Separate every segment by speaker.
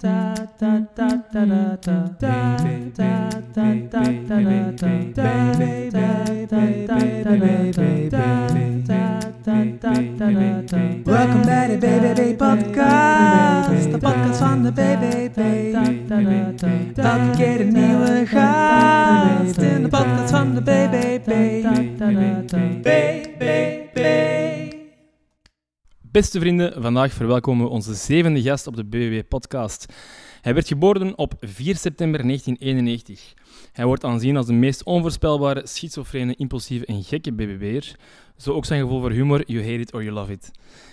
Speaker 1: Welkom
Speaker 2: Welkom bij de BBB Podcast, de podcast van de BBB. Elke keer een nieuwe gast in de podcast van de BBB. BBB.
Speaker 1: Beste vrienden, vandaag verwelkomen we onze zevende gast op de BBB-podcast. Hij werd geboren op 4 september 1991. Hij wordt aanzien als de meest onvoorspelbare, schizofrene, impulsieve en gekke BBB'er. Zo ook zijn gevoel voor humor, you hate it or you love it.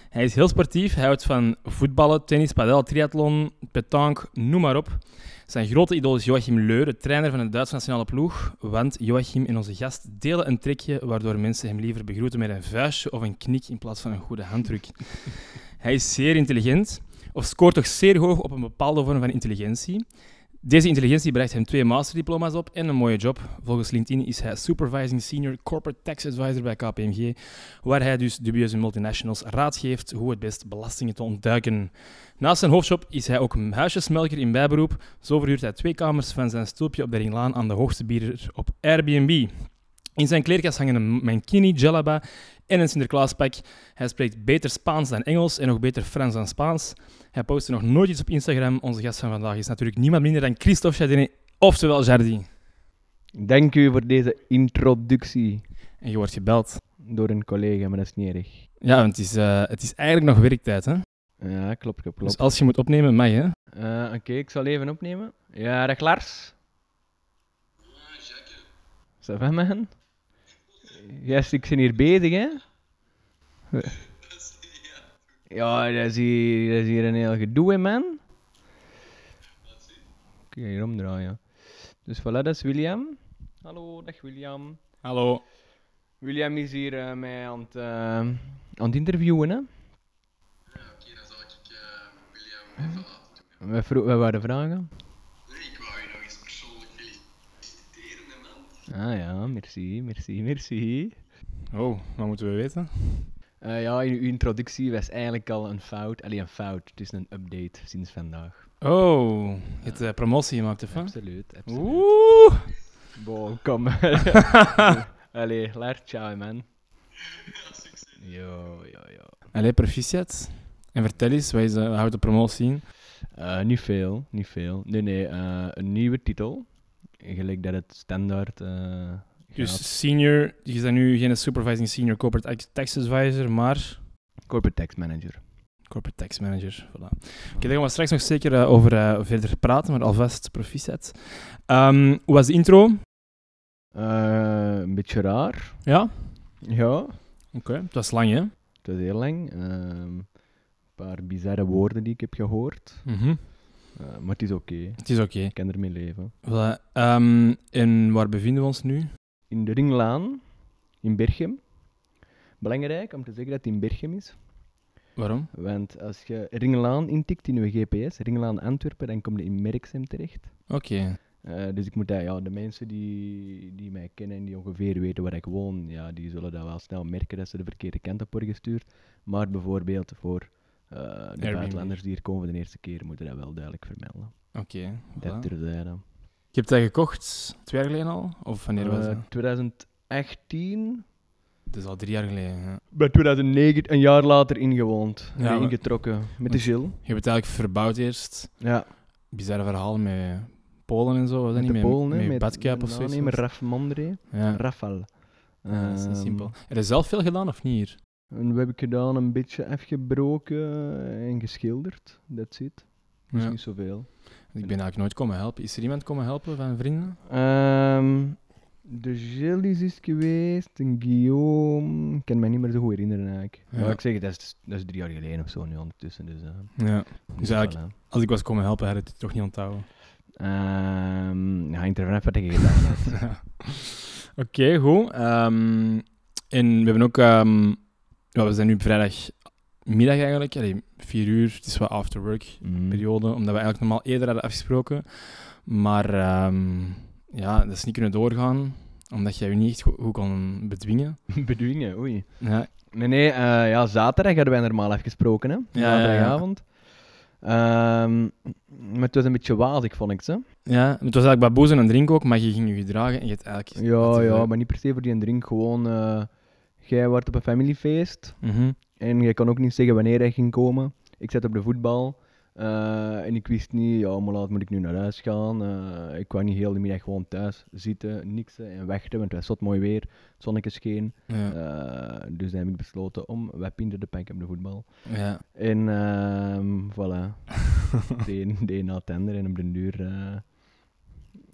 Speaker 1: Hij is heel sportief, hij houdt van voetballen, tennis, padel, triathlon, petanque, noem maar op. Zijn grote idool is Joachim Leur, de trainer van de Duitse nationale ploeg. Want Joachim en onze gast delen een trekje waardoor mensen hem liever begroeten met een vuistje of een knik in plaats van een goede handdruk. Hij is zeer intelligent, of scoort toch zeer hoog op een bepaalde vorm van intelligentie. Deze intelligentie bracht hem twee masterdiploma's op en een mooie job. Volgens LinkedIn is hij Supervising Senior Corporate Tax Advisor bij KPMG, waar hij dus dubieuze multinationals raad geeft hoe het best belastingen te ontduiken. Naast zijn hoofdjob is hij ook huisjesmelker in bijberoep. Zo verhuurt hij twee kamers van zijn stulpje op de Ringlaan aan de hoogste bieder op Airbnb. In zijn kleerkast hangen een mankini, jalaba en een Sinterklaaspak. Hij spreekt beter Spaans dan Engels en nog beter Frans dan Spaans. Hij postte nog nooit iets op Instagram. Onze gast van vandaag is natuurlijk niemand minder dan Christophe Chardin, oftewel Jardy.
Speaker 3: Dank u voor deze introductie
Speaker 1: En je wordt gebeld.
Speaker 3: door een collega, maar dat is niet erg.
Speaker 1: Ja, want het is, eh, het is eigenlijk nog werktijd, hè?
Speaker 3: Ja, klopt, klopt, klopt.
Speaker 1: Dus als je moet opnemen, mag je, hè?
Speaker 3: Eh, Oké, ik zal even opnemen. Ja, dag Lars. Ja, Jacques. man? Yes, ik ben hier bezig, hè? Ja, dat is hier, dat is hier een heel gedoe, hè, man. Ik ga hier omdraaien. Dus voilà, dat is William. Hallo, dag William.
Speaker 1: Hallo.
Speaker 3: William is hier eh, mij aan het, eh, aan het interviewen, hè? Ja, oké, dan zal ik eh, William even laten doen. Wij, vro- wij waren vragen. Ik wou je nog eens persoonlijk feliciteren, man. Ah ja, merci, merci, merci.
Speaker 1: Oh, wat moeten we weten?
Speaker 3: Eh, ja, in uw introductie was eigenlijk al een fout. Allee, een fout. Het is een update sinds vandaag.
Speaker 1: Oh, je hebt eh, promotie gemaakt, of wat?
Speaker 3: Absoluut, absoluut.
Speaker 1: Oeh.
Speaker 3: Bo, kom. Allee, laat ciao, man. Yo, yo, yo.
Speaker 1: Allee, proficiat. En vertel eens, wat, is, eh, wat houdt de promotie in?
Speaker 3: Eh, niet veel, niet veel. Nee, nee, eh, een nieuwe titel. Gelijk dat het standaard eh
Speaker 1: Dus
Speaker 3: gaat.
Speaker 1: senior, je bent nu geen supervising senior corporate tax advisor, maar
Speaker 3: Corporate Tax Manager.
Speaker 1: Corporate Tax Manager, voilà. Oké, daar gaan we straks nog zeker eh, over eh, verder praten, maar alvast proficiat. Ehm, hoe was de intro?
Speaker 3: Eh, een beetje raar.
Speaker 1: Ja?
Speaker 3: Ja.
Speaker 1: Oké, het was lang, hè?
Speaker 3: Het was heel lang. Ehm, een paar bizarre woorden die ik heb gehoord. Eh, maar het is oké.
Speaker 1: Het is oké.
Speaker 3: Ik kan ermee leven.
Speaker 1: Voilà. Ehm, en waar bevinden we ons nu?
Speaker 3: In de Ringlaan, in Berchem. Belangrijk om te zeggen dat het in Berchem is.
Speaker 1: Waarom?
Speaker 3: Want als je Ringlaan intikt in je GPS, Ringlaan Antwerpen, dan kom je in Merksem terecht.
Speaker 1: Oké.
Speaker 3: Eh, dus ik moet dat, ja, de mensen die, die mij kennen en die ongeveer weten waar ik woon, ja, die zullen dat wel snel merken dat ze de verkeerde kant op worden gestuurd. Maar bijvoorbeeld voor eh, de buitenlanders die hier komen voor de eerste keer, moeten dat wel duidelijk vermelden.
Speaker 1: Oké.
Speaker 3: Dat
Speaker 1: voilà.
Speaker 3: terzijde.
Speaker 1: Je hebt dat gekocht twee jaar geleden al? Of wanneer was dat?
Speaker 3: Eh, 2018,
Speaker 1: Het is al drie jaar geleden. Ja.
Speaker 3: bij 2009, een jaar later ingewoond.
Speaker 1: Ja,
Speaker 3: Eh,
Speaker 1: maar-
Speaker 3: ingetrokken met de Gilles.
Speaker 1: Je hebt het eigenlijk verbouwd eerst.
Speaker 3: Ja,
Speaker 1: Bizarre verhaal met Polen en zo. Was dat
Speaker 3: met
Speaker 1: niet?
Speaker 3: de Polen, hè, met-
Speaker 1: met,
Speaker 3: nou,
Speaker 1: badkuip of
Speaker 3: met
Speaker 1: zo.
Speaker 3: de aannemer Raf Mondre.
Speaker 1: Ja.
Speaker 3: Rafal.
Speaker 1: Ja, dat is niet
Speaker 3: Ehm,
Speaker 1: simpel. Heb je zelf veel gedaan of niet hier?
Speaker 3: En wat heb ik gedaan? Een beetje afgebroken en geschilderd. That's it. Dus
Speaker 1: Ja.
Speaker 3: niet zoveel.
Speaker 1: Ik ben eigenlijk nooit komen helpen. Is er iemand komen helpen van vrienden?
Speaker 3: Ehm, de Gilles is eens geweest, een Guillaume. Ik kan mij niet meer zo goed herinneren eigenlijk. Ja.
Speaker 1: Ja.
Speaker 3: ik zeg, dat is, dat is drie jaar geleden of zo nu ondertussen. Dus, eh,
Speaker 1: Ja.
Speaker 3: dus
Speaker 1: eigenlijk-
Speaker 3: voilà.
Speaker 1: Als ik was komen helpen, had ik het toch niet onthouden.
Speaker 3: Ehm, ja, hangt er vanaf wat ik gedaan heb.
Speaker 1: Oké, goed. Ehm, en we hebben ook... ehm, ja, we zijn nu vrijdagmiddag eigenlijk. Allee, vier uur. Het is wel after work
Speaker 3: Mm.
Speaker 1: periode. Omdat we eigenlijk normaal eerder hadden afgesproken. Maar ehm, ja, dat is niet kunnen doorgaan. Omdat jij je niet echt go- goed kon bedwingen.
Speaker 3: Bedwingen, oei.
Speaker 1: Ja,
Speaker 3: Nee, nee, eh, ja, zaterdag hadden wij normaal afgesproken, hè?
Speaker 1: ja, ja.
Speaker 3: Zaterdagavond. Ehm, maar het was een beetje wazig, vond ik ze.
Speaker 1: ja het was eigenlijk bij boezen en drinken ook, maar je ging je gedragen en je hebt eigenlijk...
Speaker 3: Ja,
Speaker 1: dat-
Speaker 3: ja, maar niet per se voor die een drink. Gewoon, eh, jij wordt op een familiefeest
Speaker 1: Mhm.
Speaker 3: en jij kan ook niet zeggen wanneer hij ging komen. Ik zat op de voetbal eh, en ik wist niet, ja, hoe laat moet ik nu naar huis gaan? Eh, ik kwam niet heel de middag gewoon thuis zitten, niksen en wachten, want het was zot mooi weer, het zonnetje scheen.
Speaker 1: Ja,
Speaker 3: Eh, dus dan heb ik besloten om webpinder te pakken op de voetbal.
Speaker 1: ja.
Speaker 3: En ehm voilà. de een- de een na het ander en op den duur. eh,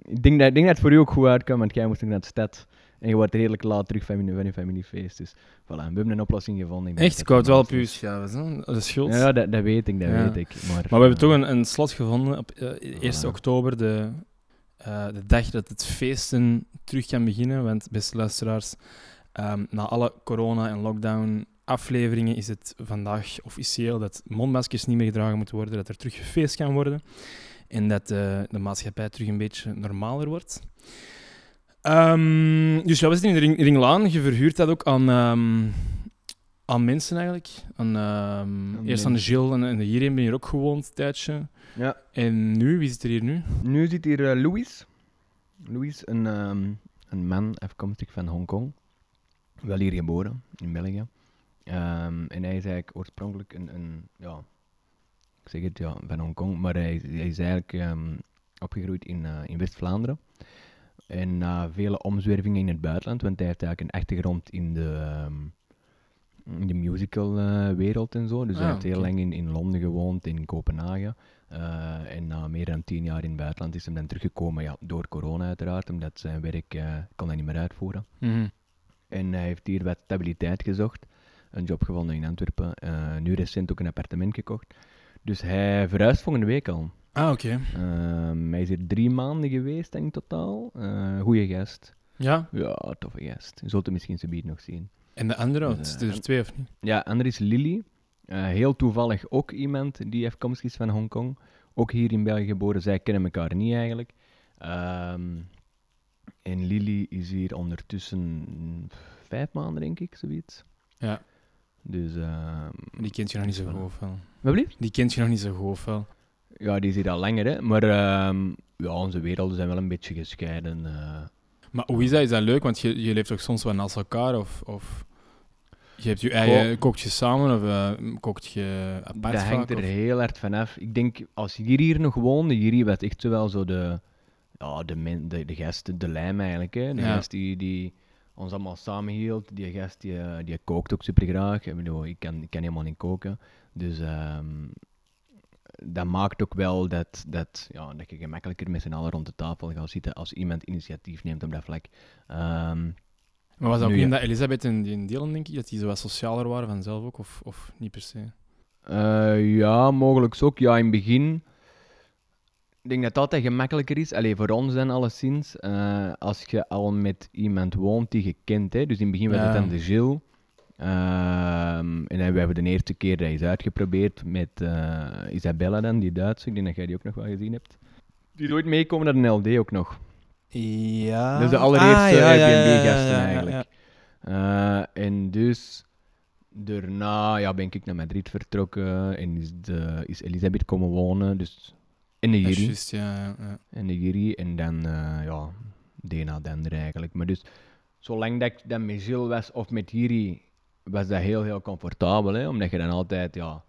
Speaker 3: ik, denk dat, ik denk dat het voor u ook goed uitkwam, want jij moest nog naar de stad. En je wordt redelijk laat terug van je, van je familiefeest. Dus voilà, we hebben een oplossing gevonden. denk
Speaker 1: Echt,
Speaker 3: dat
Speaker 1: ik wou het wel op
Speaker 3: dat
Speaker 1: u
Speaker 3: is.
Speaker 1: schaven, hè. dat is schuld.
Speaker 3: Ja, dat, dat weet ik, dat
Speaker 1: Ja.
Speaker 3: weet ik. Maar, eh,
Speaker 1: Maar we hebben toch een, een slot gevonden op eh, 1
Speaker 3: Voilà.
Speaker 1: oktober, de, eh, de dag dat het feesten terug kan beginnen. Want, beste luisteraars, ehm, na alle corona- en lockdown-afleveringen is het vandaag officieel dat mondmaskers niet meer gedragen moeten worden, dat er terug gefeest kan worden en dat eh, de maatschappij terug een beetje normaler wordt. Ehm, dus ja, we zitten in de ring, Ringlaan. Je verhuurt dat ook aan, ehm, aan mensen eigenlijk. Aan, ehm, eerst aan
Speaker 3: mensen.
Speaker 1: de Gilles en, en hierin ben je hier ook gewoond, een tijdje.
Speaker 3: Ja.
Speaker 1: En nu, wie zit er hier nu?
Speaker 3: Nu zit hier eh, Louis. Louis, een, ehm, een man afkomstig van Hongkong. Wel hier geboren, in België. Ehm, en hij is eigenlijk oorspronkelijk een, een ja, ik zeg het, ja, van Hongkong. Maar hij, is- hij is eigenlijk ehm, opgegroeid in, eh, in West-Vlaanderen. En na vele omzwervingen in het buitenland, want hij heeft eigenlijk een achtergrond in de, ehm, in de musicalwereld en zo. Dus
Speaker 1: Ah,
Speaker 3: hij heeft heel
Speaker 1: oké.
Speaker 3: lang in, in Londen gewoond, in Kopenhagen. Eh, en na meer dan tien jaar in het buitenland is hij dan teruggekomen, ja, door corona uiteraard, omdat zijn werk eh, kon hij niet meer uitvoeren.
Speaker 1: Mhm.
Speaker 3: En hij heeft hier wat stabiliteit gezocht. Een job gevonden in Antwerpen. eh, nu recent ook een appartement gekocht. Dus hij verhuist volgende week al.
Speaker 1: Ah, oké.
Speaker 3: Ehm, hij is hier drie maanden geweest in totaal. Eh goeie gast.
Speaker 1: Ja.
Speaker 3: Ja, toffe gast. Je zult hem misschien zo nog zien.
Speaker 1: En de andere, want
Speaker 3: Eh,
Speaker 1: het zitten er twee of niet?
Speaker 3: Ja, ander is Lily. Eh, heel toevallig ook iemand die afkomstig is van Hongkong. Ook hier in België geboren. Zij kennen elkaar niet eigenlijk. Ehm, en Lily is hier ondertussen vijf maanden, denk ik, zoiets.
Speaker 1: Ja.
Speaker 3: Dus, ehm
Speaker 1: Die kent je nog niet zo
Speaker 3: Voilà.
Speaker 1: goed wel.
Speaker 3: Wat blieft?
Speaker 1: Die kent je nog niet zo goed wel.
Speaker 3: Ja, die is hier al langer, hè. Maar ehm, ja, onze werelden zijn wel een beetje gescheiden. eh.
Speaker 1: Maar hoe is dat? Is dat leuk? Want je, je leeft toch soms wel naast elkaar? Of, of je hebt je eigen... Kookt je samen of eh, kookt je apart
Speaker 3: dat hangt
Speaker 1: vaak,
Speaker 3: er
Speaker 1: of-
Speaker 3: heel hard vanaf. Ik denk, als hier, hier nog woonde, hier, hier werd echt zowel zo de, ja, de, men, de, de gast, de lijm eigenlijk. Hè. De
Speaker 1: Ja.
Speaker 3: gast die, die ons allemaal samenhield. Die gast die, eh, die kookt ook super graag. Ik, bedoel, ik, kan, ik kan helemaal niet koken. Dus ehm, dat maakt ook wel dat, dat, ja, dat je gemakkelijker met z'n allen rond de tafel gaat zitten als iemand initiatief neemt op dat vlak. Ehm,
Speaker 1: Maar was dat ook
Speaker 3: Nu,
Speaker 1: in
Speaker 3: ja.
Speaker 1: dat Elisabeth en die in Dylan, denk ik, dat die zo wat socialer waren vanzelf ook? Of, of niet per se?
Speaker 3: Eh, ja, mogelijk ook. Ja, in het begin. Ik denk dat dat altijd gemakkelijker is. Allee, voor ons dan alleszins. eh, als je al met iemand woont die je kent. Hè. Dus in het begin was
Speaker 1: Ja.
Speaker 3: het dan de Gilles. Ehm, en dan, we hebben de eerste keer dat is uitgeprobeerd met eh, Isabella dan, die Duitse. Ik denk dat jij die ook nog wel gezien hebt. Die is ooit meekomen naar een LD ook nog.
Speaker 2: Ja.
Speaker 3: Dat is de allereerste
Speaker 2: Ah, ja, ja, ja,
Speaker 3: Airbnb-gasten
Speaker 2: ja, ja, ja.
Speaker 3: eigenlijk. Eh, en dus, daarna ja, ben ik naar Madrid vertrokken en is, de, is Elisabeth komen wonen. Dus, en de
Speaker 1: Ja,
Speaker 3: Jiri.
Speaker 1: juist, ja, ja, ja.
Speaker 3: En de Jiri. En dan, eh ja, DNA Dender eigenlijk. Maar dus, zolang dat ik dan met Gilles was of met Jiri, was dat heel, heel comfortabel. Hè? Omdat je dan altijd, ja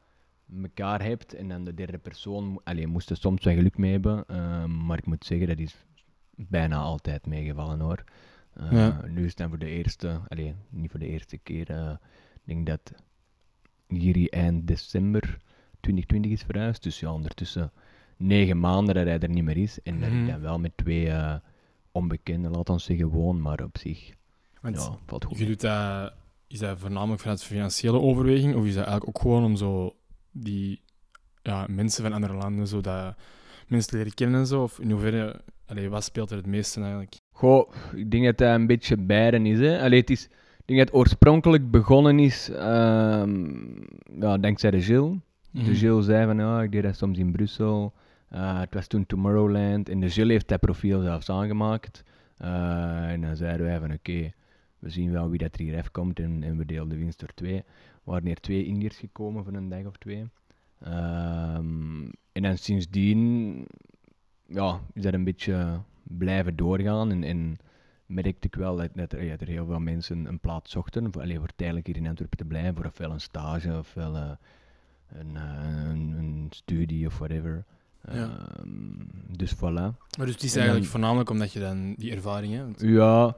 Speaker 3: elkaar hebt en dan de derde persoon, mo- allee, moest er soms wel geluk mee hebben, eh, maar ik moet zeggen, dat is bijna altijd meegevallen hoor. Eh,
Speaker 1: Ja.
Speaker 3: Nu is het dan voor de eerste, allee, niet voor de eerste keer, eh, ik denk dat hier eind december 2020 is verhuisd, dus ja, ondertussen negen maanden dat hij er niet meer is en dat
Speaker 1: Mhm.
Speaker 3: ik dan wel met twee eh, onbekenden, laat ons zeggen, woon, maar op zich,
Speaker 1: Want
Speaker 3: ja, valt goed.
Speaker 1: je doet dat... Is dat voornamelijk vanuit financiële overweging? Of is dat eigenlijk ook gewoon om zo die ja, mensen van andere landen zo dat mensen te leren kennen en zo? Of in hoeverre... Allee, wat speelt er het meeste eigenlijk?
Speaker 3: Goh, ik denk dat dat een beetje beiden is. Hè. Allee, het is ik denk dat het oorspronkelijk begonnen is ehm, ja, dankzij de Gilles.
Speaker 1: Mhm.
Speaker 3: De Dus Gilles zei van, ja, ik deed dat soms dus in Brussel. Eh, het was toen Tomorrowland. En de Gilles heeft dat profiel zelfs aangemaakt. Eh, en dan zeiden wij van oké, we zien wel wie dat er hier komt en, en we deelden de winst door twee. Er waren hier twee Indiërs gekomen voor een dag of twee. Ehm, en dan sindsdien ja, is dat een beetje blijven doorgaan en, en merkte ik wel dat, dat er, ja, dat er heel veel mensen een plaats zochten voor, allee, voor tijdelijk hier in Antwerpen te blijven, voor ofwel een stage ofwel eh, een, eh, een, een studie of whatever.
Speaker 1: Ja.
Speaker 3: Ehm, dus voilà.
Speaker 1: Maar dus het is
Speaker 3: En
Speaker 1: eigenlijk
Speaker 3: dan-
Speaker 1: voornamelijk omdat je dan die ervaring hebt.
Speaker 3: Ja,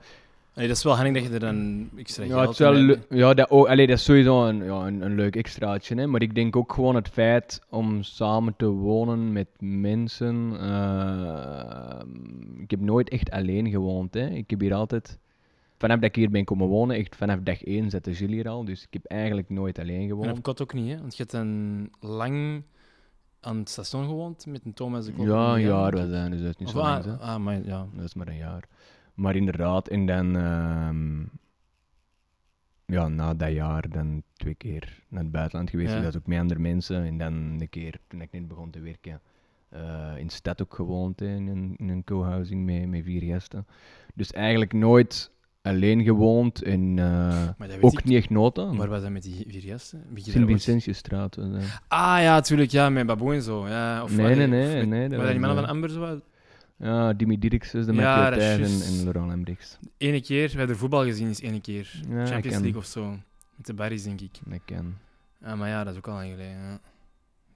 Speaker 1: Allee, dat is wel handig dat je er dan extra
Speaker 3: ja,
Speaker 1: geld
Speaker 3: het is wel
Speaker 1: in
Speaker 3: leu-
Speaker 1: hebt.
Speaker 3: ja dat, ook, allee, dat is sowieso een, ja, een, een leuk extraatje. Hè? Maar ik denk ook gewoon het feit om samen te wonen met mensen. eh, ik heb nooit echt alleen gewoond. Hè? Ik heb hier altijd, vanaf dat ik hier ben komen wonen, echt vanaf dag één zette Gilles hier al. Dus ik heb eigenlijk nooit alleen
Speaker 1: En op
Speaker 3: gewoond.
Speaker 1: kot ook niet, hè? Want je hebt dan lang aan het station gewoond met een Thomas de Klok.
Speaker 3: Ja, een jaar was dat, dus dat is niet
Speaker 1: Of,
Speaker 3: zo lang. hè.
Speaker 1: ah, ah, maar ja.
Speaker 3: Dat is maar een jaar. Maar inderdaad, en dan... ehm, ja, na dat jaar dan twee keer naar het buitenland geweest.
Speaker 1: Ja.
Speaker 3: Dus dat is ook met andere mensen. En dan een keer, toen ik net begon te werken, eh, in de stad ook gewoond. hè, in, een- in een co-housing met, met vier gasten. Dus eigenlijk nooit alleen gewoond. En eh,
Speaker 1: Maar dat weet
Speaker 3: ook
Speaker 1: ik.
Speaker 3: niet echt noten.
Speaker 1: Waar
Speaker 3: Maar
Speaker 1: was dat met die vier gasten? Heb je daar
Speaker 3: sint
Speaker 1: ooit-
Speaker 3: Vincentiusstraat. was dat.
Speaker 1: Ah ja, natuurlijk, ja, met Baboe en zo. Ja, of,
Speaker 3: Nee, nee,
Speaker 1: allee,
Speaker 3: nee.
Speaker 1: of met-
Speaker 3: nee dat
Speaker 1: Waren dat
Speaker 3: was,
Speaker 1: die mannen van
Speaker 3: eh,
Speaker 1: Amber zo? uit?
Speaker 3: Ja, Dimi Dirks, dus de
Speaker 1: Ja,
Speaker 3: Mathieu
Speaker 1: dat is
Speaker 3: Thijs en,
Speaker 1: juist.
Speaker 3: en Laurent Lembrix.
Speaker 1: Ene keer, we hebben er voetbal gezien, is één keer.
Speaker 3: Ja, dat
Speaker 1: Champions
Speaker 3: kan.
Speaker 1: League of zo. Met de Barry's, denk ik.
Speaker 3: Dat ken.
Speaker 1: Ah, maar ja, dat is ook al lang geleden. Ja.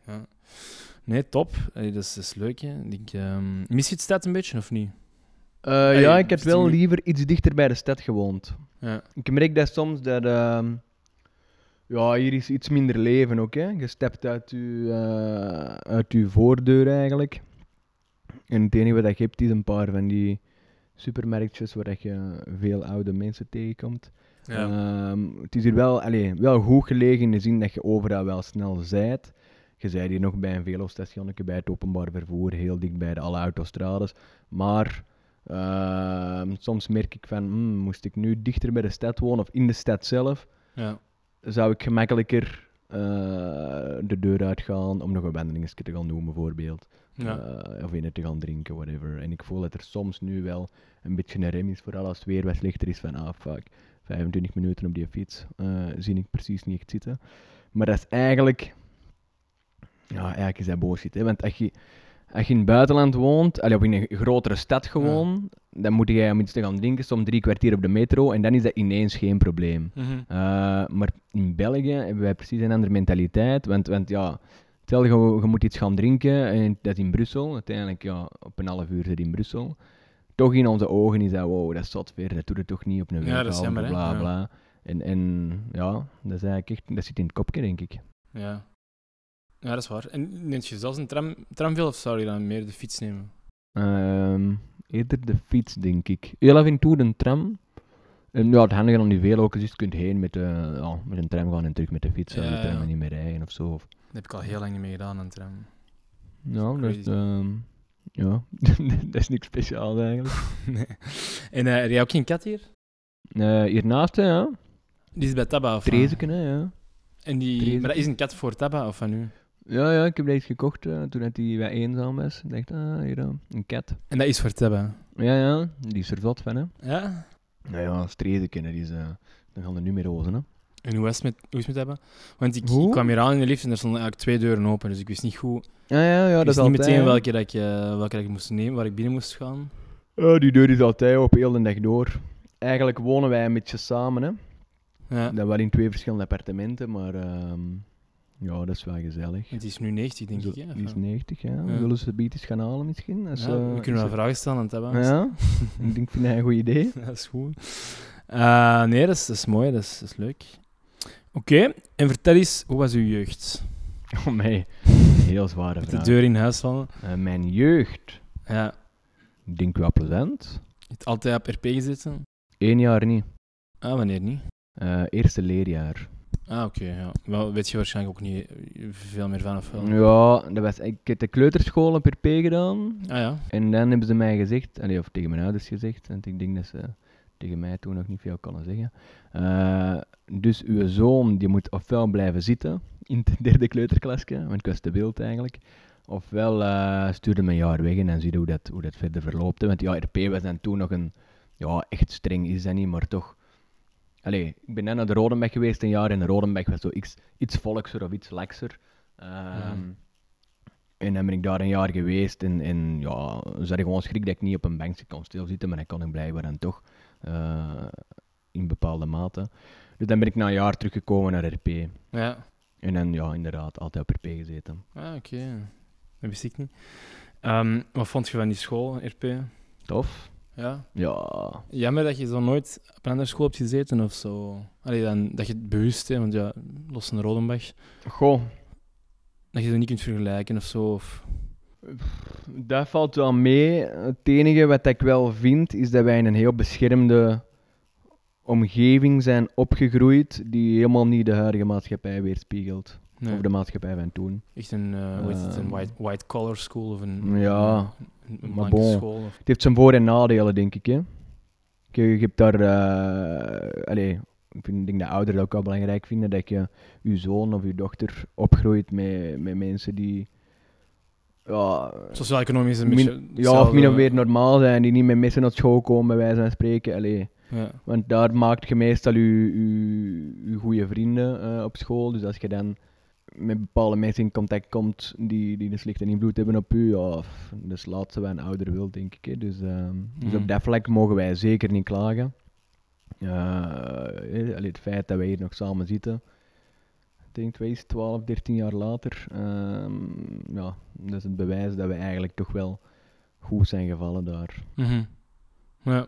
Speaker 1: Ja. Nee, top. Allee, dat, is, dat is leuk, hè. Ik, ehm, Mis je het stad een beetje, of niet?
Speaker 3: Eh,
Speaker 1: Hey,
Speaker 3: ja, ik heb
Speaker 1: misschien-
Speaker 3: wel liever iets dichter bij de stad gewoond.
Speaker 1: Ja.
Speaker 3: Ik merk dat soms dat... ehm, ja, hier is iets minder leven ook, hè. Je stept uit je, eh, uit je voordeur eigenlijk. En het enige wat je hebt is een paar van die supermarktjes waar dat je veel oude mensen tegenkomt.
Speaker 1: Ja.
Speaker 3: Ehm, het is hier wel, allee, wel goed gelegen in de zin dat je overal wel snel zijt. Je zijt hier nog bij een velostationnetje, bij het openbaar vervoer, heel dicht bij de alle autostrades. Maar ehm, soms merk ik van, hmm, moest ik nu dichter bij de stad wonen of in de stad zelf,
Speaker 1: ja.
Speaker 3: zou ik gemakkelijker eh, de deur uitgaan om nog een wandelingetje te gaan doen bijvoorbeeld.
Speaker 1: ja.
Speaker 3: Eh, of in het te gaan drinken, whatever. En ik voel dat er soms nu wel een beetje een rem is, vooral als het weer wat slechter is. Van, ah, fuck, 25 minuten op die fiets eh, zie ik precies niet echt zitten. Maar dat is eigenlijk... Ja, eigenlijk is dat bullshit, hè. Want als je, als je in het buitenland woont, allee, of in een grotere stad gewoon, dan moet jij om iets te gaan drinken, soms drie kwartier op de metro, en dan is dat ineens geen probleem.
Speaker 1: Mhm.
Speaker 3: Eh, maar in België hebben wij precies een andere mentaliteit. Want, want ja, stel je, je moet iets gaan drinken, en dat is in Brussel. Uiteindelijk, ja, op een half uur zit in Brussel. Toch in onze ogen is dat, wow, dat is zot weer, dat doet het toch niet op een
Speaker 1: Ja, dat
Speaker 3: weekavond,
Speaker 1: is jammer, hè?
Speaker 3: bla
Speaker 1: Ja.
Speaker 3: bla. En, en ja, dat, is eigenlijk echt, dat zit in het kopje, denk ik.
Speaker 1: Ja. Ja, dat is waar. En neemt je zelfs een tram, tramveel of zou je dan meer de fiets nemen?
Speaker 3: Ehm, eerder de fiets, denk ik. Heel af en toe de tram. En ja, het handige aan die veel ook is, je kunt heen met, de, ja, met een tram gaan en terug met de fiets. Ja,
Speaker 1: Ja,
Speaker 3: de tram
Speaker 1: ja.
Speaker 3: gaat niet meer rijden of zo. Of
Speaker 1: Dat heb ik al heel lang niet meer gedaan, een tram.
Speaker 3: Ja, dat is,
Speaker 1: crazy.
Speaker 3: ehm, ja. dat is niks speciaals eigenlijk.
Speaker 1: nee. En eh, heb jij ook geen kat hier?
Speaker 3: Eh, hiernaast, hè, ja.
Speaker 1: Die is bij Tabba, of wat?
Speaker 3: Trezeken, hè, ja.
Speaker 1: En die...
Speaker 3: Trezeken.
Speaker 1: Maar dat is een kat voor Tabba, of van nu?
Speaker 3: Ja, ja, ik heb deze gekocht eh, toen dat hij wat eenzaam was. Ik dacht, ah, hier, eh, een kat.
Speaker 1: En dat is voor Tabba.
Speaker 3: Ja, ja, die is er zot van, hè.
Speaker 1: Ja?
Speaker 3: Nou ja, Strezeken, dat is... eh dan gaan de numerozen, hè.
Speaker 1: En hoe is het met, hoe is het met Tabba? Want ik,
Speaker 3: Hoe?
Speaker 1: ik kwam hier aan in de lift en er stonden eigenlijk twee deuren open, dus ik wist niet goed...
Speaker 3: Ja, ja, ja,
Speaker 1: ik
Speaker 3: dat is
Speaker 1: wist niet
Speaker 3: altijd...
Speaker 1: meteen welke, dat ik, eh, welke dat ik moest nemen, waar ik binnen moest gaan.
Speaker 3: Ja, die deur is altijd op heel de dag door. Eigenlijk wonen wij een beetje samen, hè.
Speaker 1: Ja.
Speaker 3: Dan wel in twee verschillende appartementen, maar... ehm, ja, dat is wel gezellig.
Speaker 1: Het is nu 90, denk
Speaker 3: Zo-
Speaker 1: ik. Hè? of
Speaker 3: Die is
Speaker 1: wat?
Speaker 3: 90, ja.
Speaker 1: Ja.
Speaker 3: We zullen ze beat eens gaan halen misschien. Als,
Speaker 1: Ja,
Speaker 3: eh,
Speaker 1: we
Speaker 3: als
Speaker 1: kunnen
Speaker 3: ze-
Speaker 1: wel vragen stellen aan Tabba.
Speaker 3: Ja, ik denk vind hij een goed idee.
Speaker 1: dat is goed. Eh, nee, dat is, dat is mooi, dat is, dat is leuk. Oké, en vertel eens, hoe was uw jeugd?
Speaker 3: Oh mij, heel zware
Speaker 1: Met de
Speaker 3: vraag.
Speaker 1: deur in huis vallen.
Speaker 3: Eh, mijn jeugd,
Speaker 1: Ja,
Speaker 3: ik denk wel plezant.
Speaker 1: je hebt altijd op RP gezeten.
Speaker 3: Eén jaar niet.
Speaker 1: Ah, wanneer niet?
Speaker 3: Eh, eerste leerjaar.
Speaker 1: Ah, oké, ja. Wel, weet je waarschijnlijk ook niet eh, veel meer van of wel?
Speaker 3: Ja, dat was, ik heb de kleuterschool op RP gedaan.
Speaker 1: Ah ja,
Speaker 3: En dan hebben ze mij gezegd, allee, of tegen mijn ouders gezegd, want ik denk dat ze tegen mij toen nog niet veel konden zeggen. Eh, dus uw zoon die moet ofwel blijven zitten in de derde kleuterklasje, want ik was te wild eigenlijk. Ofwel eh stuurde me een jaar weg en dan zie je hoe dat, hoe dat verder verloopt. hè. Want ja, RP was dan toen nog een, ja, echt streng is dat niet, maar toch. Allee, ik ben net naar de Rodenbeck geweest een jaar en Rodenbeck was zo iets, iets volkser of iets lekser. Ehm, En dan ben ik daar een jaar geweest en, en ja, ze hadden gewoon schrik dat ik niet op een bankje kon stilzitten, maar dat kon ik blijkbaar dan toch. eh, in bepaalde mate. Dus dan ben ik na een jaar teruggekomen naar RP.
Speaker 1: Ja,
Speaker 3: En dan, ja, inderdaad, altijd op RP gezeten.
Speaker 1: ah, oké. Dat wist ik niet. Ehm, wat vond je van die school, RP?
Speaker 3: Tof.
Speaker 1: Ja.
Speaker 3: Ja,
Speaker 1: Jammer dat je zo nooit op een andere school hebt gezeten of zo. Allee, dan, dat je het bewust, hè, want ja, los van Rodenbach,
Speaker 3: Goh,
Speaker 1: dat je dat niet kunt vergelijken of zo. Of...
Speaker 3: dat valt wel mee. Het enige wat ik wel vind, is dat wij in een heel beschermde omgeving zijn opgegroeid die helemaal niet de huidige maatschappij weerspiegelt.
Speaker 1: Nee.
Speaker 3: Of de maatschappij van toen.
Speaker 1: Echt een, eh, hoe heet het, een
Speaker 3: Ehm.
Speaker 1: white, white collar school of een,
Speaker 3: Ja,
Speaker 1: een, een
Speaker 3: maar
Speaker 1: blanke
Speaker 3: bon.
Speaker 1: school. Of...
Speaker 3: Het heeft zijn voor- en nadelen, denk ik. Hè? Je, je hebt daar. eh, allee, ik vind, denk dat ouderen dat ook wel belangrijk vinden dat je je zoon of je dochter opgroeit met, met mensen die. Ja,
Speaker 1: Sociaal-economisch een
Speaker 3: min-
Speaker 1: beetje.
Speaker 3: ja, of min of
Speaker 1: hetzelfde-
Speaker 3: meer normaal zijn, die niet met messen naar school komen, bij wijze van spreken. Allee,
Speaker 1: Ja.
Speaker 3: want daar maakt je meestal je, je, je goede vrienden eh, op school. Dus als je dan met bepaalde mensen in contact komt die, die een slechte invloed hebben op u, ja, pff, dat is het laatste wat een ouder wil, denk ik. hè. Dus, ehm, dus
Speaker 1: Mhm.
Speaker 3: op dat vlak mogen wij zeker niet klagen. Eh, eh, allee, het feit dat wij hier nog samen zitten, ik denk wij is 12, 13 jaar later, ehm, ja, dat is het bewijs dat we eigenlijk toch wel goed zijn gevallen daar.
Speaker 1: Mhm. Ja.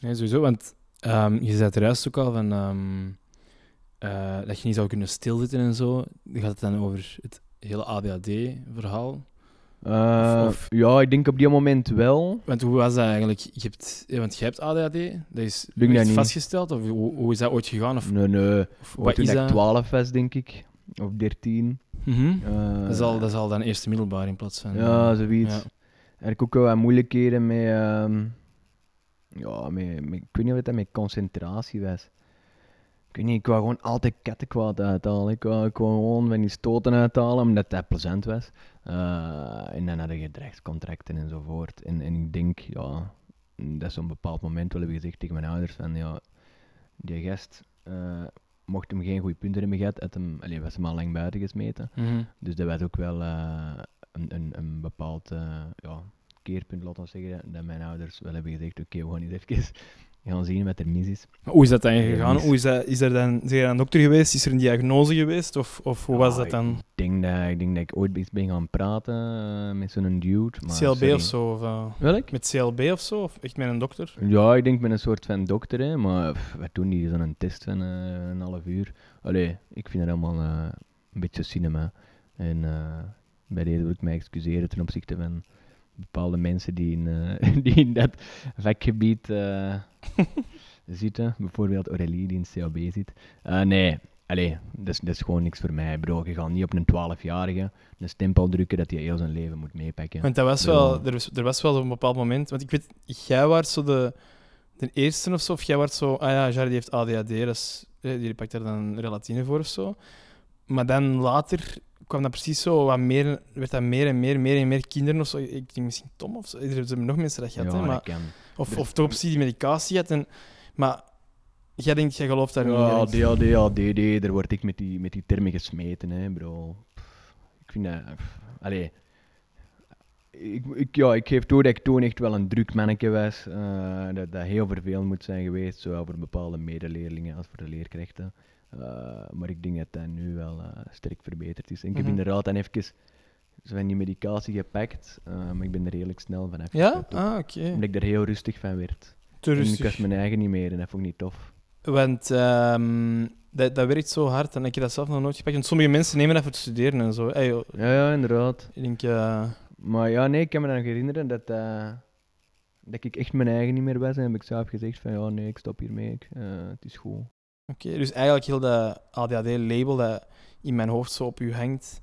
Speaker 1: Nee, sowieso, want ehm, je zei er juist ook al van ehm, eh, dat je niet zou kunnen stilzitten en zo. Dan gaat het dan over het hele ADHD-verhaal.
Speaker 3: Eh,
Speaker 1: of-
Speaker 3: Ja, ik denk op die moment wel.
Speaker 1: Want hoe was dat eigenlijk? Je hebt, eh, want je hebt ADHD, dat is
Speaker 3: Denk dat
Speaker 1: echt
Speaker 3: niet.
Speaker 1: vastgesteld? Of hoe, hoe is dat ooit gegaan? Of,
Speaker 3: Nee, nee.
Speaker 1: of
Speaker 3: Wat
Speaker 1: wat
Speaker 3: toen
Speaker 1: is
Speaker 3: ik
Speaker 1: dat?
Speaker 3: 12 was, denk ik. Of 13.
Speaker 1: Mhm.
Speaker 3: Eh,
Speaker 1: dat, is al, dat is al dan eerste middelbaar in plaats van...
Speaker 3: Ja,
Speaker 1: eh,
Speaker 3: zoiets.
Speaker 1: ja.
Speaker 3: En ik ook wel wat moeilijkheden met... ehm, ja, met, met- ik weet niet of dat met concentratie was. Ik weet niet, ik wou gewoon altijd kattenkwaad uithalen. Ik wou, ik wou gewoon van die stoten uithalen, omdat dat plezant was. Eh, en dan had je rechtscontracten enzovoort. En, en ik denk, ja... Dat is op een bepaald moment wel hebben gezegd tegen mijn ouders van, ja... Die gast... eh, mocht hem geen goede punten hebben gehad, had hem, allee, was hem al lang buiten gesmeten.
Speaker 1: Mhm.
Speaker 3: Dus dat werd ook wel eh, een, een, een bepaald eh, ja, keerpunt, laat ons zeggen, dat mijn ouders wel hebben gezegd, oké, we gaan eens even gaan zien wat er mis is.
Speaker 1: Maar Hoe is dat dan
Speaker 3: Ja,
Speaker 1: gegaan?
Speaker 3: mis.
Speaker 1: Hoe is dat, is er dan, zijn er een dokter geweest? Is er een diagnose geweest? Of, of hoe was
Speaker 3: Ja,
Speaker 1: dat dan?
Speaker 3: Ah, Ik denk dat ik, denk dat ik ooit eens ben gaan praten eh, met zo'n dude. Maar
Speaker 1: CLB
Speaker 3: sorry.
Speaker 1: of zo? Of, eh,
Speaker 3: Welk?
Speaker 1: met CLB of zo? Of echt met een dokter?
Speaker 3: Ja, ik denk met een soort van dokter, hè, maar pff, wat doen die? Zo'n test van eh, een half uur. Allee, ik vind dat allemaal eh, een beetje cinema. En eh, bij deze wil ik mij excuseren ten opzichte van bepaalde mensen die in, eh, die in dat vakgebied eh, zitten. Bijvoorbeeld Aurélie die in CAB zit. Eh, nee, allee, dat is, dat is gewoon niks voor mij. Bro, je gaat niet op een 12-jarige een stempel drukken dat hij heel zijn leven moet meepakken.
Speaker 1: Want dat was
Speaker 3: Ja.
Speaker 1: wel, er, was, er was wel een bepaald moment. Want ik weet, jij was zo de, de eerste of zo. Of jij was zo, ah ja, Jarry heeft ADHD. Dus, eh, die pakt daar dan relatine voor of zo. Maar dan later kwam dat precies zo wat meer, werd dat meer en meer, meer en meer kinderen of zo. Ik denk misschien Tom of zo. Er hebben nog mensen dat
Speaker 3: ja,
Speaker 1: gehad, hè, maar,
Speaker 3: dat kan.
Speaker 1: of,
Speaker 3: Er-
Speaker 1: of toch op zich die medicatie had. En, maar jij denkt, jij gelooft daar niet
Speaker 3: Ja,
Speaker 1: in.
Speaker 3: DAD, ADD, daar word ik met die, met die termen gesmeten, hè, bro. Pff, Ik vind dat... pff, allee. Ik, ik, ja, ik geef toe dat ik toen echt wel een druk manneke was. eh, dat dat heel vervelend moet zijn geweest, zowel voor bepaalde medeleerlingen als voor de leerkrachten. Eh, maar ik denk dat dat nu wel eh, sterk verbeterd is. En ik heb
Speaker 1: Mhm.
Speaker 3: inderdaad dan even zo van die medicatie gepakt, eh, maar ik ben er redelijk snel van
Speaker 1: Ja?
Speaker 3: afgestapt ook.
Speaker 1: Ah, oké.
Speaker 3: Omdat ik er heel rustig van werd.
Speaker 1: Te
Speaker 3: En ik
Speaker 1: rustig.
Speaker 3: was mijn eigen niet meer en dat vond ik niet tof.
Speaker 1: Want ehm, dat, dat werkt zo hard en ik heb dat zelf nog nooit gepakt. Want sommige mensen nemen dat voor het studeren en zo. Ey, joh,
Speaker 3: Ja, ja, inderdaad.
Speaker 1: ik denk, eh,
Speaker 3: Maar ja, nee, ik kan me nog herinneren dat, eh, dat ik echt mijn eigen niet meer was. En heb ik zelf gezegd van, ja, nee, ik stop hiermee. Ik, eh, het is goed.
Speaker 1: oké. Dus eigenlijk heel dat ADHD-label dat in mijn hoofd zo op u hangt,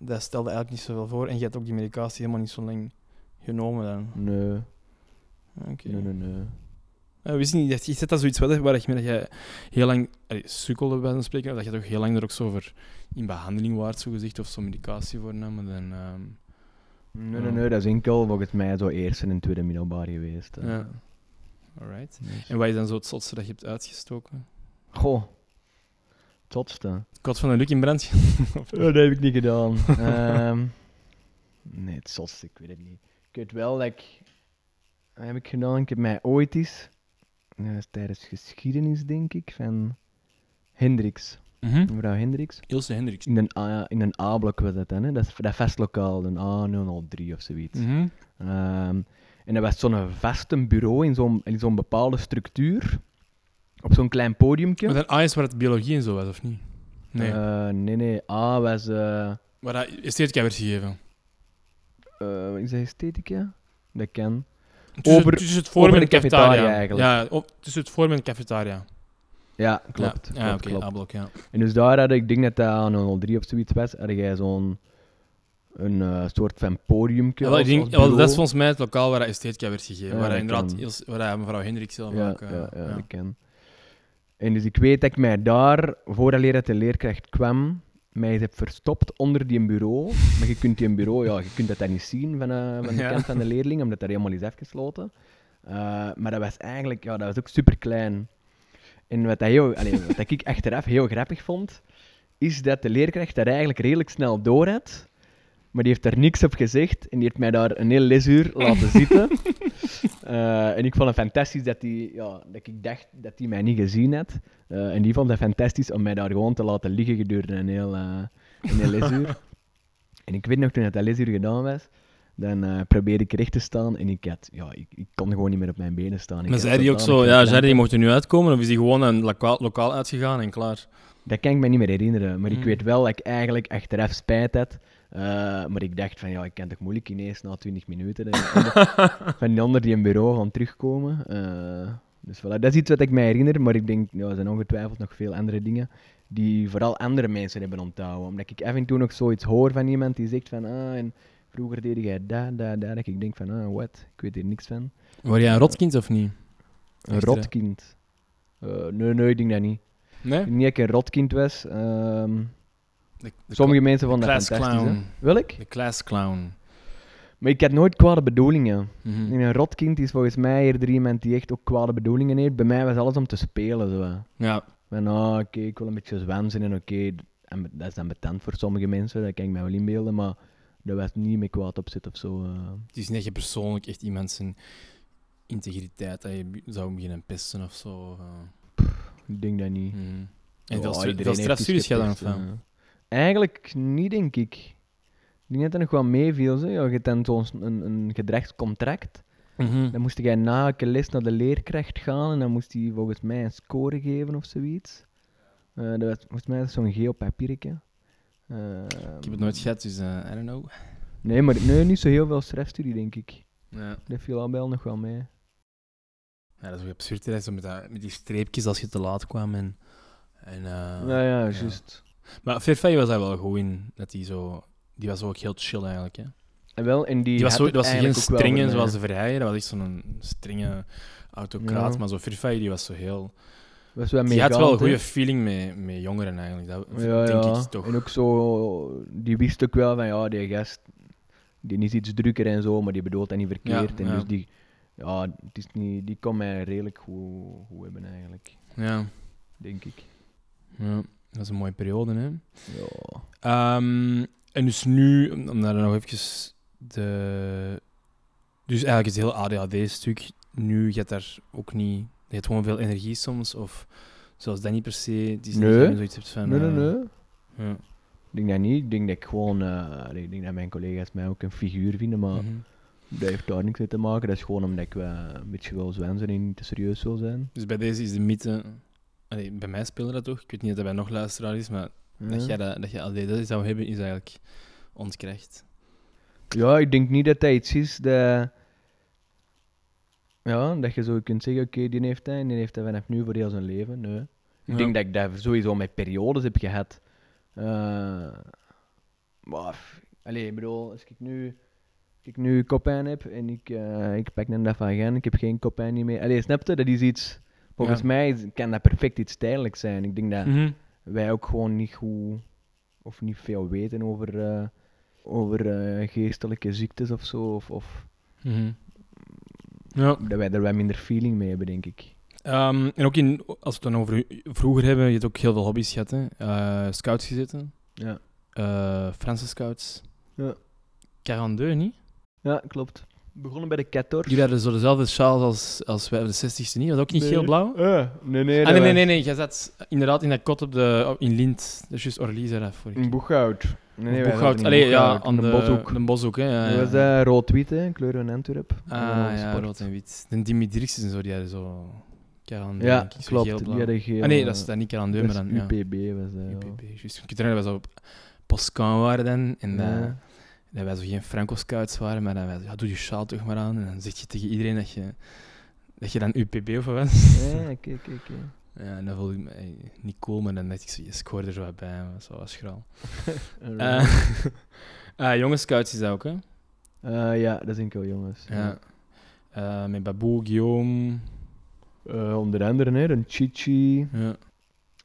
Speaker 1: dat stelde eigenlijk niet zoveel voor. En je hebt ook die medicatie helemaal niet zo lang genomen dan.
Speaker 3: Nee,
Speaker 1: Oké.
Speaker 3: nee, nee, nee.
Speaker 1: Eh, wist niet, dat- is dat dan zoiets wat, waar je, dat je heel lang allee, sukkelde bij zo'n spreken, of dat je toch heel lang er ook zo voor in behandeling waart, zo gezegd, of zo medicatie voor nam? En dan, ehm,
Speaker 3: Nee,
Speaker 1: Ja.
Speaker 3: nee, nee, dat is enkel volgens mij zo eerste en tweede middelbaar geweest. eh.
Speaker 1: Ja. Alright.
Speaker 3: Dus-
Speaker 1: En wat is dan zo het zotste dat je hebt uitgestoken?
Speaker 3: Goh. Totste.
Speaker 1: Kot van de Luc in brand.
Speaker 3: Oh, dat heb ik niet gedaan. Ehm, nee, het zotste, ik weet het niet. Ik weet wel dat ik... Wat heb ik gedaan? Ik heb mij ooit eens... ja, dat is tijdens geschiedenis, denk ik, van Hendricks. Mevrouw Mhm. Hendricks.
Speaker 1: Ilse Hendricks.
Speaker 3: In een, A- in een A-blok was dat dan, hè? Dat, is dat vestlokaal, een A003 of zoiets.
Speaker 1: Mhm.
Speaker 3: Ehm, en dat was zo'n vaste bureau in zo'n, in zo'n bepaalde structuur. Op zo'n klein podiumje.
Speaker 1: Maar dat A is waar het biologie en zo was, of niet? Nee.
Speaker 3: Eh, nee, nee. A was... eh,
Speaker 1: Maar dat esthetica werd gegeven.
Speaker 3: eh, is dat esthetica? Dat kan.
Speaker 1: Tussen,
Speaker 3: Ober-
Speaker 1: tussen het forum en de
Speaker 3: over de
Speaker 1: cafetaria.
Speaker 3: cafetaria eigenlijk.
Speaker 1: Ja, op- tussen het forum en de cafetaria.
Speaker 3: Ja, klopt.
Speaker 1: Ja,
Speaker 3: klopt,
Speaker 1: oké,
Speaker 3: klopt.
Speaker 1: A-blok, ja.
Speaker 3: En dus daar had ik, ik denk dat dat aan 03 of zoiets was, had jij zo'n een eh, soort van podiumje.
Speaker 1: Ja, wel,
Speaker 3: als-
Speaker 1: ik denk-
Speaker 3: als
Speaker 1: wel, dat is
Speaker 3: bureau.
Speaker 1: volgens mij het lokaal waar dat esthetica werd gegeven.
Speaker 3: Ja,
Speaker 1: waar dat
Speaker 3: dat
Speaker 1: inderdaad
Speaker 3: kan.
Speaker 1: Ilse- waar dat mevrouw Hendricks zelf
Speaker 3: ja,
Speaker 1: ook... eh,
Speaker 3: ja, ja,
Speaker 1: ja.
Speaker 3: dat ken. En dus ik weet dat ik mij daar, vooraleer dat de leerkracht kwam, mij heb verstopt onder die bureau. Maar je kunt die bureau, ja, je kunt dat dan niet zien van, eh, van de
Speaker 1: Ja.
Speaker 3: kant van de leerling, omdat dat helemaal is afgesloten. Eh, maar dat was eigenlijk, ja, dat was ook super klein. En wat, dat heel, allee, wat dat ik achteraf heel grappig vond, is dat de leerkracht daar eigenlijk redelijk snel door had. Maar die heeft daar niks op gezegd en die heeft mij daar een heel lesuur laten zitten. Eh, en ik vond het fantastisch dat, die, ja, dat ik dacht dat hij mij niet gezien had. Eh, en die vond het fantastisch om mij daar gewoon te laten liggen gedurende een heel, eh, een heel lesuur. en ik weet nog, toen dat dat lesuur gedaan was, dan eh, probeerde ik recht te staan en ik, had, ja, ik, ik kon gewoon niet meer op mijn benen staan. Ik
Speaker 1: Maar
Speaker 3: had
Speaker 1: zei die ook zo,
Speaker 3: zodanig
Speaker 1: ja,
Speaker 3: gekrampt.
Speaker 1: zei die mocht er nu uitkomen, of is die gewoon een lokaal, lokaal uitgegaan en klaar?
Speaker 3: Dat kan ik me niet meer herinneren, maar
Speaker 1: Mm.
Speaker 3: ik weet wel dat ik eigenlijk achteraf spijt had. Eh, maar ik dacht van, ja, ik kan toch moeilijk ineens na 20 minuten en- en- van die onder die in bureau gaan terugkomen. Eh, dus voilà, dat is iets wat ik mij herinner, maar ik denk, ja, er zijn ongetwijfeld nog veel andere dingen die vooral andere mensen hebben onthouden. Omdat ik af en toe nog zoiets hoor van iemand die zegt van, ah, en vroeger deed jij dat, dat, dat, dat ik denk van, ah, wat, ik weet hier niks van.
Speaker 1: Word jij een rotkind of niet?
Speaker 3: Een
Speaker 1: Echt, hè?
Speaker 3: rotkind. Eh, nee, nee, ik denk dat niet.
Speaker 1: Nee?
Speaker 3: Ik denk niet dat ik een rotkind was. ehm,
Speaker 1: De, de
Speaker 3: Sommige mensen
Speaker 1: cla-
Speaker 3: vonden dat
Speaker 1: class
Speaker 3: fantastisch. hè.
Speaker 1: clown.
Speaker 3: Wil ik?
Speaker 1: De class clown.
Speaker 3: Maar ik had nooit kwade bedoelingen.
Speaker 1: Mhm.
Speaker 3: En Een rotkind is volgens mij eerder iemand die echt ook kwade bedoelingen heeft. Bij mij was alles om te spelen. Zo.
Speaker 1: Ja,
Speaker 3: Van, ah, oké, ik wil een beetje zwansen en oké, en dat is dan betant voor sommige mensen, dat kan ik mij wel inbeelden, maar dat was niet meer kwaad op zit of zo. eh.
Speaker 1: het is net je persoonlijk echt iemand zijn integriteit dat je bu- zou beginnen pesten of zo. of, eh,
Speaker 3: Ik denk dat niet.
Speaker 1: mhm. En
Speaker 3: Ja,
Speaker 1: veel, stra-
Speaker 3: iedereen
Speaker 1: veel
Speaker 3: heeft iets
Speaker 1: strafstudies gedaan of
Speaker 3: gepest,
Speaker 1: wat?
Speaker 3: eh. Eigenlijk niet, denk ik. Ik denk dat dat nog wel meeviel. zo. Ja, je hebt dan zo'n een, een gedragscontract.
Speaker 1: Mhm.
Speaker 3: Dan moest jij na elke les naar de leerkracht gaan en dan moest hij volgens mij een score geven of zoiets. Eh, dat was volgens mij zo'n geel papiertje. Eh,
Speaker 1: Ik heb het nooit gehad, dus eh, I don't know.
Speaker 3: Nee, maar nee, niet zo heel veel strafstudie, denk ik.
Speaker 1: Ja.
Speaker 3: Dat viel al wel nog wel mee.
Speaker 1: Ja, dat is ook absurd, hè, zo met, dat- met die streepjes als je te laat kwam. En, en, eh,
Speaker 3: nou ja, juist.
Speaker 1: Maar Fairfay was daar wel goed in. Dat die, zo, die was ook heel chill eigenlijk. Hè.
Speaker 3: En wel, en die
Speaker 1: Die was,
Speaker 3: had
Speaker 1: zo,
Speaker 3: het
Speaker 1: dat was geen
Speaker 3: eigenlijk ook wel eh,
Speaker 1: strenge
Speaker 3: voor mij.
Speaker 1: zoals de Verheijen. Dat was echt zo'n strenge autocraat.
Speaker 3: Ja.
Speaker 1: Maar zo Fairfay die was zo heel...
Speaker 3: was wel
Speaker 1: die had wel een
Speaker 3: meegaand, hè.
Speaker 1: goede feeling met, met jongeren eigenlijk. Dat
Speaker 3: Ja,
Speaker 1: denk
Speaker 3: ja.
Speaker 1: ik toch.
Speaker 3: En ook zo, die wist ook wel van ja, die gast, die is iets drukker en zo, maar die bedoelt dat niet verkeerd.
Speaker 1: Ja,
Speaker 3: en
Speaker 1: ja.
Speaker 3: dus die, ja, het is niet, die kon mij redelijk goed, goed hebben eigenlijk,
Speaker 1: Ja.
Speaker 3: denk ik.
Speaker 1: ja, dat is een mooie periode. Hè.
Speaker 3: Ja.
Speaker 1: Ehm, en dus nu, om om daar nog even de... Dus eigenlijk is het heel ADHD-stuk. Nu, je hebt daar ook niet... Je hebt gewoon veel energie soms, of... Zoals dat niet per se... Het is niet
Speaker 3: Nee.
Speaker 1: dat je zoiets hebt van...
Speaker 3: Nee, nee,
Speaker 1: eh,
Speaker 3: nee.
Speaker 1: ja.
Speaker 3: Ik denk dat niet. Ik denk dat ik gewoon, eh, allee, ik denk dat mijn collega's mij ook een figuur vinden, maar
Speaker 1: Mhm.
Speaker 3: dat heeft daar niks mee te maken. Dat is gewoon omdat ik wel een beetje wil zwansen en niet te serieus wil zijn.
Speaker 1: Dus bij deze is de mythe... Allee, bij mij speelde dat toch? Ik weet niet of dat bij nog luisteraar is, maar dat,
Speaker 3: Ja.
Speaker 1: jij dat, dat je ADHD zou hebben, is eigenlijk ontkrecht.
Speaker 3: Ja, ik denk niet dat dat iets is dat... Ja, dat je zo kunt zeggen, oké, die heeft dat en die heeft dat vanaf nu voor heel zijn leven. Nee. Ik
Speaker 1: Ja.
Speaker 3: denk dat ik dat sowieso met periodes heb gehad. Eh, maar, f- allee, ik bedoel, als ik nu, als ik nu kopijn heb en ik, eh, ik pak een dag van gaan, ik heb geen kopijn niet meer. Allee, snap je? Dat is iets... Volgens
Speaker 1: Ja.
Speaker 3: mij is- kan dat perfect iets tijdelijks zijn. Ik denk dat
Speaker 1: Mhm.
Speaker 3: wij ook gewoon niet goed of niet veel weten over, eh, over eh, geestelijke ziektes of zo. Of, of
Speaker 1: Mhm. Ja.
Speaker 3: dat wij er wat minder feeling mee hebben, denk ik.
Speaker 1: Ehm, en ook in, als we het dan over u- vroeger hebben, je hebt ook heel veel hobby's gehad. Hè? Eh, scouts gezeten,
Speaker 3: Ja,
Speaker 1: eh Franse scouts.
Speaker 3: Ja.
Speaker 1: Carandeu, niet?
Speaker 3: ja klopt. Begonnen bij de Kettors.
Speaker 1: Jullie hadden zo dezelfde sjaal als, als wij op de 60ste, niet? Was dat ook niet
Speaker 3: Nee.
Speaker 1: heel blauw?
Speaker 3: Eh, nee, nee,
Speaker 1: Ah,
Speaker 3: dat
Speaker 1: nee, nee,
Speaker 3: was
Speaker 1: nee, nee. Jij zat inderdaad in dat kot op de, op- in Lint. Dat is juist Orly, zei dat voor
Speaker 3: In Boeghout. Nee, wij zaten
Speaker 1: Boeghout.
Speaker 3: in
Speaker 1: Allee, ja,
Speaker 3: Boeghout,
Speaker 1: aan
Speaker 3: in
Speaker 1: de
Speaker 3: Boshoek.
Speaker 1: De boshoek, hè. Ja,
Speaker 3: Dat was
Speaker 1: ja.
Speaker 3: eh, rood-wit, hè, kleur van Antwerp. En dan
Speaker 1: Ah,
Speaker 3: op
Speaker 1: ja,
Speaker 3: sport.
Speaker 1: rood en wit. De Dimitris en zo, die hadden zo... Carandeu,
Speaker 3: Ja,
Speaker 1: denk ik, zo
Speaker 3: klopt.
Speaker 1: geel-blauw.
Speaker 3: Die hadden geel.
Speaker 1: Ah, nee,
Speaker 3: eh,
Speaker 1: dat is dat is niet Carandeu,
Speaker 3: dat
Speaker 1: maar
Speaker 3: is
Speaker 1: dan... ja.
Speaker 3: UPB was dat. ja.
Speaker 1: UPB, juist. Ik herinner dat wij zo op Pascan waren dan, en dat,
Speaker 3: Ja.
Speaker 1: dat wij zo geen Franco-scouts waren, maar dat wij zo, ja, doe je sjaal toch maar aan, en dan zeg je tegen iedereen dat je, dat je dan UPB of wat was.
Speaker 3: Ja, Eh, kijk, kijk, kijk.
Speaker 1: Ja, en dat voelde ik mij niet cool, maar dan dacht ik, zo, yes, ik hoor er zo wat bij, maar zo was schraal.
Speaker 3: Alright.
Speaker 1: Eh eh, jonge scouts is dat ook, hè?
Speaker 3: Eh, ja, dat zijn wel jongens.
Speaker 1: Ja. Eh, met Babou, Guillaume,
Speaker 3: Eh, onder andere, hè, een Chichi.
Speaker 1: ja.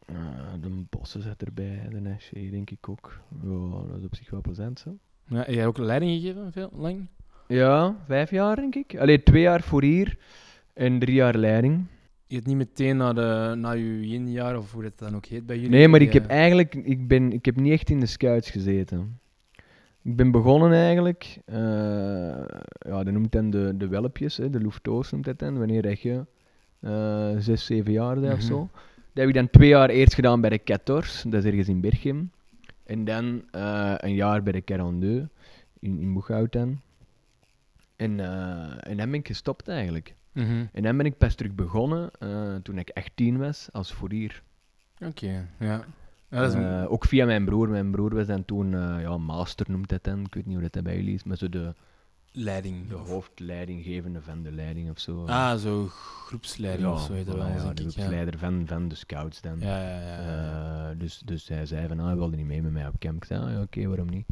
Speaker 3: Eh, de Bossen zit erbij, de Nesje, denk ik ook. Ja, dat is op zich wel plezant, zo.
Speaker 1: Ja, heb jij ook leiding gegeven, veel, lang?
Speaker 3: Ja, vijf jaar, denk ik. Allee, twee jaar voor hier en drie jaar leiding.
Speaker 1: Je hebt niet meteen naar, de, naar je yin-jaar, of hoe dat dan ook heet bij jullie?
Speaker 3: Nee, maar ik
Speaker 1: eh,
Speaker 3: heb eigenlijk ik ben, ik heb niet echt in de scouts gezeten. Ik ben begonnen eigenlijk, eh, ja, dat noemt dan de, de welpjes, hè, de loeftoos noemt dat dan, wanneer dat je eh, zes, zeven jaar bent of
Speaker 1: Mhm.
Speaker 3: zo. Dat heb ik dan twee jaar eerst gedaan bij de Kettors, dat is ergens in Berchem. En dan eh, een jaar bij de Carandeu, in, in Boeghout dan. En, eh, en dan ben ik gestopt eigenlijk.
Speaker 1: mhm.
Speaker 3: En dan ben ik pas terug begonnen, eh, toen ik 18 was, als fourier.
Speaker 1: Oké, ja. Ja, dat is een-
Speaker 3: Eh, ook via mijn broer. Mijn broer was dan toen, eh, ja, master noemt dat dan. Ik weet niet hoe dat, dat bij jullie is, maar zo de,
Speaker 1: leiding.
Speaker 3: de
Speaker 1: of-
Speaker 3: hoofdleidinggevende van de leiding of zo.
Speaker 1: Ah, zo groepsleiding
Speaker 3: Ja,
Speaker 1: of zo heet dat
Speaker 3: voilà,
Speaker 1: wel,
Speaker 3: ja,
Speaker 1: denk
Speaker 3: de
Speaker 1: ik, ja.
Speaker 3: groepsleider van, van de scouts dan.
Speaker 1: Ja, ja, ja. ja.
Speaker 3: Eh, dus, dus hij zei van, ah, hij wilde niet mee met mij op camp. Ik zei, ah, ja, oké, waarom niet?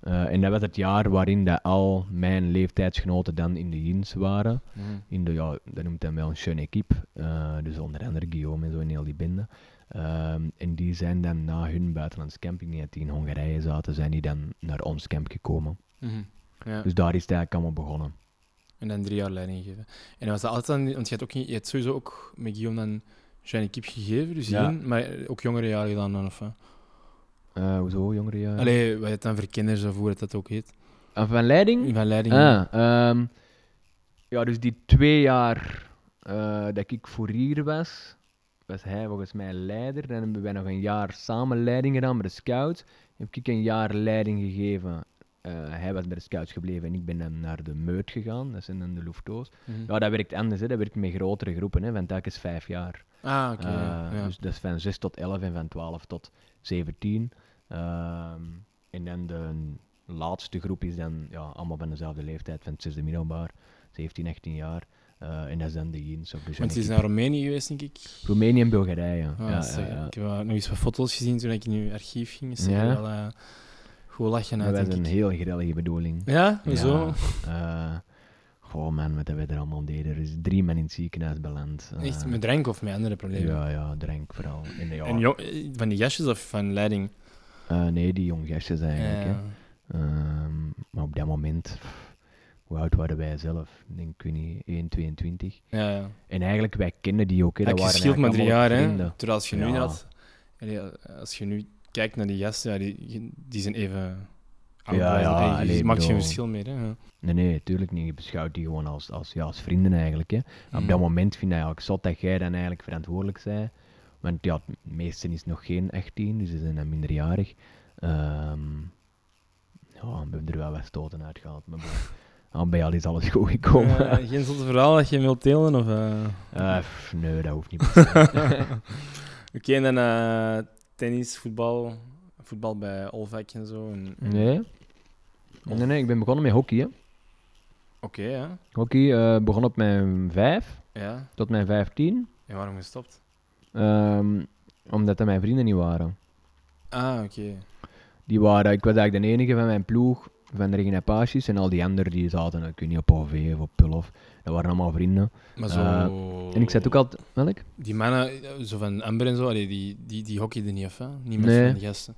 Speaker 3: Eh, en dat was het jaar waarin dat al mijn leeftijdsgenoten dan in de jeans waren.
Speaker 1: Mhm.
Speaker 3: In de, ja, dat noemt hij wel een schöne equipe. Eh, dus onder andere Guillaume en zo en heel die bende. Ehm, en die zijn dan na hun buitenlands camping, die die in Hongarije zaten, zijn die dan naar ons camp gekomen.
Speaker 1: Mhm. Ja.
Speaker 3: Dus daar is het eigenlijk allemaal begonnen.
Speaker 1: En dan drie jaar leiding geven. En was dat altijd dan, want je hebt, ook, niet- je hebt sowieso ook met Guillaume dan Shiny Kip gegeven, dus
Speaker 3: Ja.
Speaker 1: ja. maar ook jongere jaren gedaan dan, of wat?
Speaker 3: Eh, hoezo, jongere jaren?
Speaker 1: Allee, wat je het dan verkenners of hoe dat, dat ook heet.
Speaker 3: Ah, van leiding?
Speaker 1: In van leiding.
Speaker 3: Ah, ehm, ja, dus die twee jaar eh, dat ik fourier was, was hij volgens mij leider. Dan hebben wij nog een jaar samen leiding gedaan bij de scouts. Heb ik een jaar leiding gegeven. Eh, hij was bij de scouts gebleven en ik ben dan naar de meut gegaan. Dat zijn dan de Lufto's.
Speaker 1: Mhm.
Speaker 3: Ja, dat werkt anders. Hè. Dat werkt met grotere groepen, hè, want dat is vijf jaar.
Speaker 1: Ah, oké. ja,
Speaker 3: Eh,
Speaker 1: ja.
Speaker 3: Dus dat is van 6 tot 11 en van 12 tot 17. Ehm, en dan de laatste groep is dan ja, allemaal van dezelfde leeftijd, van het zesde middelbaar, 17, 18 jaar. Eh, en dat is dan de jeans. Of de
Speaker 1: Want
Speaker 3: Johnny
Speaker 1: het is
Speaker 3: Kip.
Speaker 1: naar Roemenië geweest, denk ik.
Speaker 3: Roemenië en Bulgarije.
Speaker 1: Ah,
Speaker 3: ja,
Speaker 1: zeg,
Speaker 3: ja, ja.
Speaker 1: Ik heb wel nog eens wat foto's gezien toen ik in uw archief ging. Dus
Speaker 3: Ja?
Speaker 1: ja. wel eh, goed lachen
Speaker 3: Dat
Speaker 1: uit,
Speaker 3: was
Speaker 1: denk
Speaker 3: een
Speaker 1: ik.
Speaker 3: heel grellige bedoeling.
Speaker 1: Ja, hoezo?
Speaker 3: Ja, eh, goh man, wat hebben we er allemaal deden. Er is drie man in het ziekenhuis beland. Eh,
Speaker 1: Echt met drank of met andere problemen?
Speaker 3: Ja, ja, drank vooral. En, ja,
Speaker 1: En jo- eh, van die gastjes of van leiding? Eh,
Speaker 3: eh, nee, die jong gastjes eigenlijk. Hè.
Speaker 1: Ja.
Speaker 3: Ehm, maar op dat moment, pff, hoe oud waren wij zelf? Ik denk, ik weet niet, 1, 22.
Speaker 1: Ja, ja.
Speaker 3: En eigenlijk, wij kenden die ook. Hè. Dat
Speaker 1: Dat
Speaker 3: waren
Speaker 1: scheelt maar drie
Speaker 3: eigenlijk
Speaker 1: jaar, hè?
Speaker 3: allemaal vrienden.
Speaker 1: Terwijl als je nu
Speaker 3: Ja.
Speaker 1: inderdaad- allee, als je nu kijkt naar die gasten, ja, die, die zijn even oud.
Speaker 3: Ja,
Speaker 1: als-
Speaker 3: ja,
Speaker 1: allee, dus
Speaker 3: allee,
Speaker 1: het maakt geen
Speaker 3: bedoel-
Speaker 1: verschil meer, hè? Ja.
Speaker 3: Nee, nee, tuurlijk niet. Je beschouwt die gewoon als, als, ja, als vrienden eigenlijk. Hè. Op
Speaker 1: Mm.
Speaker 3: dat moment vind ik ja, ik zat dat jij dan eigenlijk verantwoordelijk bent. Want ja, het meesten is nog geen 18, dus ze zijn dan minderjarig. Ehm, ja, we hebben er wel wat stoten uit gehad. Maar bon, al bij al is alles goed gekomen.
Speaker 1: Eh, geen zotte verhaal dat je wilt delen? Of, eh?
Speaker 3: Eh, pff, nee, dat hoeft niet. per se.
Speaker 1: Oké, en dan eh, tennis, voetbal, voetbal bij Olvak en zo. en- en-
Speaker 3: Nee. Nee, nee, ik ben begonnen met hockey. Hè.
Speaker 1: Oké, ja.
Speaker 3: Hockey eh, begon op mijn 5
Speaker 1: ja.
Speaker 3: tot mijn 15.
Speaker 1: En waarom gestopt?
Speaker 3: ehm, omdat dat mijn vrienden niet waren.
Speaker 1: Ah, oké.
Speaker 3: Die waren. Ik was eigenlijk de enige van mijn ploeg, van de Regenapages. En al die anderen die zaten, ik weet niet, op OV of op Pullof. Dat waren allemaal vrienden.
Speaker 1: Maar zo...
Speaker 3: Eh, En ik zat ook altijd. Welk?
Speaker 1: Die mannen, eh, zo van Amber en zo, allee, die, die, die hockeyden niet af, hè? Niet meer
Speaker 3: Nee.
Speaker 1: van die gasten.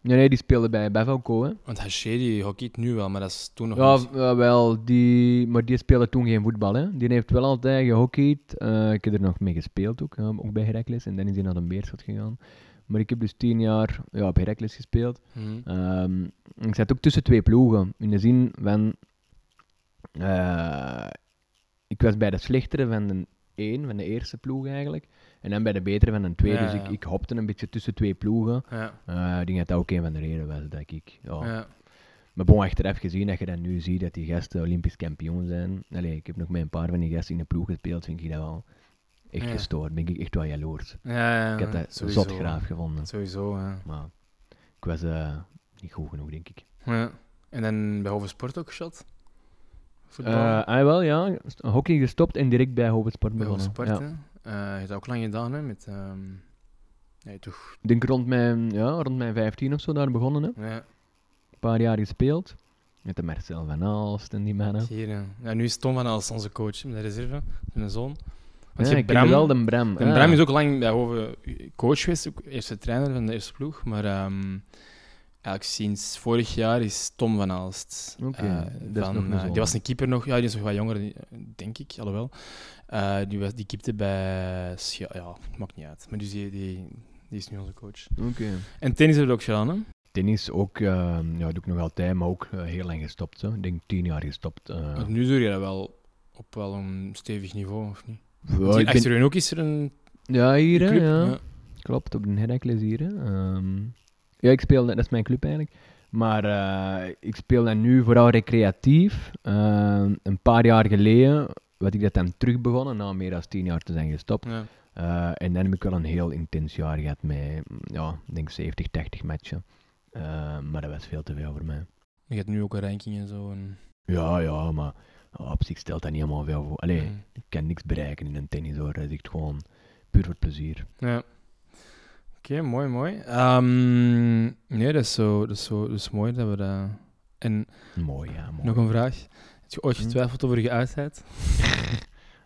Speaker 3: Nee, nee, die speelde bij Bevelco, hè.
Speaker 1: Want Haché die hockeyt nu wel, maar dat is toen nog
Speaker 3: Ja,
Speaker 1: niet.
Speaker 3: v- ja, wel, die, maar die speelde toen geen voetbal. Hè. Die heeft wel altijd gehockeyd. Eh, ik heb er nog mee gespeeld ook, eh, ook bij Heracles. En dan is hij naar de Beerschot gegaan. Maar ik heb dus tien jaar ja, op Heracles gespeeld.
Speaker 1: Mhm.
Speaker 3: Ehm, ik zat ook tussen twee ploegen. In de zin van... eh, ik was bij de slechtere van de één, van de eerste ploeg eigenlijk. En dan bij de betere van de tweede.
Speaker 1: Ja,
Speaker 3: Dus ik,
Speaker 1: ja.
Speaker 3: ik hopte een beetje tussen twee ploegen.
Speaker 1: Ja,
Speaker 3: Eh, ik denk dat dat ook een van de redenen was dat ik... ja,
Speaker 1: ja.
Speaker 3: maar bon, achteraf gezien, dat je dan nu ziet dat die gasten Olympisch kampioen zijn. Allee, ik heb nog met een paar van die gasten in de ploeg gespeeld, vind ik dat wel echt
Speaker 1: Ja.
Speaker 3: gestoord. Ben ik echt wel jaloers.
Speaker 1: ja, ja, ja
Speaker 3: ik heb dat
Speaker 1: sowieso.
Speaker 3: zot graaf gevonden.
Speaker 1: Sowieso, ja.
Speaker 3: Maar ik was eh, niet goed genoeg, denk ik.
Speaker 1: ja. En dan bij Hoven Sport ook shot? Voetbal?
Speaker 3: Eh ah, wel, ja. St- Hockey gestopt en direct bij Hobbit Sport
Speaker 1: bij Hoven
Speaker 3: begonnen.
Speaker 1: Sport,
Speaker 3: Ja.
Speaker 1: hè. Eh, je hebt dat ook lang gedaan, hè, met... ehm Nee, toch.
Speaker 3: Ik denk rond mijn, ja, rond mijn 15 of zo daar begonnen. Hè.
Speaker 1: Ja,
Speaker 3: Een paar jaar gespeeld. Met de Marcel van Aalst en die mannen.
Speaker 1: hier, ja. Ja, nu is Tom van Als onze coach, hè, met de reserve, zijn zoon. Want
Speaker 3: Ja,
Speaker 1: je
Speaker 3: ik
Speaker 1: hebt
Speaker 3: ken
Speaker 1: Bram,
Speaker 3: wel de Bram. Ah,
Speaker 1: En
Speaker 3: ja.
Speaker 1: Bram is ook lang bij Hoven coach geweest, ook eerste trainer van de eerste ploeg. Maar ehm, eigenlijk sinds vorig jaar is Tom van Aalst.
Speaker 3: Oké,
Speaker 1: eh,
Speaker 3: dat is nog een
Speaker 1: eh,
Speaker 3: zoon.
Speaker 1: die was een keeper nog, ja, die is nog wat jonger, die- denk ik, alhoewel. Eh, die, was, die keepte bij. Scha- ja, maakt niet uit. Maar dus die, die, die is nu onze coach.
Speaker 3: Oké.
Speaker 1: En tennis hebben we ook gedaan, hè?
Speaker 3: Tennis ook, eh, ja, doe ik nog altijd, maar ook eh, heel lang gestopt. Hè. Ik denk tien jaar gestopt. eh.
Speaker 1: Want nu doe je dat wel op wel een stevig niveau, of niet?
Speaker 3: Ja,
Speaker 1: Zie-
Speaker 3: ik ben-
Speaker 1: Achter hun ook is er een
Speaker 3: ja, hier, hè,
Speaker 1: club.
Speaker 3: ja. klopt, op de Heracles hier. hè. Ehm, ja, ik speel, dat is mijn club eigenlijk. Maar eh, ik speel dat nu vooral recreatief. Ehm, een paar jaar geleden werd ik dat dan terug begonnen, na meer dan tien jaar te zijn gestopt.
Speaker 1: Ja.
Speaker 3: Eh, en dan heb ik wel een heel intens jaar gehad met, ja, ik denk 70, 80 matchen. Eh, maar dat was veel te veel voor mij.
Speaker 1: Je hebt nu ook een ranking en zo. En,
Speaker 3: Ja, ja, maar ja, op zich stelt dat niet helemaal veel voor. Allee,
Speaker 1: Mm.
Speaker 3: ik kan niks bereiken in een tennis hoor. Dat is echt gewoon puur voor het plezier.
Speaker 1: Ja. Oké, mooi, mooi. Ehm, nee, dat is, zo, dat, is zo, dat is mooi dat we dat... En
Speaker 3: Mooi, ja, mooi.
Speaker 1: nog een vraag. Heb je ooit
Speaker 3: Hm?
Speaker 1: getwijfeld over je uitheid?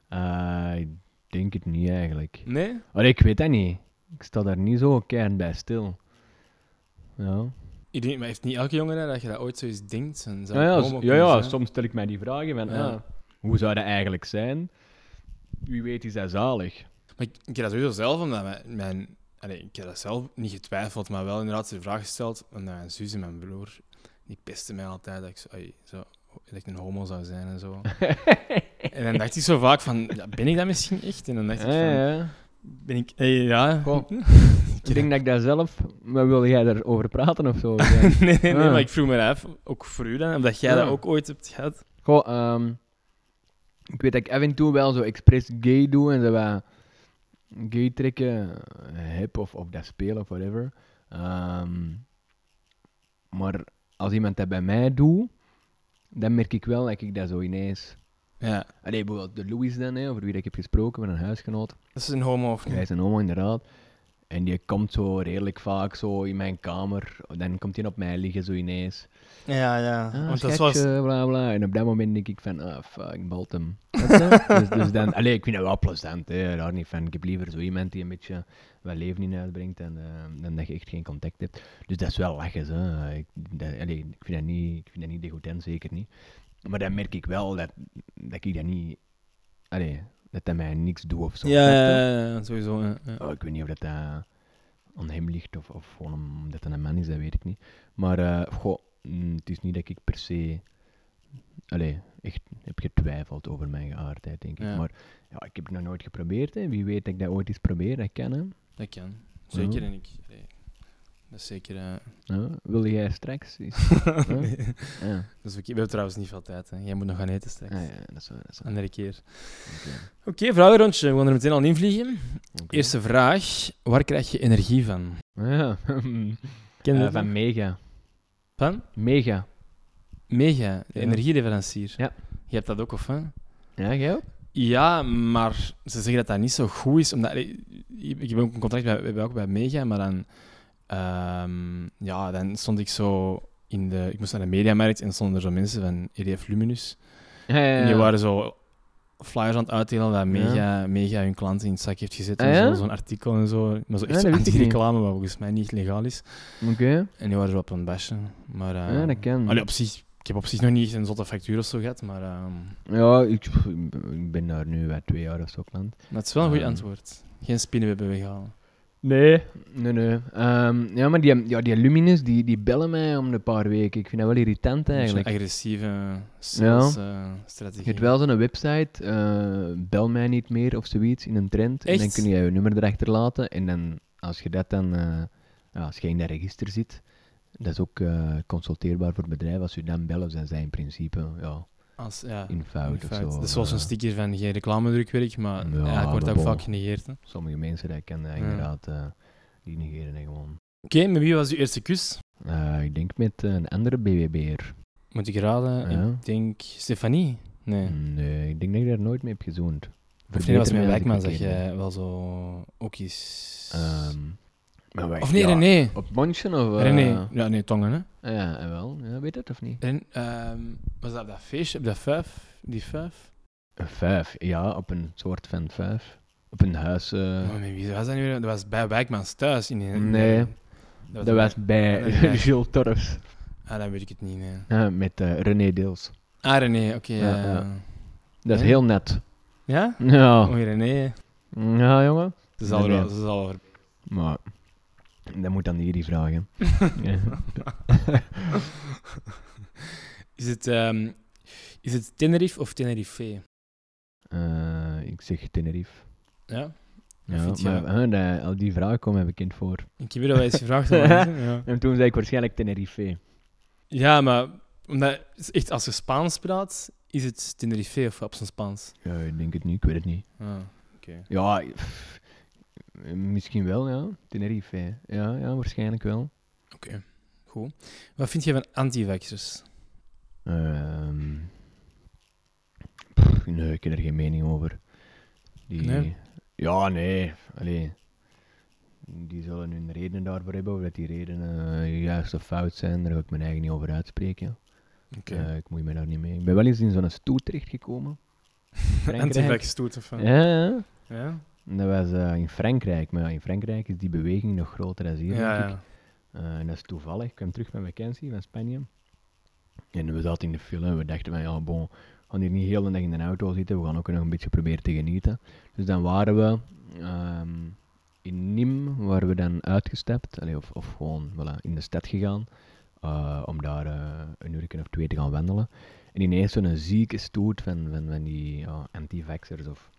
Speaker 3: Eh, ik denk het niet eigenlijk.
Speaker 1: Nee?
Speaker 3: Allee, ik weet dat niet. Ik sta daar niet zo keihard bij stil. Ja,
Speaker 1: Ik denk, maar heeft niet elke jongere dat je dat ooit zoiets denkt? En zou
Speaker 3: Ah, ja, ja,
Speaker 1: ik
Speaker 3: s-
Speaker 1: homo
Speaker 3: ja,
Speaker 1: kunnen
Speaker 3: ja,
Speaker 1: zijn?
Speaker 3: soms stel ik mij die vragen van,
Speaker 1: Ja.
Speaker 3: ah, hoe zou dat eigenlijk zijn? Wie weet is dat zalig.
Speaker 1: Maar ik, ik heb dat sowieso zelf, omdat mijn... mijn allee, ik heb dat zelf niet getwijfeld, maar wel inderdaad de vraag gesteld. Omdat mijn zus en mijn broer, die pesten mij altijd dat ik, zo, ai, zo, dat ik een homo zou zijn en zo. en dan dacht ik zo vaak van, ja, ben ik dat misschien echt? En dan dacht ik
Speaker 3: Ja,
Speaker 1: van,
Speaker 3: ja.
Speaker 1: ben ik... eh, ja.
Speaker 3: Goh. Ik
Speaker 1: Ja.
Speaker 3: denk dat ik daar zelf... Maar wil jij daarover praten of zo?
Speaker 1: nee, nee, nee,
Speaker 3: Ah.
Speaker 1: maar ik vroeg me af, ook voor u dan, omdat jij
Speaker 3: Ja.
Speaker 1: dat ook ooit hebt gehad.
Speaker 3: Goh, ehm, ik weet dat ik af en toe wel zo expres gay doe en zo wat gay trekken, eh, hip of, of dat spelen of whatever. Ehm, maar als iemand dat bij mij doet, dan merk ik wel dat ik dat zo ineens.
Speaker 1: Ja.
Speaker 3: Allee, bijvoorbeeld de Louis dan, hè, over wie dat ik heb gesproken met een huisgenoot.
Speaker 1: Dat is een homo of
Speaker 3: Hij
Speaker 1: niet?
Speaker 3: is een homo inderdaad. En die komt zo redelijk vaak zo in mijn kamer. Dan komt hij op mij liggen zo ineens.
Speaker 1: Ja, ja.
Speaker 3: Ah,
Speaker 1: Want dat
Speaker 3: schatje,
Speaker 1: was...
Speaker 3: bla bla. En op dat moment denk ik van, ah, fuck, balt hem. Weet je? dus, dus dan, allee, ik vind dat wel plezant, hè, daar niet van. Ik heb liever zo iemand die een beetje wat leven in huis brengt en, eh, dan dat je echt geen contact hebt. Dus dat is wel lachen, hè. Ik, dat, allee, ik vind dat niet, ik vind dat niet degoutant, zeker niet. Maar dan merk ik wel dat, dat ik dat niet, allee, dat dat mij niks doet of zo.
Speaker 1: Ja,
Speaker 3: snap je?
Speaker 1: ja, ja, ja, sowieso. Ja, ja.
Speaker 3: Oh, ik weet niet of dat eh, aan hem ligt of, of gewoon omdat hij een man is, dat weet ik niet. Maar eh, goh, mm, het is niet dat ik per se allee, echt heb getwijfeld over mijn geaardheid, denk ik.
Speaker 1: Ja.
Speaker 3: Maar ja, ik heb het nog nooit geprobeerd. Hè. Wie weet dat ik dat ooit eens probeer, dat kan. Hè.
Speaker 1: Dat kan. Zeker
Speaker 3: Ja.
Speaker 1: en ik. nee. Dat is zeker... eh,
Speaker 3: Ja, wil jij straks? eens? Ja. ja.
Speaker 1: dat is oké. We hebben trouwens niet veel tijd. Hè. Jij moet nog gaan eten straks.
Speaker 3: Ah, ja, dat is waar. Dat is waar.
Speaker 1: Andere keer.
Speaker 3: Oké.
Speaker 1: Oké, vragenrondje. We gaan er meteen al invliegen.
Speaker 3: Oké.
Speaker 1: Eerste vraag. Waar krijg je energie van?
Speaker 3: Ah, Ja.
Speaker 1: Ken je
Speaker 3: Eh,
Speaker 1: dat
Speaker 3: van
Speaker 1: nog?
Speaker 3: Mega.
Speaker 1: Van?
Speaker 3: Mega.
Speaker 1: Mega, de
Speaker 3: Ja.
Speaker 1: energieleverancier.
Speaker 3: Ja.
Speaker 1: Je hebt dat ook, of hè?
Speaker 3: Ja, jij ook?
Speaker 1: Ja, maar ze zeggen dat dat niet zo goed is. Omdat, allee, ik ik heb ook een contract bij, bij, ook bij Mega, maar dan, ehm, ja, dan stond ik zo in de... Ik moest naar de mediamarkt en stonden er zo mensen van EDF E Luminus.
Speaker 3: Ja, ja,
Speaker 1: En die
Speaker 3: ja.
Speaker 1: waren zo flyers aan het uitdelen dat mega, mega hun klanten in het zak heeft gezet. en
Speaker 3: Ah, ja?
Speaker 1: zo, zo'n artikel en zo. Maar zo
Speaker 3: Ja,
Speaker 1: echt
Speaker 3: dat wist ik
Speaker 1: anti-reclame, wat volgens mij niet legaal is.
Speaker 3: Oké,
Speaker 1: En die waren zo op een basje. Maar, eh,
Speaker 3: ja, dat kan.
Speaker 1: allee, op zich, ik heb op zich nog niet echt een zotte factuur of zo gehad, maar ehm,
Speaker 3: Ja, ik, ik ben daar nu bij twee jaar of zo klant.
Speaker 1: dat is wel een goed
Speaker 3: Ehm.
Speaker 1: antwoord. Geen spinnenwebben weghalen.
Speaker 3: Nee. Nee, nee. Ehm, ja, maar die, ja, die Lumines, die, die bellen mij om een paar weken. Ik vind dat wel irritant
Speaker 1: Een beetje
Speaker 3: eigenlijk.
Speaker 1: agressieve eh, sales-strategie.
Speaker 3: Je hebt wel zo'n website, eh, bel mij niet meer of zoiets, in een trend. En dan
Speaker 1: Echt?
Speaker 3: kun je je nummer erachter laten. En dan, als je dat dan, eh, ja, als je in dat register zit, dat is ook eh, consulteerbaar voor het bedrijf. Als je dan bellen, zijn zij in principe ja,
Speaker 1: Als, ja,
Speaker 3: in fout
Speaker 1: in
Speaker 3: of zo.
Speaker 1: feite. Dat is zoals een
Speaker 3: Eh,
Speaker 1: sticker van geen reclamedrukwerk, maar
Speaker 3: Ja,
Speaker 1: eigenlijk wordt
Speaker 3: maar
Speaker 1: dat
Speaker 3: bon.
Speaker 1: vaak genegeerd. hè.
Speaker 3: Sommige mensen, dat kennen dat
Speaker 1: Ja.
Speaker 3: inderdaad, eh, die negeren dat gewoon.
Speaker 1: Oké, met wie was je eerste kus?
Speaker 3: Eh, ik denk met eh, een andere BWB'er.
Speaker 1: Moet ik raden?
Speaker 3: Ja.
Speaker 1: Ik denk Stefanie. Nee.
Speaker 3: Nee, ik denk dat ik daar nooit mee heb gezoend.
Speaker 1: Of nee, dat was
Speaker 3: Verbeter mij
Speaker 1: mijn
Speaker 3: als ik
Speaker 1: wijkman, zeg
Speaker 3: verkeerd ben.
Speaker 1: jij wel zo ook eens.
Speaker 3: Ehm, maar wij-
Speaker 1: of nee,
Speaker 3: ja,
Speaker 1: René.
Speaker 3: Op Monchen of... eh,
Speaker 1: René. Ja, nee, Tongen, hè?
Speaker 3: Ja, eh, wel. Ja, weet dat of niet?
Speaker 1: En, ehm, was dat op dat feestje, op dat vijf? Die vijf?
Speaker 3: Een vijf. Ja, op een soort van vijf. Op een huis. eh,
Speaker 1: Maar met wie was dat nu weer? Dat was bij Wijkmans thuis. In, in-
Speaker 3: Nee.
Speaker 1: Dat was,
Speaker 3: dat was bij
Speaker 1: dat is bij-
Speaker 3: Gilles Torres.
Speaker 1: Ah, dan weet ik het niet, nee.
Speaker 3: Ja, met eh, René Deels.
Speaker 1: Ah, René, oké.
Speaker 3: Ja,
Speaker 1: ja,
Speaker 3: ja. Dat is
Speaker 1: Ja?
Speaker 3: heel net.
Speaker 1: Ja?
Speaker 3: Ja.
Speaker 1: Oh, René.
Speaker 3: Ja, jongen.
Speaker 1: Ze zal er
Speaker 3: René.
Speaker 1: wel- ze zal wel
Speaker 3: Maar... Dat moet dan jullie vragen. ja.
Speaker 1: Is het, ehm, is het Tenerife of Tenerife?
Speaker 3: Eh, ik zeg Tenerife.
Speaker 1: Ja?
Speaker 3: Ja,
Speaker 1: vind je-
Speaker 3: maar eh, dat- al die vragen komen bekend voor.
Speaker 1: Ik heb je dat wel eens gevraagd. maar- ja.
Speaker 3: En toen zei ik waarschijnlijk Tenerife.
Speaker 1: ja, maar omdat, is echt, als je Spaans praat, is het Tenerife of op zijn Spaans?
Speaker 3: Ja, ik denk het niet, ik weet het niet.
Speaker 1: Ah,
Speaker 3: Ja, pff, eh, misschien wel, ja. Tenerife, hè. ja, ja waarschijnlijk wel.
Speaker 1: Oké, goed. Wat vind je van antivaxxers?
Speaker 3: Ehm, pff, nee, ik heb er geen mening over. Die,
Speaker 1: Nee?
Speaker 3: Ja, nee. Allee, die zullen hun redenen daarvoor hebben, of dat die redenen eh, juist of fout zijn. Daar wil ik mijn eigen niet over uitspreken.
Speaker 1: Oké.
Speaker 3: Eh, ik moet me daar niet mee. Ik ben wel eens in zo'n stoel terechtgekomen. Frankrijk.
Speaker 1: Antivax doet of van?
Speaker 3: Ja, ja.
Speaker 1: Ja?
Speaker 3: Dat was eh, in Frankrijk, maar ja, in Frankrijk is die beweging nog groter dan hier,
Speaker 1: Ja,
Speaker 3: denk ik.
Speaker 1: ja.
Speaker 3: Eh, en dat is toevallig. Ik kwam terug van vakantie van Spanje. En we zaten in de film en we dachten van, ja, bon, we gaan hier niet heel de dag in de auto zitten. We gaan ook nog een beetje proberen te genieten. Dus dan waren we ehm, in Nîmes, waar we dan uitgestapt. Allee, of, of gewoon voilà, in de stad gegaan. eh, om daar eh, een uur of twee te gaan wandelen. En ineens zo'n zieke stoet van, van, van die ja, anti-vaxxers of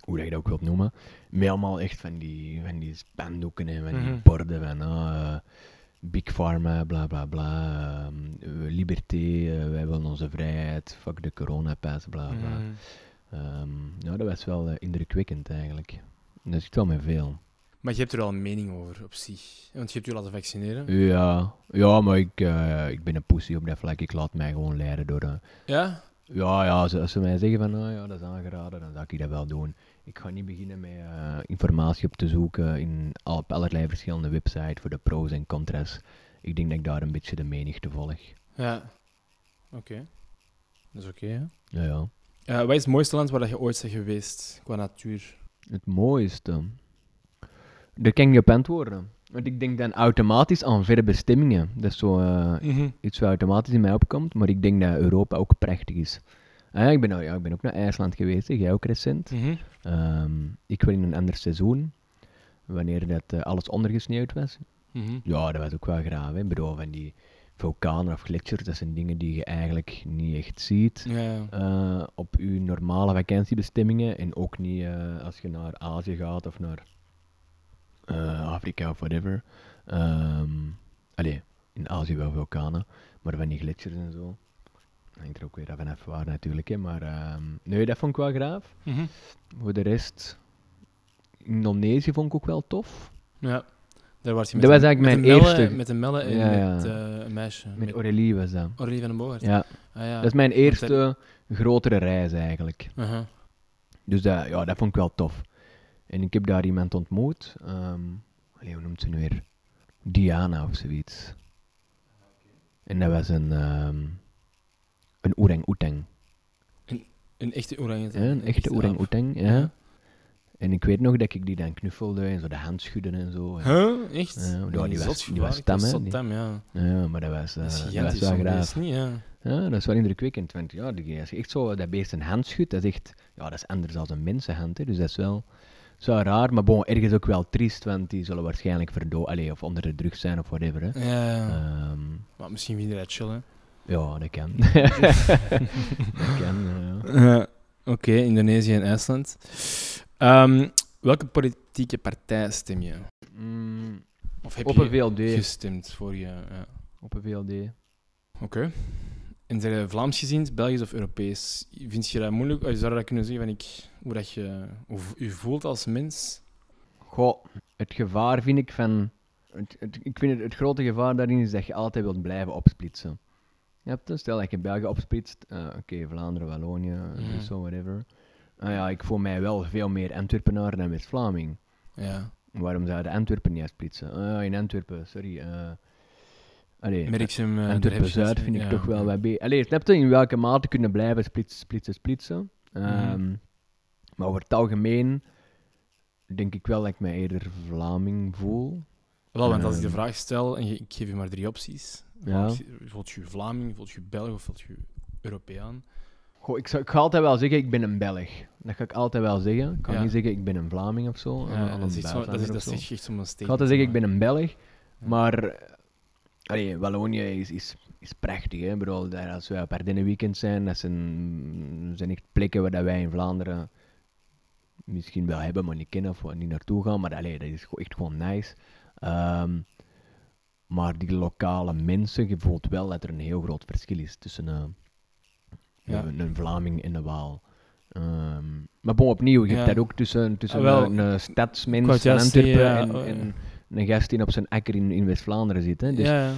Speaker 3: hoe dat je dat ook wilt noemen. Met allemaal echt van die, van die spandoeken en van die
Speaker 1: Mhm.
Speaker 3: borden van... ah, eh, Big Pharma, bla bla bla, ehm, eh, liberté, eh, wij willen onze vrijheid, fuck de coronapas, bla bla.
Speaker 1: Mhm.
Speaker 3: Ehm, nou, dat was wel eh, indrukwekkend eigenlijk. Dat zit wel met veel.
Speaker 1: Maar je hebt er wel een mening over op zich. Want je hebt je laten vaccineren.
Speaker 3: Ja, ja maar ik, eh, ik ben een pussy op dat vlak, ik laat mij gewoon leiden door... eh,
Speaker 1: Ja?
Speaker 3: ja, ja, als, als ze mij zeggen van, ah ja, dat is aangeraden, dan zou ik dat wel doen. Ik ga niet beginnen met eh, informatie op te zoeken in, al- op allerlei verschillende websites voor de pro's en contra's. Ik denk dat ik daar een beetje de menigte volg.
Speaker 1: Ja. Oké. Dat is oké, hè?
Speaker 3: Ja, ja.
Speaker 1: Eh, wat is het mooiste land waar dat je ooit bent geweest qua natuur?
Speaker 3: Het mooiste. Daar kan ik niet op antwoorden. Want ik denk dan automatisch aan verre bestemmingen. Dat is zo eh,
Speaker 1: Mhm,
Speaker 3: iets wat automatisch in mij opkomt. Maar ik denk dat Europa ook prachtig is. Ah, ja, ik, ben, al- ja, ik ben ook naar IJsland geweest. hè. Jij ook recent.
Speaker 1: Mhm.
Speaker 3: Ehm, ik wil in een ander seizoen. Wanneer dat eh, alles ondergesneeuwd was.
Speaker 1: Mhm.
Speaker 3: Ja, dat was ook wel graaf. Hè. Ik bedoel, van die vulkanen of gletsjers. Dat zijn dingen die je eigenlijk niet echt ziet
Speaker 1: Ja, ja.
Speaker 3: eh, op uw normale vakantiebestemmingen en ook niet eh, als je naar Azië gaat of naar eh, Afrika of whatever. Ehm allee, in Azië wel vulkanen, maar van die gletsjers en zo. Hangt er ook weer vanaf waar natuurlijk, hè, maar ehm, nee, dat vond ik wel graaf.
Speaker 1: Mhm.
Speaker 3: Voor de rest, Indonesië vond ik ook wel tof.
Speaker 1: Ja, daar was je
Speaker 3: Dat was
Speaker 1: een-
Speaker 3: eigenlijk mijn
Speaker 1: een melle-
Speaker 3: eerste.
Speaker 1: Met een melle en
Speaker 3: Ja, ja.
Speaker 1: met eh, een meisje. Met,
Speaker 3: Met Aurélie was dat.
Speaker 1: Aurélie van den Boer.
Speaker 3: Ja,
Speaker 1: Ah, ja.
Speaker 3: dat is mijn
Speaker 1: dat-
Speaker 3: eerste grotere reis eigenlijk.
Speaker 1: Aha.
Speaker 3: Dus dat, ja, dat vond ik wel tof. En ik heb daar iemand ontmoet. ehm, allee, hoe noemt ze nu weer? Diana of zoiets. En dat was een, ehm een orang-oetang.
Speaker 1: Een echte orang
Speaker 3: Ja, een echte orang oetang ja.
Speaker 1: Ja.
Speaker 3: En ik weet nog dat ik die dan knuffelde en zo de hand schudde en zo. en-
Speaker 1: Huh? Echt?
Speaker 3: Ja, maar die
Speaker 1: Nee,
Speaker 3: was- die was
Speaker 1: zotgevaarlijk,
Speaker 3: tam, hè,
Speaker 1: zot
Speaker 3: die-
Speaker 1: tam, ja.
Speaker 3: Ja, maar dat was, eh,
Speaker 1: Dat is
Speaker 3: dat was
Speaker 1: gigantisch.
Speaker 3: wel
Speaker 1: man, Dat
Speaker 3: graaf.
Speaker 1: is niet, ja.
Speaker 3: Ja, dat is wel indrukwekkend. Want ja, die- als je echt zo dat beest een hand schudt, dat is echt... Ja, dat is anders dan een mensenhand, hè, dus dat is wel... Zo raar, maar bon, ergens ook wel triest, want die zullen waarschijnlijk verdood... Allee, of onder de druk zijn of whatever, hè.
Speaker 1: Ja, ja.
Speaker 3: Ehm,
Speaker 1: Maar misschien wie eruit chillen.
Speaker 3: ja, dat kan. dat kan, ja.
Speaker 1: Eh, Oké, Indonesië en IJsland. Ehm, welke politieke partij stem je?
Speaker 3: Mm,
Speaker 1: Of heb
Speaker 3: op
Speaker 1: je
Speaker 3: een VLD.
Speaker 1: gestemd voor je? Ja.
Speaker 3: Op een VLD.
Speaker 1: Oké. En zijn je Vlaams gezien, Belgisch of Europees? Vind je dat moeilijk? Of zou je dat kunnen zeggen van ik, hoe dat je hoe v- je voelt als mens?
Speaker 3: Goh, het gevaar vind ik van. Het, het- ik vind het, het grote gevaar daarin is dat je altijd wilt blijven opsplitsen. Je hebt dus, stel dat je België opsplitst, eh, oké, Vlaanderen, Wallonië, eh,
Speaker 1: Mhm.
Speaker 3: Brussel, whatever. Nou ja, ik voel mij wel veel meer Antwerpenaar dan West-Vlaming.
Speaker 1: Ja.
Speaker 3: Waarom zou je Antwerpen niet splitsen? Ah, in Antwerpen, sorry. eh allee,
Speaker 1: Merk je hem? eh, daar heb je
Speaker 3: Antwerpen
Speaker 1: het,
Speaker 3: Zuid vind ik
Speaker 1: ja.
Speaker 3: toch wel wat beter. Allee, snap je in welke mate kunnen blijven splitsen, splitsen, splitsen?
Speaker 1: Mhm.
Speaker 3: Ehm, Maar over het algemeen denk ik wel dat ik mij eerder Vlaming voel.
Speaker 1: Wel, want als ik de
Speaker 3: Ehm.
Speaker 1: vraag stel en je- ik geef je maar drie opties.
Speaker 3: Ja.
Speaker 1: Voelt je Vlaming, voelt je Belg of voelt je Europeaan?
Speaker 3: Goh, ik, zou, ik ga altijd wel zeggen, ik ben een Belg. Dat ga ik altijd wel zeggen. Ik kan
Speaker 1: Ja.
Speaker 3: niet zeggen, ik ben een Vlaming of zo.
Speaker 1: Ja,
Speaker 3: eh, of
Speaker 1: dat
Speaker 3: een
Speaker 1: is echt zo- dat
Speaker 3: buitenlander
Speaker 1: is-
Speaker 3: of
Speaker 1: dat
Speaker 3: zo.
Speaker 1: is echt echt zo'n statement.
Speaker 3: Ik ga altijd zeggen, ik
Speaker 1: maar-
Speaker 3: ben een Belg. Maar, eh, allee, Wallonië is, is, is prachtig. Hè? Ik bedoel, daar, als wij op Ardennen-weekend zijn, dat zijn, zijn echt plekken waar dat wij in Vlaanderen misschien wel hebben, maar niet kennen of waar niet naartoe gaan. Maar allee, dat is gewoon- echt gewoon nice. Ehm, maar die lokale mensen, je voelt wel dat er een heel groot verschil is tussen eh,
Speaker 1: Ja.
Speaker 3: een, een Vlaming en een Waal. Ehm, maar bon, opnieuw, je hebt
Speaker 1: Ja.
Speaker 3: dat ook tussen, tussen
Speaker 1: Ah, wel,
Speaker 3: een, een stadsmens
Speaker 1: Ik wou het
Speaker 3: van
Speaker 1: juist zeggen,
Speaker 3: Antwerpen
Speaker 1: ja,
Speaker 3: en,
Speaker 1: oh,
Speaker 3: en een gast die op zijn akker in, in West-Vlaanderen zit. Hè. Dus ja.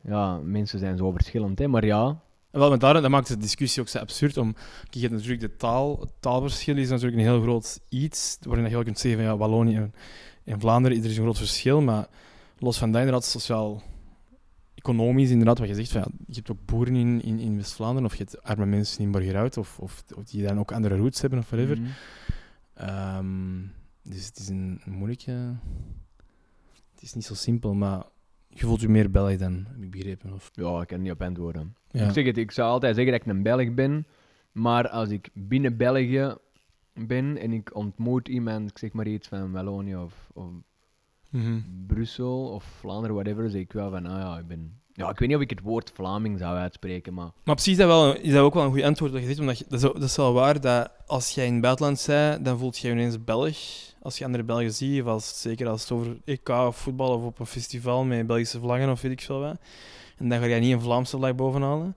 Speaker 1: Ja.
Speaker 3: mensen zijn zo verschillend, hè. maar ja.
Speaker 1: Wel, met daarom, dat maakt de discussie ook zo absurd. Om, kijk, je hebt natuurlijk de taal. Het taalverschil is natuurlijk een heel groot iets. Waarin je heel kunt zeggen van ja, Wallonië en, en Vlaanderen, er is een groot verschil. Maar los van dat, inderdaad, sociaal, economisch, inderdaad, wat je zegt. Van, ja, je hebt ook boeren in, in, in West-Vlaanderen of je hebt arme mensen in Borgerhout. Of, of, of die dan ook andere roots hebben of whatever.
Speaker 3: Mhm.
Speaker 1: Ehm, dus het is een moeilijke. Het is niet zo simpel, maar je voelt je meer België dan, heb ik begrepen. Of,
Speaker 3: Ja, ik kan niet op antwoorden.
Speaker 1: ja.
Speaker 3: Ik, zeg het, ik zou altijd zeggen dat ik een Belg ben, maar als ik binnen België ben en ik ontmoet iemand, ik zeg maar iets van Wallonië of, of
Speaker 1: Mhm.
Speaker 3: Brussel of Vlaanderen, whatever, zeg ik wel van, ah ja, ik ben... Ja, ik weet niet of ik het woord Vlaming zou uitspreken, maar...
Speaker 1: Maar op zich is dat, wel, is dat ook wel een goed antwoord dat je zegt. Omdat je- dat, is, dat is wel waar dat als jij in het buitenland bent, dan voelt je je ineens Belg. Als je andere Belgen ziet, of als, zeker als het over EK of voetbal of op een festival met Belgische vlaggen of weet ik veel wat. En dan ga jij niet een Vlaamse vlag bovenhalen.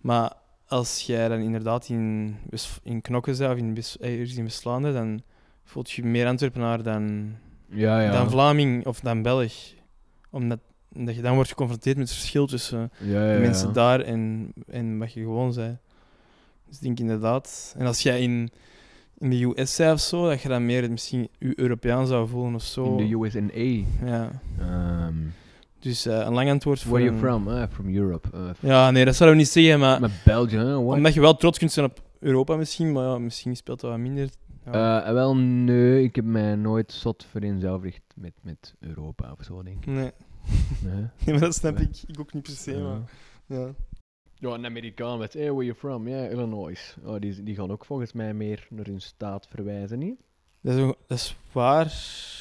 Speaker 1: Maar als jij dan inderdaad in, West- in Knokken bent of in, West- eh, ergens in West-Vlaanderen, dan voelt je je meer Antwerpenaar dan,
Speaker 3: Ja, ja.
Speaker 1: dan Vlaming of dan Belg. Omdat, omdat je dan wordt geconfronteerd met het verschil tussen
Speaker 3: ja, ja,
Speaker 1: de
Speaker 3: ja.
Speaker 1: mensen daar en, en wat je gewoon zei. Dus ik denk inderdaad. En als jij in, in de US zei of zo, dat je dan meer misschien je Europeaan zou voelen of zo.
Speaker 3: In de USA.
Speaker 1: ja.
Speaker 3: Ehm,
Speaker 1: Dus eh, een lang antwoord voor.
Speaker 3: where you
Speaker 1: een-
Speaker 3: from? Ah, from Europe. Eh,
Speaker 1: Ja, nee, dat zouden we niet zeggen, maar,
Speaker 3: Maar België, hè, what?
Speaker 1: omdat je wel trots kunt zijn op Europa misschien, maar ja, misschien speelt dat wat minder. Ja.
Speaker 3: Eh, wel, nee, ik heb mij nooit zot vereenzelvigd met, met Europa of zo, denk ik.
Speaker 1: nee.
Speaker 3: Nee. Eh.
Speaker 1: nee, maar dat snap ik. Ik ook niet per se, maar. Ja.
Speaker 3: Ja, een Amerikaan met, hey, where you from? Ja, Illinois. Oh, die, die gaan ook volgens mij meer naar hun staat verwijzen, niet?
Speaker 1: Dat, is, ook- dat is waar.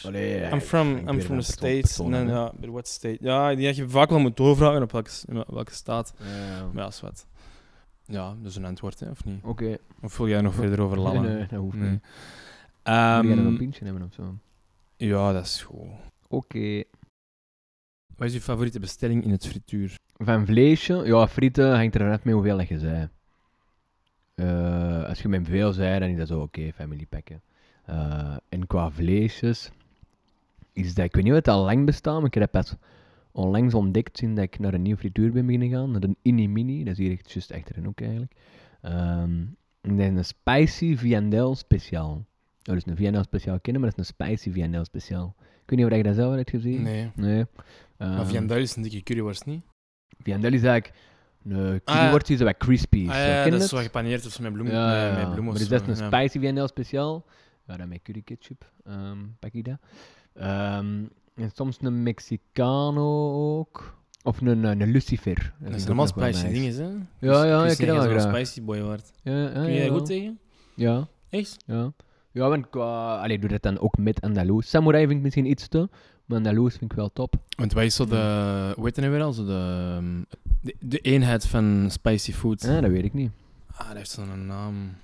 Speaker 3: Allee,
Speaker 1: I'm from,
Speaker 3: ik
Speaker 1: I'm
Speaker 3: weet
Speaker 1: from
Speaker 3: dat
Speaker 1: the
Speaker 3: persoon-
Speaker 1: States.
Speaker 3: persoon,
Speaker 1: Nee,
Speaker 3: hè.
Speaker 1: ja, but what state? Ja, die had je vaak wel moet doorvragen op welke, op welke staat.
Speaker 3: Ja.
Speaker 1: Maar ja, is wat. Ja, dat is een antwoord, hè, of niet?
Speaker 3: Oké,
Speaker 1: Of wil jij nog verder over
Speaker 3: nee,
Speaker 1: lallen?
Speaker 3: nee, dat hoeft
Speaker 1: Nee.
Speaker 3: niet.
Speaker 1: Ehm,
Speaker 3: Moet jij nog een pintje hebben of zo? Oké.
Speaker 1: ja, dat is goed. Wat is je favoriete bestelling in het frituur?
Speaker 3: Van vleesje? Ja, frieten hangt er net mee hoeveel dat je zei. Eh, als je met veel zei, dan is dat zo oké, family pakken. Eh, en qua vleesjes is dat, ik weet niet of het al lang bestaat, maar ik heb dat pas onlangs ontdekt sinds dat ik naar een nieuwe frituur ben beginnen gaan. Naar een Inni Mini, dat is hier echt juist achter een hoek eigenlijk. Ehm, en dat is een spicy viandel speciaal. Oh, dus een viandel speciaal kennen, maar dat is een spicy viandel speciaal. Ik weet niet of je dat zelf al hebt gezien.
Speaker 1: Nee.
Speaker 3: Nee. Ehm,
Speaker 1: Maar viandel is een dikke curryworst, niet?
Speaker 3: Viandel is eigenlijk Nee,
Speaker 1: Ah,
Speaker 3: kiwi
Speaker 1: ja.
Speaker 3: wordt hier zo wat crispy.
Speaker 1: Ah,
Speaker 3: eh,
Speaker 1: ja,
Speaker 3: ken
Speaker 1: dat
Speaker 3: je
Speaker 1: is zo
Speaker 3: het?
Speaker 1: gepaneerd of zo met bloem,
Speaker 3: Ja, ja,
Speaker 1: met-
Speaker 3: ja.
Speaker 1: met bloem of
Speaker 3: maar is
Speaker 1: zo,
Speaker 3: dat een
Speaker 1: ja.
Speaker 3: spicy VNL speciaal? Ja, dan met curry ketchup ehm, pak ik dat. Ehm, en soms een Mexicano ook. Of een, een, een Lucifer. Dat vind
Speaker 1: Dat
Speaker 3: ik
Speaker 1: zijn
Speaker 3: ook
Speaker 1: allemaal
Speaker 3: nog wel
Speaker 1: spicy
Speaker 3: nice.
Speaker 1: dingen, hè?
Speaker 3: Ja, ja,
Speaker 1: Chris,
Speaker 3: ik ken
Speaker 1: jij
Speaker 3: dat
Speaker 1: bent
Speaker 3: wel
Speaker 1: een
Speaker 3: graag.
Speaker 1: spicy boy waard.
Speaker 3: Ja, ja,
Speaker 1: Kun jij
Speaker 3: ja.
Speaker 1: daar goed tegen?
Speaker 3: Ja,
Speaker 1: Echt?
Speaker 3: ja. Ja, want qua... Allee, doe dat dan ook met Andaloes. Samurai vind ik misschien iets te, maar Andaloes vind ik wel top.
Speaker 1: Want wij is zo de... Hoe heet dat nu weer al? Zo de, ehm, de, de eenheid van spicy food.
Speaker 3: Ja, dat weet ik niet.
Speaker 1: Ah, dat heeft zo'n naam.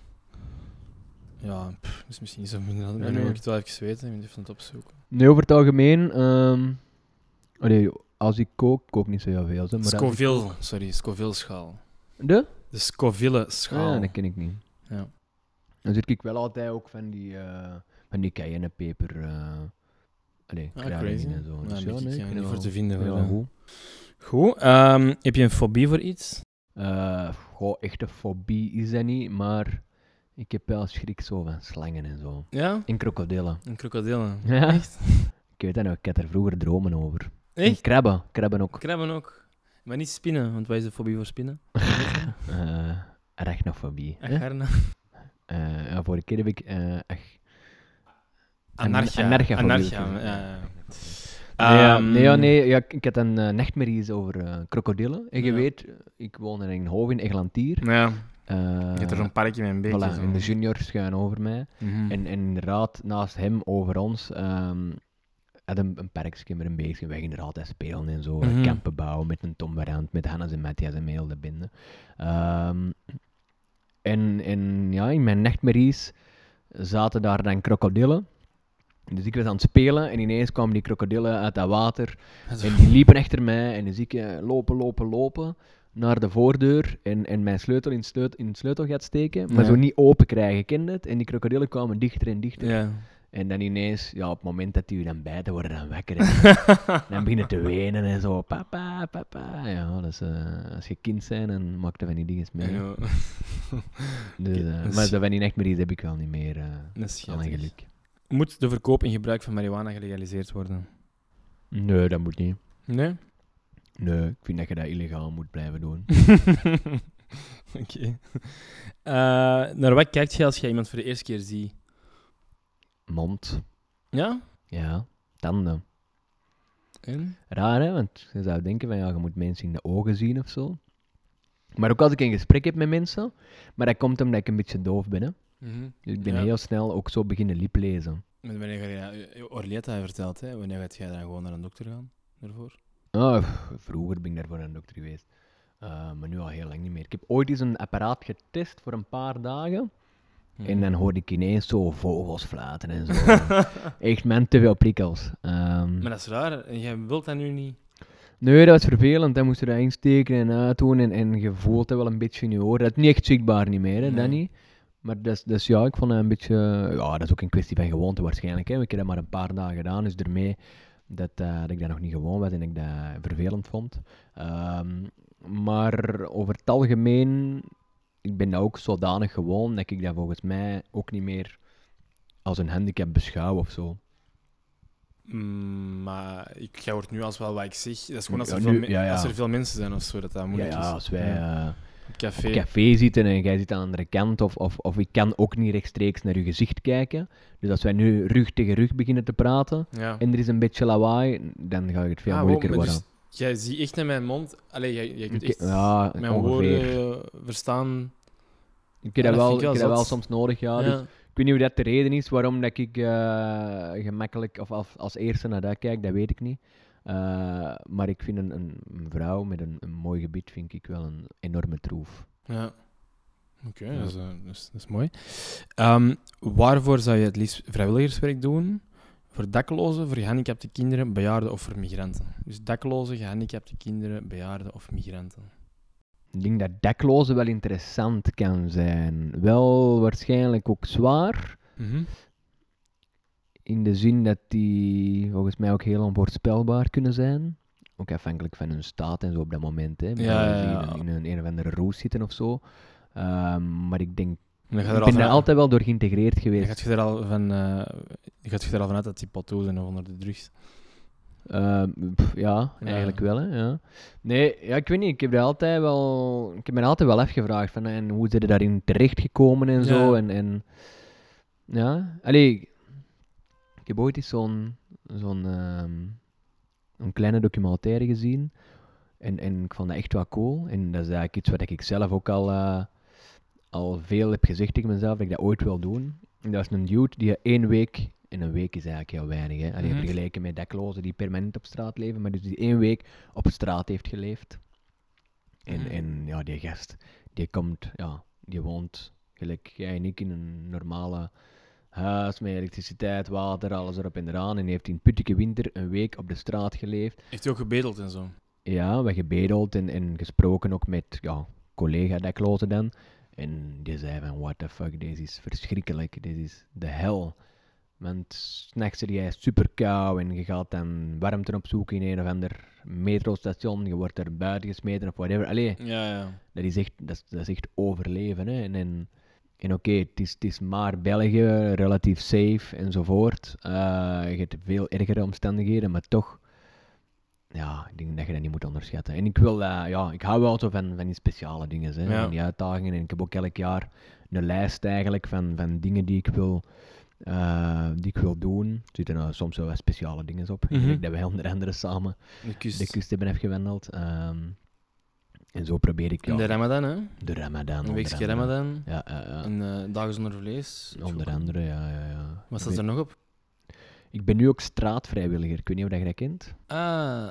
Speaker 1: Ja, pff, dat is misschien niet zo minder. Maar
Speaker 3: Ja,
Speaker 1: nu
Speaker 3: nee.
Speaker 1: moet ik het wel even weten. Ik moet even het opzoeken.
Speaker 3: Nee, over het algemeen... ehm, allee, als ik kook, ik kook niet zo heel veel. Zo, maar als ik-
Speaker 1: Scoville. Sorry, Scoville-schaal.
Speaker 3: De?
Speaker 1: De Scoville-schaal.
Speaker 3: Ah, dat ken ik niet.
Speaker 1: Ja.
Speaker 3: Dan zit ik wel altijd ook van die, eh, van die cayennepeper... eh allee,
Speaker 1: Ah,
Speaker 3: kruiden en zo.
Speaker 1: Ja,
Speaker 3: Dus
Speaker 1: ben
Speaker 3: ja,
Speaker 1: ik,
Speaker 3: nee,
Speaker 1: eh,
Speaker 3: ik vind
Speaker 1: niet
Speaker 3: dat
Speaker 1: voor
Speaker 3: wel-
Speaker 1: te vinden.
Speaker 3: vind dat
Speaker 1: hoor,
Speaker 3: wel
Speaker 1: ja.
Speaker 3: goed.
Speaker 1: Goed. ehm, heb je een fobie voor iets?
Speaker 3: Eh, goh, echte fobie is dat niet, maar ik heb wel schrik zo van slangen en zo.
Speaker 1: Ja?
Speaker 3: En krokodillen.
Speaker 1: Een krokodillen.
Speaker 3: Ja.
Speaker 1: Echt?
Speaker 3: Ik weet dat nog, ik had er vroeger dromen over. En
Speaker 1: Echt?
Speaker 3: krabben, krabben ook.
Speaker 1: Krabben ook. Maar niet spinnen, want wij zijn fobie voor spinnen.
Speaker 3: Eh arachnofobie. hè?
Speaker 1: Agarna.
Speaker 3: Eh, ja, vorige keer heb ik... eh ach,
Speaker 1: Anarcha.
Speaker 3: Anarcha fobie.
Speaker 1: Anarcha, ja.
Speaker 3: nee, ja,
Speaker 1: Ehm,
Speaker 3: nee, ja, nee ja, ik- ik had een eh, nachtmerries over eh, krokodillen. En je
Speaker 1: Ja.
Speaker 3: weet, ik woon in Eindhoven, in Eglantier.
Speaker 1: Ja,
Speaker 3: Eh,
Speaker 1: je hebt er zo'n parkje met een beetje.
Speaker 3: voilà,
Speaker 1: zo.
Speaker 3: en de junior schuin over mij.
Speaker 1: Mhm.
Speaker 3: En, en inderdaad, naast hem, over ons, ehm had een, een parkje met een beestje. Wij gingen er altijd spelen en zo. eh,
Speaker 1: Mhm.
Speaker 3: Kampen bouwen met een tomberand, met Hannes en Matthias en heel de binden. Ehm, en, en ja, in mijn nachtmerries zaten daar dan krokodillen. Dus ik was aan het spelen en ineens kwamen die krokodillen uit dat water.
Speaker 1: Dat is-
Speaker 3: En die liepen achter mij en dus ik eh, lopen, lopen, lopen naar de voordeur en, en mijn sleutel in, sleut in het sleutelgat steken, maar
Speaker 1: Ja.
Speaker 3: zo niet open krijgen, ken je het? En die krokodillen kwamen dichter en dichter.
Speaker 1: Ja.
Speaker 3: En dan ineens, ja, op het moment dat die u dan bijten, worden dan wekker. En dan beginnen te wenen en zo, papa, papa. Ja, dat is, eh, als je kind bent, dan maak je van die dingen mee.
Speaker 1: Ja.
Speaker 3: Dus, eh,
Speaker 1: dat is-
Speaker 3: maar dat van die nachtmerries heb ik wel niet meer, eh
Speaker 1: Dat is
Speaker 3: aan
Speaker 1: schattig.
Speaker 3: geluk.
Speaker 1: Moet de verkoop en gebruik van marihuana gelegaliseerd worden?
Speaker 3: Nee, dat moet niet.
Speaker 1: Nee?
Speaker 3: Nee, ik vind dat je dat illegaal moet blijven doen.
Speaker 1: Oké. Eh, naar wat kijkt je als je iemand voor de eerste keer ziet?
Speaker 3: Mond,
Speaker 1: Ja?
Speaker 3: ja, tanden.
Speaker 1: En?
Speaker 3: Raar, hè? Want je zou denken van ja, je moet mensen in de ogen zien of zo. Maar ook als ik een gesprek heb met mensen, maar dat komt omdat ik een beetje doof ben. Hè? Dus ik ben
Speaker 1: Ja.
Speaker 3: heel snel ook zo beginnen liplezen.
Speaker 1: Met Wanneer je, Orletta heeft verteld, hè? wanneer gaat jij dan gewoon naar een dokter gaan? Daarvoor?
Speaker 3: Ah, pff, vroeger ben ik daarvoor naar een dokter geweest. Eh, maar nu al heel lang niet meer. Ik heb ooit eens een apparaat getest voor een paar dagen.
Speaker 1: Mhm.
Speaker 3: En dan hoorde ik ineens zo vogels fluiten en zo. Echt, man, te veel prikkels. Ehm,
Speaker 1: Maar dat is raar, en jij wilt dat nu niet.
Speaker 3: Nee, dat was vervelend. Dan moest je dat insteken en uitdoen. En, en je voelt dat wel een beetje in je oor. Dat is niet echt zichtbaar niet meer, hè,
Speaker 1: Nee.
Speaker 3: dat niet. Maar dus, dus ja, ik vond het een beetje... Ja, dat is ook een kwestie van gewoonte waarschijnlijk. Hè. Ik heb dat maar een paar dagen gedaan, dus daarmee dat, eh, dat ik dat nog niet gewoon was en ik dat vervelend vond. Ehm, maar over het algemeen, ik ben dat ook zodanig gewoon dat ik dat volgens mij ook niet meer als een handicap beschouw of zo.
Speaker 1: Mm, maar ik, jij hoort nu als wel wat ik zeg. Dat is gewoon als
Speaker 3: Ja,
Speaker 1: er,
Speaker 3: nu-
Speaker 1: veel, me-
Speaker 3: ja, ja.
Speaker 1: Als er veel mensen zijn of zo, dat dat
Speaker 3: Ja,
Speaker 1: moeilijk
Speaker 3: ja,
Speaker 1: is.
Speaker 3: als wij...
Speaker 1: Ja.
Speaker 3: eh,
Speaker 1: Op café.
Speaker 3: op café zitten en jij zit aan de andere kant, of, of, of ik kan ook niet rechtstreeks naar je gezicht kijken. Dus als wij nu rug tegen rug beginnen te praten
Speaker 1: Ja.
Speaker 3: en er is een beetje lawaai, dan ga ik het veel
Speaker 1: Ah, wow,
Speaker 3: moeilijker
Speaker 1: maar
Speaker 3: worden.
Speaker 1: dus jij ziet echt in mijn mond... Allee, jij, jij kunt
Speaker 3: Ik-
Speaker 1: echt
Speaker 3: ja,
Speaker 1: mijn
Speaker 3: ongeveer.
Speaker 1: woorden eh, verstaan.
Speaker 3: Ik
Speaker 1: Ja,
Speaker 3: heb dat
Speaker 1: dat
Speaker 3: wel,
Speaker 1: vind
Speaker 3: ik
Speaker 1: ik wel
Speaker 3: heb dat wel
Speaker 1: zot.
Speaker 3: soms nodig, ja.
Speaker 1: Ja,
Speaker 3: Dus ik weet niet of dat de reden is waarom dat ik eh, gemakkelijk of als, als eerste naar dat kijk, dat weet ik niet. Eh, maar ik vind een, een een vrouw met een, een mooi gebied vind ik wel een enorme troef.
Speaker 1: ja. Oké,
Speaker 3: Ja.
Speaker 1: dat, is, eh, dat is- dat is mooi. Ehm, waarvoor zou je het liefst vrijwilligerswerk doen? Voor daklozen, voor gehandicapte kinderen, bejaarden of voor migranten? Dus daklozen, gehandicapte kinderen, bejaarden of migranten.
Speaker 3: Ik denk dat daklozen wel interessant kan zijn. Wel waarschijnlijk ook zwaar.
Speaker 1: Mhm.
Speaker 3: In de zin dat die volgens mij ook heel onvoorspelbaar kunnen zijn. Ook afhankelijk van hun staat en zo op dat moment. Hè. Maar
Speaker 1: Ja,
Speaker 3: als die
Speaker 1: ja, ja.
Speaker 3: In, een, in een of andere roes zitten of zo. Ehm, maar ik denk.
Speaker 1: En Dan ga
Speaker 3: ik
Speaker 1: je er al
Speaker 3: ben daar
Speaker 1: vanuit-
Speaker 3: altijd wel door geïntegreerd
Speaker 1: dan
Speaker 3: geweest.
Speaker 1: gaat je er al van, eh, dan gaat je er al vanuit dat die plateau zijn of onder de drugs.
Speaker 3: Ehm, pff, ja,
Speaker 1: Ja.
Speaker 3: eigenlijk wel. Hè, ja. Nee, ja, ik weet niet. Ik heb, daar altijd wel, ik heb me altijd wel afgevraagd van en hoe zijn ze daarin terechtgekomen en zo.
Speaker 1: Ja.
Speaker 3: En, en, ja, allee, ik heb ooit eens zo'n zo'n ehm, een kleine documentaire gezien. En, en ik vond dat echt wel cool. En dat is eigenlijk iets wat ik zelf ook al, eh, al veel heb gezegd tegen mezelf, dat ik dat ooit wil doen. En dat is een dude die één week, in een week is eigenlijk heel weinig, hè. Allee,
Speaker 1: Mhm.
Speaker 3: vergeleken met daklozen die permanent op straat leven, maar dus die één week op straat heeft geleefd. En,
Speaker 1: Mhm.
Speaker 3: en ja, die gast, die komt, ja, die woont gelijk jij en ik in een normale huis met elektriciteit, water, alles erop en eraan. En heeft in puttige winter een week op de straat geleefd.
Speaker 1: Heeft hij ook gebedeld en zo?
Speaker 3: Ja, we gebedeld en, en gesproken ook met ja, collega daklozen dan. En die zei van, what the fuck, deze is verschrikkelijk, dit is de hel. Want s'nachts zit jij super kou en je gaat dan warmte opzoeken in een of ander metrostation. Je wordt er buiten gesmeten of whatever. Allee,
Speaker 1: Ja, ja.
Speaker 3: dat is echt, dat is, dat is echt overleven. Hè? En, en, en oké, het, is, het is maar België, relatief safe enzovoort. Eh, je hebt veel ergere omstandigheden, maar toch, ja, ik denk dat je dat niet moet onderschatten. En ik wil, eh, ja, ik hou wel zo van, van die speciale dingen, hè,
Speaker 1: Ja.
Speaker 3: van die uitdagingen. En ik heb ook elk jaar een lijst eigenlijk van, van dingen die ik wil. eh, die ik wil doen. Er zitten nou soms wel wat speciale dingen op. Ik
Speaker 1: Mhm. Dus
Speaker 3: denk dat wij onder andere samen
Speaker 1: De kust.
Speaker 3: de kust hebben afgewandeld. ehm, en zo probeer ik
Speaker 1: In de
Speaker 3: ja,
Speaker 1: Ramadan, hè?
Speaker 3: de Ramadan.
Speaker 1: Een
Speaker 3: onder
Speaker 1: weekje
Speaker 3: andere.
Speaker 1: Ramadan.
Speaker 3: Ja, ja, ja.
Speaker 1: En eh, dagen zonder vlees. Dat is
Speaker 3: onder
Speaker 1: ook-
Speaker 3: andere, ja, ja, ja.
Speaker 1: Wat
Speaker 3: Ik
Speaker 1: staat er
Speaker 3: weet-
Speaker 1: nog op?
Speaker 3: Ik ben nu ook straatvrijwilliger. Ik weet niet of dat je dat kent.
Speaker 1: Ah,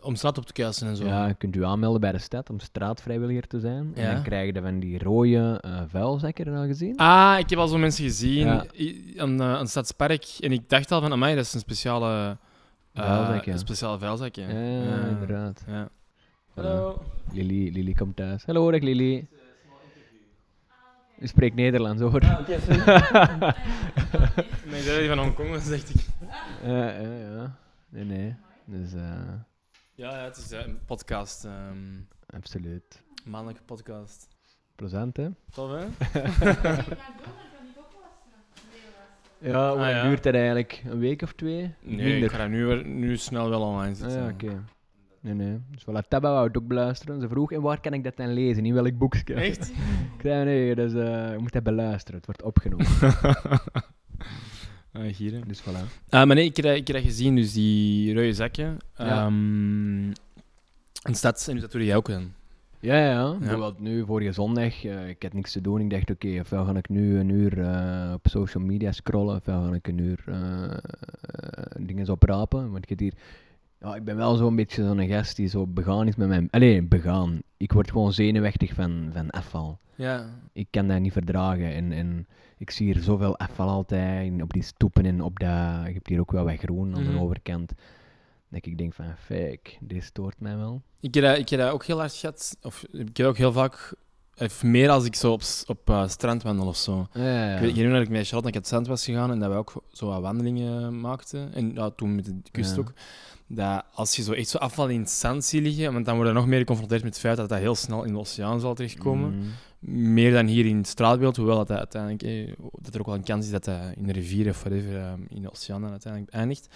Speaker 1: om straat op te kuisen en zo.
Speaker 3: Ja, je kunt u aanmelden bij de stad om straatvrijwilliger te zijn.
Speaker 1: Ja.
Speaker 3: En dan krijg je van die rode eh vuilzakken nou gezien.
Speaker 1: Ah, ik heb al zo'n mensen gezien
Speaker 3: Ja.
Speaker 1: i- aan eh, aan het stadspark. En ik dacht al van, amai, dat is een speciale... eh,
Speaker 3: Vuilzak, ja.
Speaker 1: Een speciale vuilzak, ja. Ah.
Speaker 3: ja,
Speaker 1: Ja.
Speaker 3: inderdaad.
Speaker 1: Ja.
Speaker 3: Hallo. Lili, Lili komt thuis. Hallo, dag Lili. Je spreekt Nederlands hoor.
Speaker 1: Nee, ik zei dat die van Hongkong was, dacht ik.
Speaker 3: Ja, ja, ja. Nee, nee. Dus, eh,
Speaker 1: Ja, ja, het is eh, een podcast. ehm,
Speaker 3: absoluut.
Speaker 1: maandelijke podcast.
Speaker 3: Plezant, hè?
Speaker 1: Tof, hè?
Speaker 3: Ja, hoe
Speaker 1: Ah,
Speaker 3: lang
Speaker 1: ja.
Speaker 3: duurt dat eigenlijk? Een week of twee?
Speaker 1: Nee,
Speaker 3: Minder.
Speaker 1: ik ga dat nu, weer- nu snel wel online
Speaker 3: Ah,
Speaker 1: zetten.
Speaker 3: ja, oké. Nee, nee. Dus voilà, Tabba wou het ook beluisteren. Ze vroeg, en waar kan ik dat dan lezen? In welk boekje?
Speaker 1: Echt?
Speaker 3: Ik zei, nee, dus, eh, je moet dat beluisteren. Het wordt opgenomen.
Speaker 1: Ah, hier, hè.
Speaker 3: dus voilà.
Speaker 1: Ah, maar nee, ik heb, dat- ik heb dat gezien, dus die rode zakje.
Speaker 3: Ja.
Speaker 1: Ehm en stads, en dus dat doe jij ook dan.
Speaker 3: Ja, ja. Bijvoorbeeld nu, vorige zondag, eh, ik had niks te doen. Ik dacht, oké, ofwel ga ik nu een uur eh, op social media scrollen, ofwel ga ik een uur eh, eh, dingen oprapen. Want ik heb hier... Ja, ik ben wel zo'n beetje zo'n gast die zo begaan is met mijn... Allee, begaan. Ik word gewoon zenuwachtig van, van afval.
Speaker 1: Ja.
Speaker 3: ik kan dat niet verdragen. En, en ik zie hier zoveel afval altijd en op die stoepen en op dat... Je hebt hier ook wel wat groen aan
Speaker 1: Mhm.
Speaker 3: de overkant. Dat ik denk van, fuck, dit stoort mij wel.
Speaker 1: Ik heb, dat, ik heb dat ook heel hard gehad. Of ik heb dat ook heel vaak... Of meer als ik zo op, s- op eh, strand wandel of zo.
Speaker 3: Ja, ja.
Speaker 1: Ik weet- ik herinner dat ik met Charlotte naar het strand was gegaan en dat we ook zo wat wandelingen maakten. En ja, toen met de kust
Speaker 3: Ja.
Speaker 1: ook. Dat als je zo echt zo afval in het zand ziet liggen, want dan worden we nog meer geconfronteerd met het feit dat dat heel snel in de oceaan zal terechtkomen.
Speaker 3: Mm.
Speaker 1: Meer dan hier in het straatbeeld, hoewel dat, dat uiteindelijk, eh, dat er ook wel een kans is dat dat in de rivier of whatever eh, in de oceaan dan uiteindelijk eindigt.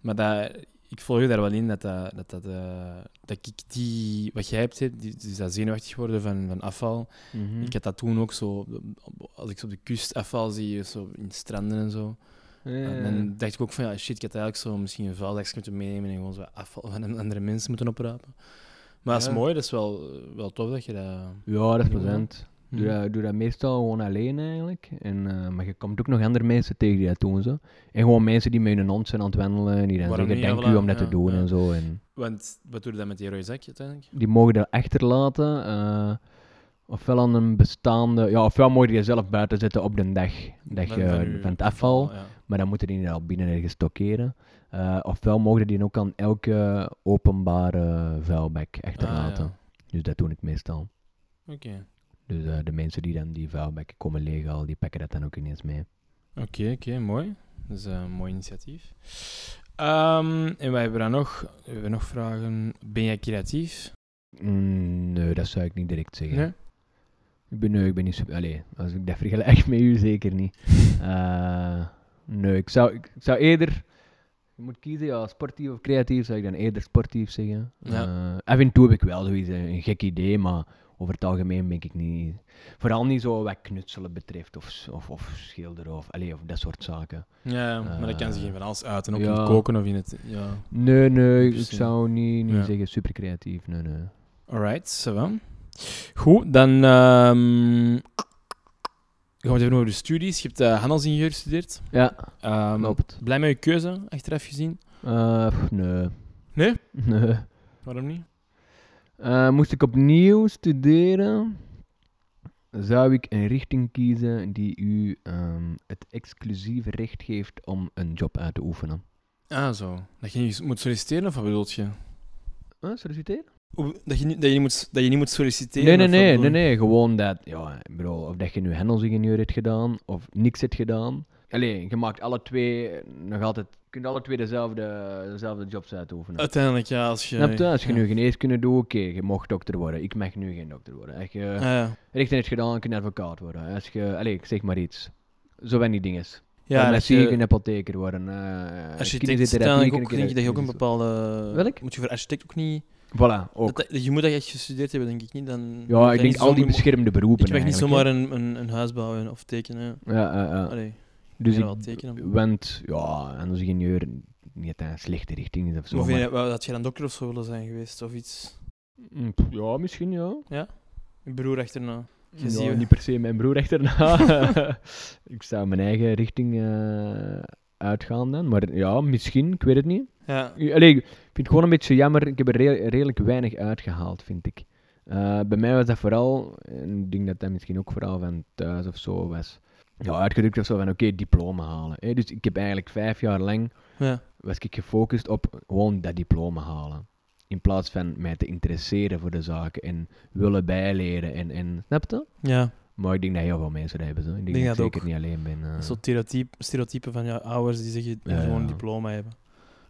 Speaker 1: Maar dat, ik volg je daar wel in dat, dat, dat, dat, eh, dat ik die, wat jij hebt, hè, die- dus dat zenuwachtig worden van, van afval,
Speaker 3: Mhm.
Speaker 1: ik had dat toen ook zo, op- op- als ik zo op de kust afval zie, zo in stranden en zo.
Speaker 3: Ja,
Speaker 1: En
Speaker 3: ja, ja.
Speaker 1: dan dacht ik ook van, ja, shit, ik had eigenlijk zo misschien een vuilzakje moeten meenemen en gewoon zo afval van andere mensen moeten oprapen. Maar dat is
Speaker 3: Ja.
Speaker 1: mooi, dat is wel, wel tof dat je dat...
Speaker 3: Ja, dat is
Speaker 1: Doe
Speaker 3: plezant.
Speaker 1: Hm.
Speaker 3: Doe, dat- doe dat meestal gewoon alleen eigenlijk. En, eh, maar je komt ook nog andere mensen tegen die dat doen. Zo. En gewoon mensen die met hun hond zijn aan het wandelen. En die dan
Speaker 1: Waarom
Speaker 3: zeggen,
Speaker 1: niet,
Speaker 3: dank
Speaker 1: ja,
Speaker 3: u om
Speaker 1: voilà,
Speaker 3: dat
Speaker 1: ja,
Speaker 3: te doen
Speaker 1: ja.
Speaker 3: en zo. En
Speaker 1: Want wat doe je dan met die rode zakje uiteindelijk?
Speaker 3: die mogen dat achterlaten. eh, ofwel aan een bestaande... Ja, ofwel mogen die zelf buiten zetten op de dag dat
Speaker 1: Van-
Speaker 3: je,
Speaker 1: van
Speaker 3: van,
Speaker 1: uw-
Speaker 3: het afval.
Speaker 1: Oh, Ja.
Speaker 3: Maar dan moeten die dan al binnen ergens stockeren. Eh, ofwel mogen die ook aan elke openbare vuilbak achterlaten.
Speaker 1: Ah,
Speaker 3: Dus dat doe ik meestal.
Speaker 1: ja. Oké,
Speaker 3: Dus eh, de mensen die dan die vuilbekken komen leeghalen, die pakken dat dan ook ineens mee.
Speaker 1: oké, oké, mooi. Dat is eh, een mooi initiatief. Ehm, en wij hebben dan nog, we hebben nog vragen. Ben jij creatief?
Speaker 3: Mm, nee, dat zou ik niet direct zeggen.
Speaker 1: Nee?
Speaker 3: Ik ben, nee, ik ben niet super... Allee, als ik dat vergelijk met u, zeker niet. Eh, nee, ik zou, ik zou eerder Je moet kiezen, ja, sportief of creatief, zou ik dan eerder sportief zeggen.
Speaker 1: Ja.
Speaker 3: Eh, af en toe heb ik wel zoiets, eh, een gek idee, maar over het algemeen ben ik niet... Vooral niet zo wat knutselen betreft, of, s- of, of schilderen, of, allee, of dat soort zaken.
Speaker 1: Ja, maar dan kan ze
Speaker 3: Eh,
Speaker 1: geen van alles uiten. Ook in
Speaker 3: ja.
Speaker 1: het koken of in het... Ja.
Speaker 3: Nee, nee, ik
Speaker 1: Precies.
Speaker 3: zou niet, niet
Speaker 1: Ja.
Speaker 3: zeggen super creatief, nee, nee.
Speaker 1: Alright, ça va. Goed, dan ehm, gaan we het even over de studies. Je hebt eh, handelsingenieur gestudeerd.
Speaker 3: Ja,
Speaker 1: Ehm,
Speaker 3: klopt.
Speaker 1: Blij met je keuze, achteraf gezien.
Speaker 3: Eh, pff, nee.
Speaker 1: Nee?
Speaker 3: Nee.
Speaker 1: Waarom niet?
Speaker 3: Eh, moest ik opnieuw studeren, zou ik een richting kiezen die u ehm, het exclusieve recht geeft om een job uit te oefenen.
Speaker 1: Ah, zo. Dat je niet moet solliciteren, of wat bedoel je? Oh,
Speaker 3: Eh, solliciteren?
Speaker 1: Hoe- Dat je, niet- dat, je niet moet, dat je niet moet solliciteren?
Speaker 3: Nee, nee,
Speaker 1: of wat
Speaker 3: nee, nee,
Speaker 1: bedoel je?
Speaker 3: nee, gewoon dat, ja, ik bedoel, of dat je nu handelsingenieur hebt gedaan, of niks hebt gedaan. Allee, je maakt alle twee nog altijd, je kunt alle twee dezelfde, dezelfde jobs uitoefenen.
Speaker 1: Uiteindelijk, ja, als je...
Speaker 3: Snap je? Als je
Speaker 1: ja.
Speaker 3: nu geneeskunde doet, oké, je mag dokter worden. Ik mag nu geen dokter worden. Als je
Speaker 1: Ah, ja,
Speaker 3: rechten hebt gedaan, kun je advocaat worden. Als je, allee, ik zeg maar iets. Zo weinig dingen.
Speaker 1: ja,
Speaker 3: dan
Speaker 1: dat
Speaker 3: zie
Speaker 1: je-
Speaker 3: ik een apotheker worden. eh
Speaker 1: Architect,
Speaker 3: kinesiotherapie
Speaker 1: uiteindelijk
Speaker 3: kun
Speaker 1: ook, denk ik dat je ook een
Speaker 3: kinesiotherapie
Speaker 1: bepaalde...
Speaker 3: dus- Welk?
Speaker 1: Moet je voor architect ook niet...
Speaker 3: Voilà, ook.
Speaker 1: Dat, dat- je moet dat echt gestudeerd hebben, denk ik niet. Dan,
Speaker 3: Ja, ik
Speaker 1: dan
Speaker 3: denk
Speaker 1: is
Speaker 3: al die
Speaker 1: ook-
Speaker 3: beschermde beroepen
Speaker 1: Ik mag niet zomaar
Speaker 3: eigenlijk,
Speaker 1: een, een, een huis bouwen of tekenen. ja.
Speaker 3: hè. Ja, ja, ja.
Speaker 1: Allee,
Speaker 3: Dus
Speaker 1: ja,
Speaker 3: ik
Speaker 1: wel tekenen.
Speaker 3: Want, ja, en als ingenieur niet dat een slechte richting is of zo.
Speaker 1: Of
Speaker 3: maar-
Speaker 1: je, wou dat je dan dokter of zo willen zijn geweest of iets.
Speaker 3: Mm, pff, Ja, misschien ja.
Speaker 1: Een broer achterna. Je
Speaker 3: ja
Speaker 1: ziet-
Speaker 3: niet per se mijn broer achterna. ik zou mijn eigen richting eh, uitgaan dan. Maar ja, misschien, ik weet het niet.
Speaker 1: Ja.
Speaker 3: Allee, ik vind het gewoon een beetje jammer. Ik heb er re- redelijk weinig uitgehaald, vind ik. Eh, bij mij was dat vooral, en ik denk dat dat misschien ook vooral van thuis of zo was. Ja, uitgedrukt of zo van oké, diploma halen. hè. Dus ik heb eigenlijk vijf jaar lang
Speaker 1: ja.
Speaker 3: was ik gefocust op gewoon dat diploma halen. In plaats van mij te interesseren voor de zaken en willen bijleren en, en snap je?
Speaker 1: Ja,
Speaker 3: Maar ik denk dat heel veel mensen dat hebben. Zo. Ik denk,
Speaker 1: Denk
Speaker 3: dat ik
Speaker 1: dat
Speaker 3: zeker
Speaker 1: ook.
Speaker 3: niet alleen ben. eh.
Speaker 1: dat is zo'n stereotype, stereotype van ja, ouders die zeggen je moet
Speaker 3: Ja,
Speaker 1: gewoon een
Speaker 3: ja.
Speaker 1: diploma hebben.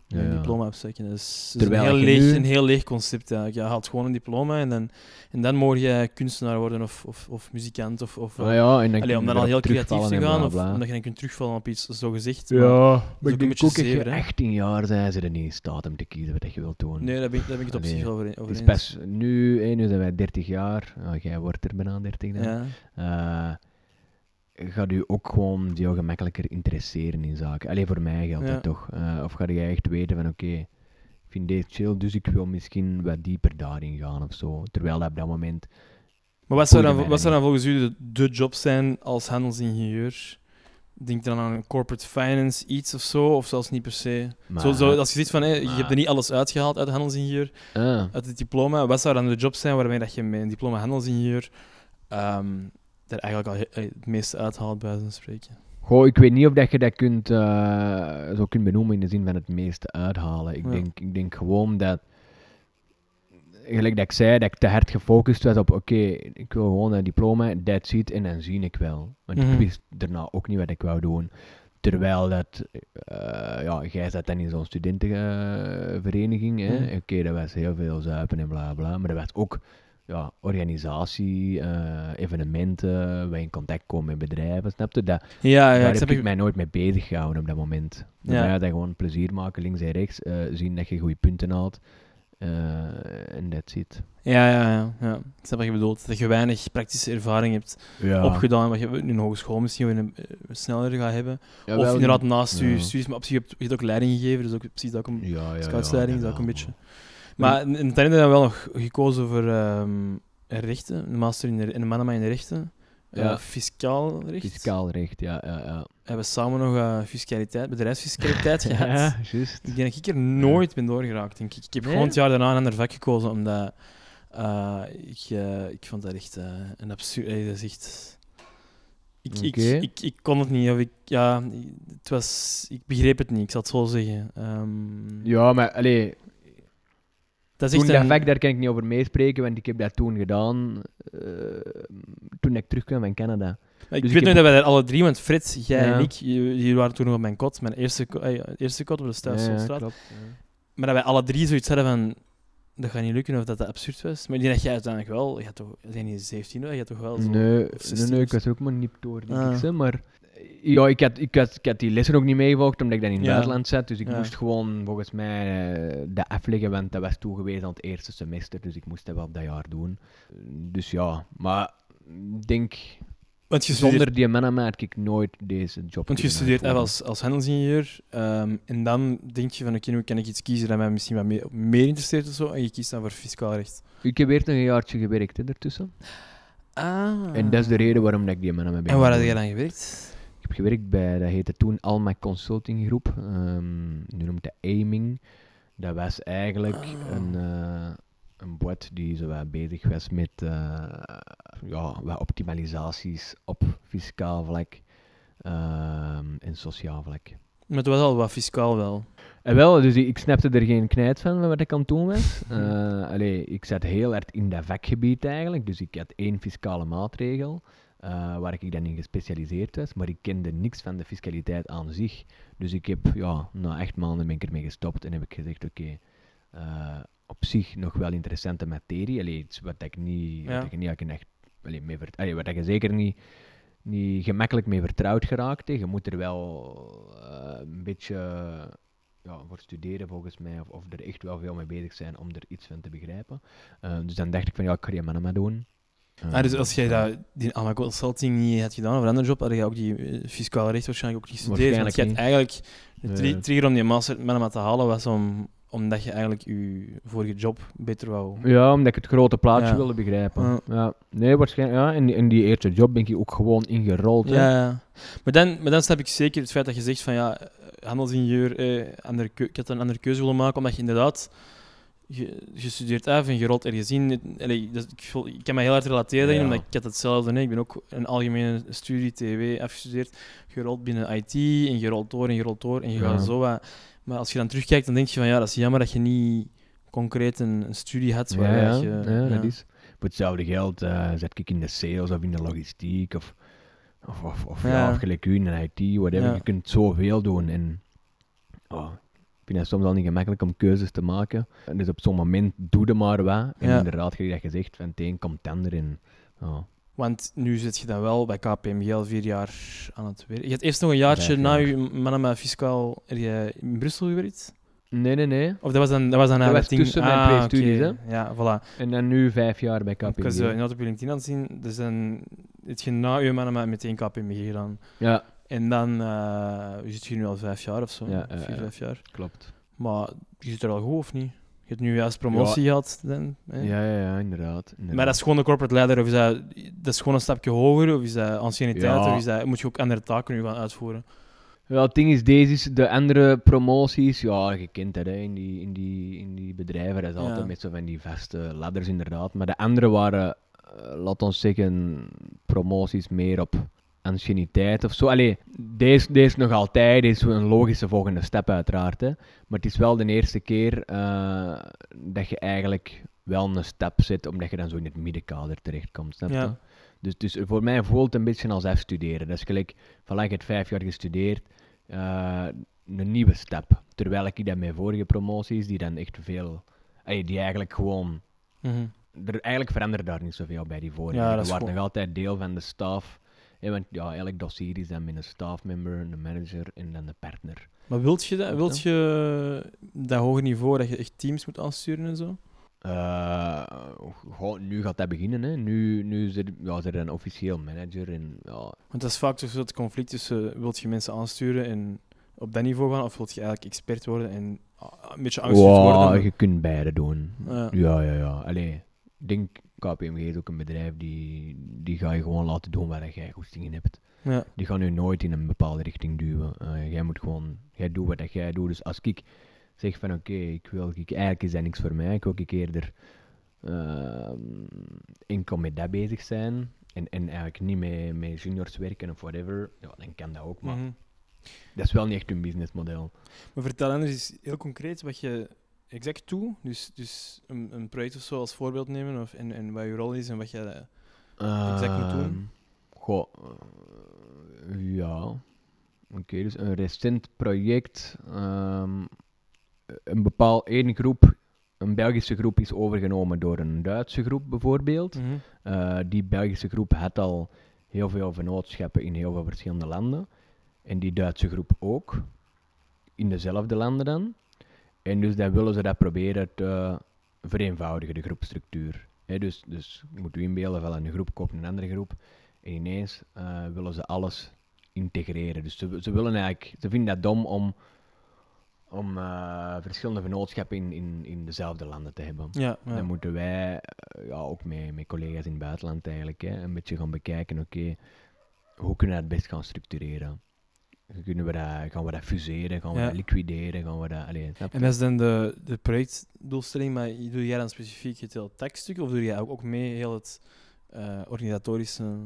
Speaker 3: Ja,
Speaker 1: Een
Speaker 3: ja.
Speaker 1: diploma afsteken. Dat is, dat is een,
Speaker 3: Terwijl
Speaker 1: heel
Speaker 3: je
Speaker 1: leeg,
Speaker 3: nu-
Speaker 1: een heel leeg concept eigenlijk. Je haalt gewoon een diploma en dan, en dan mocht je kunstenaar worden of, of, of muzikant. Of, of,
Speaker 3: Ah ja, en dan
Speaker 1: Allee, om dan
Speaker 3: erop
Speaker 1: al heel creatief
Speaker 3: terugvallen
Speaker 1: te
Speaker 3: en
Speaker 1: gaan
Speaker 3: bla,
Speaker 1: of
Speaker 3: bla.
Speaker 1: omdat je dan kunt terugvallen op iets zo gezegd. maar-
Speaker 3: Ja,
Speaker 1: ook
Speaker 3: maar
Speaker 1: een
Speaker 3: ik
Speaker 1: beetje
Speaker 3: denk ook als je
Speaker 1: zever, hè.
Speaker 3: 18 jaar zijn ze er niet in staat om te kiezen wat je wilt doen.
Speaker 1: Nee, daar ben, ik- daar ben ik het op
Speaker 3: Allee,
Speaker 1: zich wel over over
Speaker 3: het is
Speaker 1: eens.
Speaker 3: pas nu, hè, nu zijn wij 30 jaar. Ah, jij wordt er bijna 30 dan.
Speaker 1: Ja.
Speaker 3: eh, gaat u ook gewoon veel gemakkelijker interesseren in zaken. Alleen voor mij geldt
Speaker 1: Ja.
Speaker 3: dat toch. Eh, of ga jij echt weten van oké, ik vind deze chill, dus ik wil misschien wat dieper daarin gaan of zo. Terwijl dat op dat moment.
Speaker 1: Maar wat zou,
Speaker 3: Boeide mij
Speaker 1: dan, wat zou dan volgens u de, de job zijn als handelsingenieur? Denk dan aan een corporate finance iets of zo, of zelfs niet per se.
Speaker 3: Maar,
Speaker 1: zo, zo, als je ziet van hé, je hebt
Speaker 3: maar-
Speaker 1: er niet alles uitgehaald uit handelsingenieur,
Speaker 3: Ah,
Speaker 1: uit het diploma, wat zou dan de job zijn waarmee dat je met een diploma handelsingenieur ehm er eigenlijk al he- eh, het meeste uithaalt bij zo'n spreken?
Speaker 3: goh, ik weet niet of dat je dat kunt, eh, zo kunt benoemen in de zin van het meeste uithalen. Ik,
Speaker 1: Ja.
Speaker 3: denk, ik denk gewoon dat. Gelijk dat ik zei, dat ik te hard gefocust was op oké, ik wil gewoon een diploma, that's it, en dan zie ik wel. Want
Speaker 1: Mhm.
Speaker 3: ik wist daarna ook niet wat ik wou doen. Terwijl dat, eh, ja, jij zat dan in zo'n studentenvereniging, hè.
Speaker 1: Mhm.
Speaker 3: Oké, dat was heel veel zuipen en bla bla, maar dat was ook ja, organisatie, eh, evenementen, wij in contact komen met bedrijven, snap je? Dat,
Speaker 1: Ja, Ah, ja,
Speaker 3: daar
Speaker 1: ik
Speaker 3: heb
Speaker 1: snap
Speaker 3: ik
Speaker 1: je-
Speaker 3: mij nooit mee bezig gehouden op dat moment. Bij
Speaker 1: Ja.
Speaker 3: mij had dat gewoon plezier maken, links en rechts, eh, zien dat je goede punten haalt. eh, En that's it.
Speaker 1: ja, ja, ja, ja. Ik snap wat je bedoelt. Dat je weinig praktische ervaring hebt
Speaker 3: Ja.
Speaker 1: opgedaan, wat je in een hogeschool misschien wel een, eh, sneller gaat hebben. of inderdaad naast je
Speaker 3: ja.
Speaker 1: studies, maar op zich je hebt je hebt ook leiding gegeven, dus ook op zich dat ook een
Speaker 3: Ja, ja,
Speaker 1: scoutsleiding,
Speaker 3: ja,
Speaker 1: dat ook
Speaker 3: ja,
Speaker 1: een beetje.
Speaker 3: Maar-
Speaker 1: Maar in in het einde hebben we wel nog gekozen voor ehm, rechten, een master in de, en een mannenma in de rechten, eh,
Speaker 3: Ja.
Speaker 1: fiscaal recht.
Speaker 3: Fiscaal recht, ja, ja, ja.
Speaker 1: We hebben samen nog eh, fiscaliteit, bedrijfsfiscaliteit gehad.
Speaker 3: Ja, juist.
Speaker 1: Ik denk dat ik er nooit ben doorgeraakt, denk ik. Ik heb
Speaker 3: Nee?
Speaker 1: gewoon het jaar daarna een ander vak gekozen, omdat eh, ik, eh, ik vond dat echt eh, een absurd... eh, dat is echt... Ik, ik,
Speaker 3: Oké.
Speaker 1: ik, ik kon het niet, of ik... Ja, het was... Ik begreep het niet, ik zal het zo zeggen. Ehm,
Speaker 3: Ja, maar allee,
Speaker 1: dat is
Speaker 3: toen
Speaker 1: echt
Speaker 3: dat
Speaker 1: een...
Speaker 3: vak, daar kan ik niet over meespreken, want ik heb dat toen gedaan, eh, toen ik terugkwam van Canada.
Speaker 1: ik
Speaker 3: dus ik
Speaker 1: weet nog
Speaker 3: heb-
Speaker 1: dat wij daar alle drie, want Frits, jij
Speaker 3: Ja.
Speaker 1: en ik, j- jullie waren toen nog op mijn kot, mijn eerste, ko- eh, eerste kot op de Stuyvesantstraat.
Speaker 3: klopt. ja.
Speaker 1: Maar dat wij alle drie zoiets hadden van... Dat gaat niet lukken of dat dat absurd was. Maar die dat jij uiteindelijk wel... Je had toch... Je bent niet 17, hoor, je had toch wel zo...
Speaker 3: Nee, nee,
Speaker 1: 16
Speaker 3: nee,
Speaker 1: of
Speaker 3: ik was er ook maar niet door, denk
Speaker 1: Ah.
Speaker 3: ik, ze, maar... Ja, ik had, ik, had, ik had die lessen ook niet meegevolgd, omdat ik dat in het
Speaker 1: Ja.
Speaker 3: buitenland zat. Dus ik
Speaker 1: Ja.
Speaker 3: moest gewoon volgens mij eh, dat afleggen, want dat was toegewezen aan het eerste semester. Dus ik moest dat wel dat jaar doen. Dus ja, maar ik denk,
Speaker 1: Want je studeert,
Speaker 3: zonder die mannen maak ik nooit deze job.
Speaker 1: want je
Speaker 3: kunnen
Speaker 1: studeert
Speaker 3: uitvoeren.
Speaker 1: als, als handelsingenieur ehm, en dan denk je van oké, nu kan ik iets kiezen dat mij misschien wat meer, meer interesseert of zo. En je kiest dan voor fiscaal recht.
Speaker 3: Ik heb weer nog een jaartje gewerkt hè, ertussen.
Speaker 1: Ah.
Speaker 3: En dat is de reden waarom dat ik die mannen ben.
Speaker 1: En waar had
Speaker 3: gaan
Speaker 1: je
Speaker 3: doen.
Speaker 1: dan gewerkt?
Speaker 3: Ik heb gewerkt bij, dat heette toen Alma Consulting Groep. ehm, nu noemt dat Aiming. Dat was eigenlijk
Speaker 1: Ah.
Speaker 3: een, eh een boot die zo wat bezig was met eh, ja, wat optimalisaties op fiscaal vlak ehm, en sociaal vlak.
Speaker 1: Maar het was al wat fiscaal wel.
Speaker 3: En wel, dus ik snapte er geen knijt van, van wat ik aan het doen was. Eh, allee, ik zat heel hard in dat vakgebied eigenlijk. Dus ik had één fiscale maatregel, eh, waar ik dan in gespecialiseerd was. Maar ik kende niks van de fiscaliteit aan zich. Dus ik heb, ja, na acht maanden ben ik ermee gestopt en heb ik gezegd, oké, eh, op zich nog wel interessante materie. Allee, iets wat ik niet,
Speaker 1: Ja.
Speaker 3: wat ik niet eigenlijk echt, allee, mee vert- allee, wat ik zeker niet, niet gemakkelijk mee vertrouwd geraakt. hè. Je moet er wel eh, een beetje ja, voor studeren volgens mij, of, of er echt wel veel mee bezig zijn om er iets van te begrijpen. Eh, dus dan dacht ik van, ja, ik ga die manama doen. Eh,
Speaker 1: Ah, dus als jij
Speaker 3: ja.
Speaker 1: dat, die Alma Consulting niet had gedaan of een andere job, had je ook die eh, fiscale recht waarschijnlijk ook niet gestudeerd. Want
Speaker 3: Waarschijnlijk
Speaker 1: je had eigenlijk, de tri-
Speaker 3: Nee.
Speaker 1: trigger om die master met hem te halen was om, omdat je eigenlijk je vorige job beter wou.
Speaker 3: Ja, omdat ik het grote plaatje
Speaker 1: Ja.
Speaker 3: wilde begrijpen.
Speaker 1: Ja.
Speaker 3: Ja. Nee, waarschijnlijk. Ja. En, die- en die eerste job ben ik ook gewoon ingerold. hè.
Speaker 1: Ja, ja. Maar, dan, maar dan snap ik zeker het feit dat je zegt van ja, eh, handelsingenieur, eh, andere keu- ik had een andere keuze willen maken, omdat je inderdaad je, je studeert af en je rolt ergens in. Het- allee, dat, ik, voel- ik kan me heel hard relateren daarin,
Speaker 3: Ja.
Speaker 1: omdat ik had hetzelfde. Nee. Ik ben ook een algemene studie TW afgestudeerd, gerold binnen IT en je rolt door en je rolt door en je
Speaker 3: Ja.
Speaker 1: gaat zo wat. Maar als je dan terugkijkt, dan denk je van ja, dat is jammer dat je niet concreet een, een studie had.
Speaker 3: Ja,
Speaker 1: Waar
Speaker 3: ja,
Speaker 1: dat je,
Speaker 3: ja,
Speaker 1: ja.
Speaker 3: dat is. Voor hetzelfde geld eh, zet ik in de sales of in de logistiek of, of, of, of, ja.
Speaker 1: Ja.
Speaker 3: of gelijk u in de IT, whatever.
Speaker 1: Ja.
Speaker 3: Je kunt zoveel doen. En oh, ik vind het soms al niet gemakkelijk om keuzes te maken. En dus op zo'n moment doe je maar wat. En
Speaker 1: Ja.
Speaker 3: inderdaad, gelijk dat je zegt, van het een komt het ander in. Oh.
Speaker 1: Want nu zit je dan wel bij KPMG al vier jaar aan het werk. Je hebt eerst nog een jaartje
Speaker 3: Vijf
Speaker 1: na
Speaker 3: jaar.
Speaker 1: je Manama Fiscaal heb je in Brussel gewerkt?
Speaker 3: Nee, nee, nee.
Speaker 1: Of dat was dan, dat was dan
Speaker 3: Dat was
Speaker 1: eigenlijk-
Speaker 3: tussen mijn twee
Speaker 1: oké.
Speaker 3: studies, hè?
Speaker 1: Ja, voilà.
Speaker 3: En dan nu vijf jaar bij
Speaker 1: Ik
Speaker 3: KPMG.
Speaker 1: was uh, inderdaad op je LinkedIn aan het zien. Dus dan heb je na je Manama meteen KPMG gedaan.
Speaker 3: Ja,
Speaker 1: En dan eh, je zit je nu al vijf jaar of zo.
Speaker 3: Ja, ja,
Speaker 1: vier,
Speaker 3: ja.
Speaker 1: vijf jaar.
Speaker 3: klopt.
Speaker 1: Maar je zit er al goed, of niet? Je hebt nu juist promotie gehad. Dan, hè?
Speaker 3: Ja, ja, ja, inderdaad.
Speaker 1: Maar dat is gewoon de corporate leider, of is dat, dat is gewoon een stapje hoger, of is dat anciëniteit,
Speaker 3: Ja.
Speaker 1: of is dat, moet je ook andere taken nu gaan uitvoeren?
Speaker 3: Wel, het ding is, deze is de andere promoties, ja, je kent dat hè, in, die, in, die, in die bedrijven, dat is
Speaker 1: Ja.
Speaker 3: altijd met zo van die vaste ladders inderdaad. Maar de andere waren, eh, laat ons zeggen, promoties meer op anciëniteit of zo. Allee, deze, deze nog altijd, deze is een logische volgende stap uiteraard. Hè. Maar het is wel de eerste keer eh, dat je eigenlijk wel een stap zet, omdat je dan zo in het middenkader terechtkomt, snap je?
Speaker 1: Ja.
Speaker 3: Dus, dus voor mij voelt het een beetje als afstuderen. Dat is gelijk, van ik heb vijf jaar gestudeerd, eh, een nieuwe stap. Terwijl ik dat mijn vorige promoties, die dan echt veel... ey, die eigenlijk gewoon...
Speaker 1: Mhm.
Speaker 3: Er, eigenlijk verandert daar niet zoveel bij die vorige.
Speaker 1: Ja,
Speaker 3: Je
Speaker 1: dat is
Speaker 3: wordt
Speaker 1: goed.
Speaker 3: nog altijd deel van de staf. Ja, want ja, elk dossier is dan met een staffmember, een manager en dan de partner.
Speaker 1: Maar wilt je dat,
Speaker 3: Wat
Speaker 1: wilt
Speaker 3: dan?
Speaker 1: je dat hoger niveau, dat je echt teams moet aansturen en zo?
Speaker 3: Eh, goh, nu gaat dat beginnen. Hè. Nu, nu is, er, ja, is er een officieel manager. En, ja,
Speaker 1: Want dat is vaak toch zo het conflict tussen wilt je mensen aansturen en op dat niveau gaan, of wilt je eigenlijk expert worden en ah, een beetje aangestuurd
Speaker 3: Ja,
Speaker 1: worden?
Speaker 3: je kunt beide doen.
Speaker 1: Ja.
Speaker 3: Ja, ja, ja. Allee, ik denk, KPMG is ook een bedrijf die, die ga je gewoon laten doen waar jij goesting in hebt.
Speaker 1: Ja.
Speaker 3: Die gaan je nooit in een bepaalde richting duwen. Eh, jij moet gewoon, jij doet wat dat jij doet. Dus als ik zeg van oké, ik wil, ik, eigenlijk is dat niks voor mij. Ik wil ik eerder ehm enkel met dat bezig zijn. En, en eigenlijk niet met, met juniors werken of whatever. Ja, dan kan dat ook. Maar
Speaker 1: Mhm.
Speaker 3: dat is wel niet echt hun businessmodel.
Speaker 1: Maar vertel anders eens heel concreet wat je exact doet. Dus, dus een, een project of zo als voorbeeld nemen of, en, en wat je rol is en wat je... exact moet doen?
Speaker 3: Ehm, Goh, eh, ja. Oké, dus een recent project. ehm, een bepaald één groep, een Belgische groep, is overgenomen door een Duitse groep bijvoorbeeld.
Speaker 1: Mhm.
Speaker 3: Eh, die Belgische groep had al heel veel vennootschappen in heel veel verschillende landen. En die Duitse groep ook, in dezelfde landen dan. En dus dan willen ze dat proberen te vereenvoudigen, de groepstructuur. Hè, dus, dus je moet u inbeelden, van een groep koopt een andere groep. En ineens eh, willen ze alles integreren. Dus ze, ze willen eigenlijk, ze vinden dat dom om, om eh, verschillende vennootschappen in, in, in dezelfde landen te hebben.
Speaker 1: Ja,
Speaker 3: Dan moeten wij, eh, ja, ook met, met collega's in het buitenland eigenlijk, hè, een beetje gaan bekijken, oké, hoe kunnen we dat best gaan structureren? Kunnen we dat, gaan we dat fuseren? Gaan we
Speaker 1: Ja.
Speaker 3: dat liquideren? Gaan we dat... Allee, snap je?
Speaker 1: En dat is dan de, de projectdoelstelling, maar doe jij dan specifiek het hele tekststuk of doe jij ook, ook mee heel het eh, organisatorische?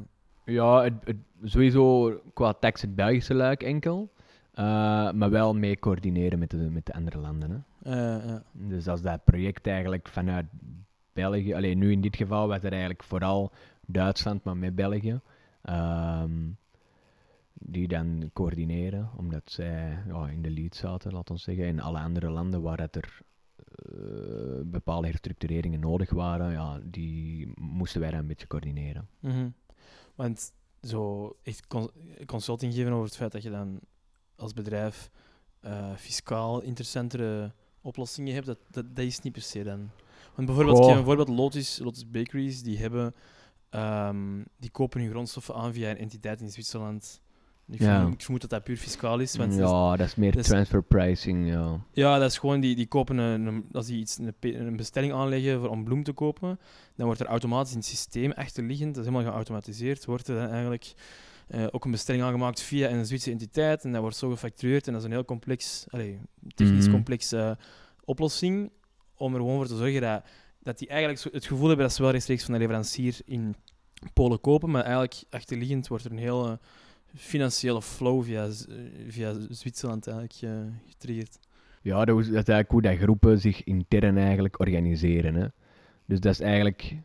Speaker 3: Ja, het, het- sowieso qua tekst het Belgische luik enkel. eh, maar wel mee coördineren met de, met de andere landen. Hè.
Speaker 1: eh, ja.
Speaker 3: Dus als dat project eigenlijk vanuit België, alleen nu in dit geval was het eigenlijk vooral Duitsland, maar met België, ehm, die dan coördineren, omdat zij ja, in de lead zaten, laten we zeggen, in alle andere landen waar dat er eh, bepaalde herstructureringen nodig waren, ja, die moesten wij dan een beetje coördineren.
Speaker 1: mhm. Want zo echt cons- consulting geven over het feit dat je dan als bedrijf eh, fiscaal interessantere oplossingen hebt, dat, dat, dat is niet per se dan. Want bijvoorbeeld, ik
Speaker 3: Goh.
Speaker 1: geef een voorbeeld Lotus, Lotus Bakeries, die hebben, ehm, die kopen hun grondstoffen aan via een entiteit in Zwitserland. Ik,
Speaker 3: Ja.
Speaker 1: vermoed, ik vermoed dat dat puur fiscaal is, Dus want dat is-
Speaker 3: ja, dat is meer
Speaker 1: dat is-
Speaker 3: transfer pricing. Ja.
Speaker 1: Ja, dat is gewoon, die, die kopen een, een- als die iets, een, pe- een bestelling aanleggen voor, om bloem te kopen, dan wordt er automatisch in het systeem achterliggend, dat is helemaal geautomatiseerd, wordt er dan eigenlijk eh, ook een bestelling aangemaakt via een Zwitserse entiteit en dat wordt zo gefactureerd en dat is een heel complex, allee, technisch
Speaker 3: Mhm.
Speaker 1: complexe oplossing om er gewoon voor te zorgen dat, dat die eigenlijk zo het gevoel hebben dat ze wel rechtstreeks van de leverancier in Polen kopen, maar eigenlijk achterliggend wordt er een hele financiële flow via, Z- eh, via Zwitserland eigenlijk eh, getriggerd.
Speaker 3: Ja, dat is, dat is eigenlijk hoe dat groepen zich intern eigenlijk organiseren. Hè. Dus dat is eigenlijk,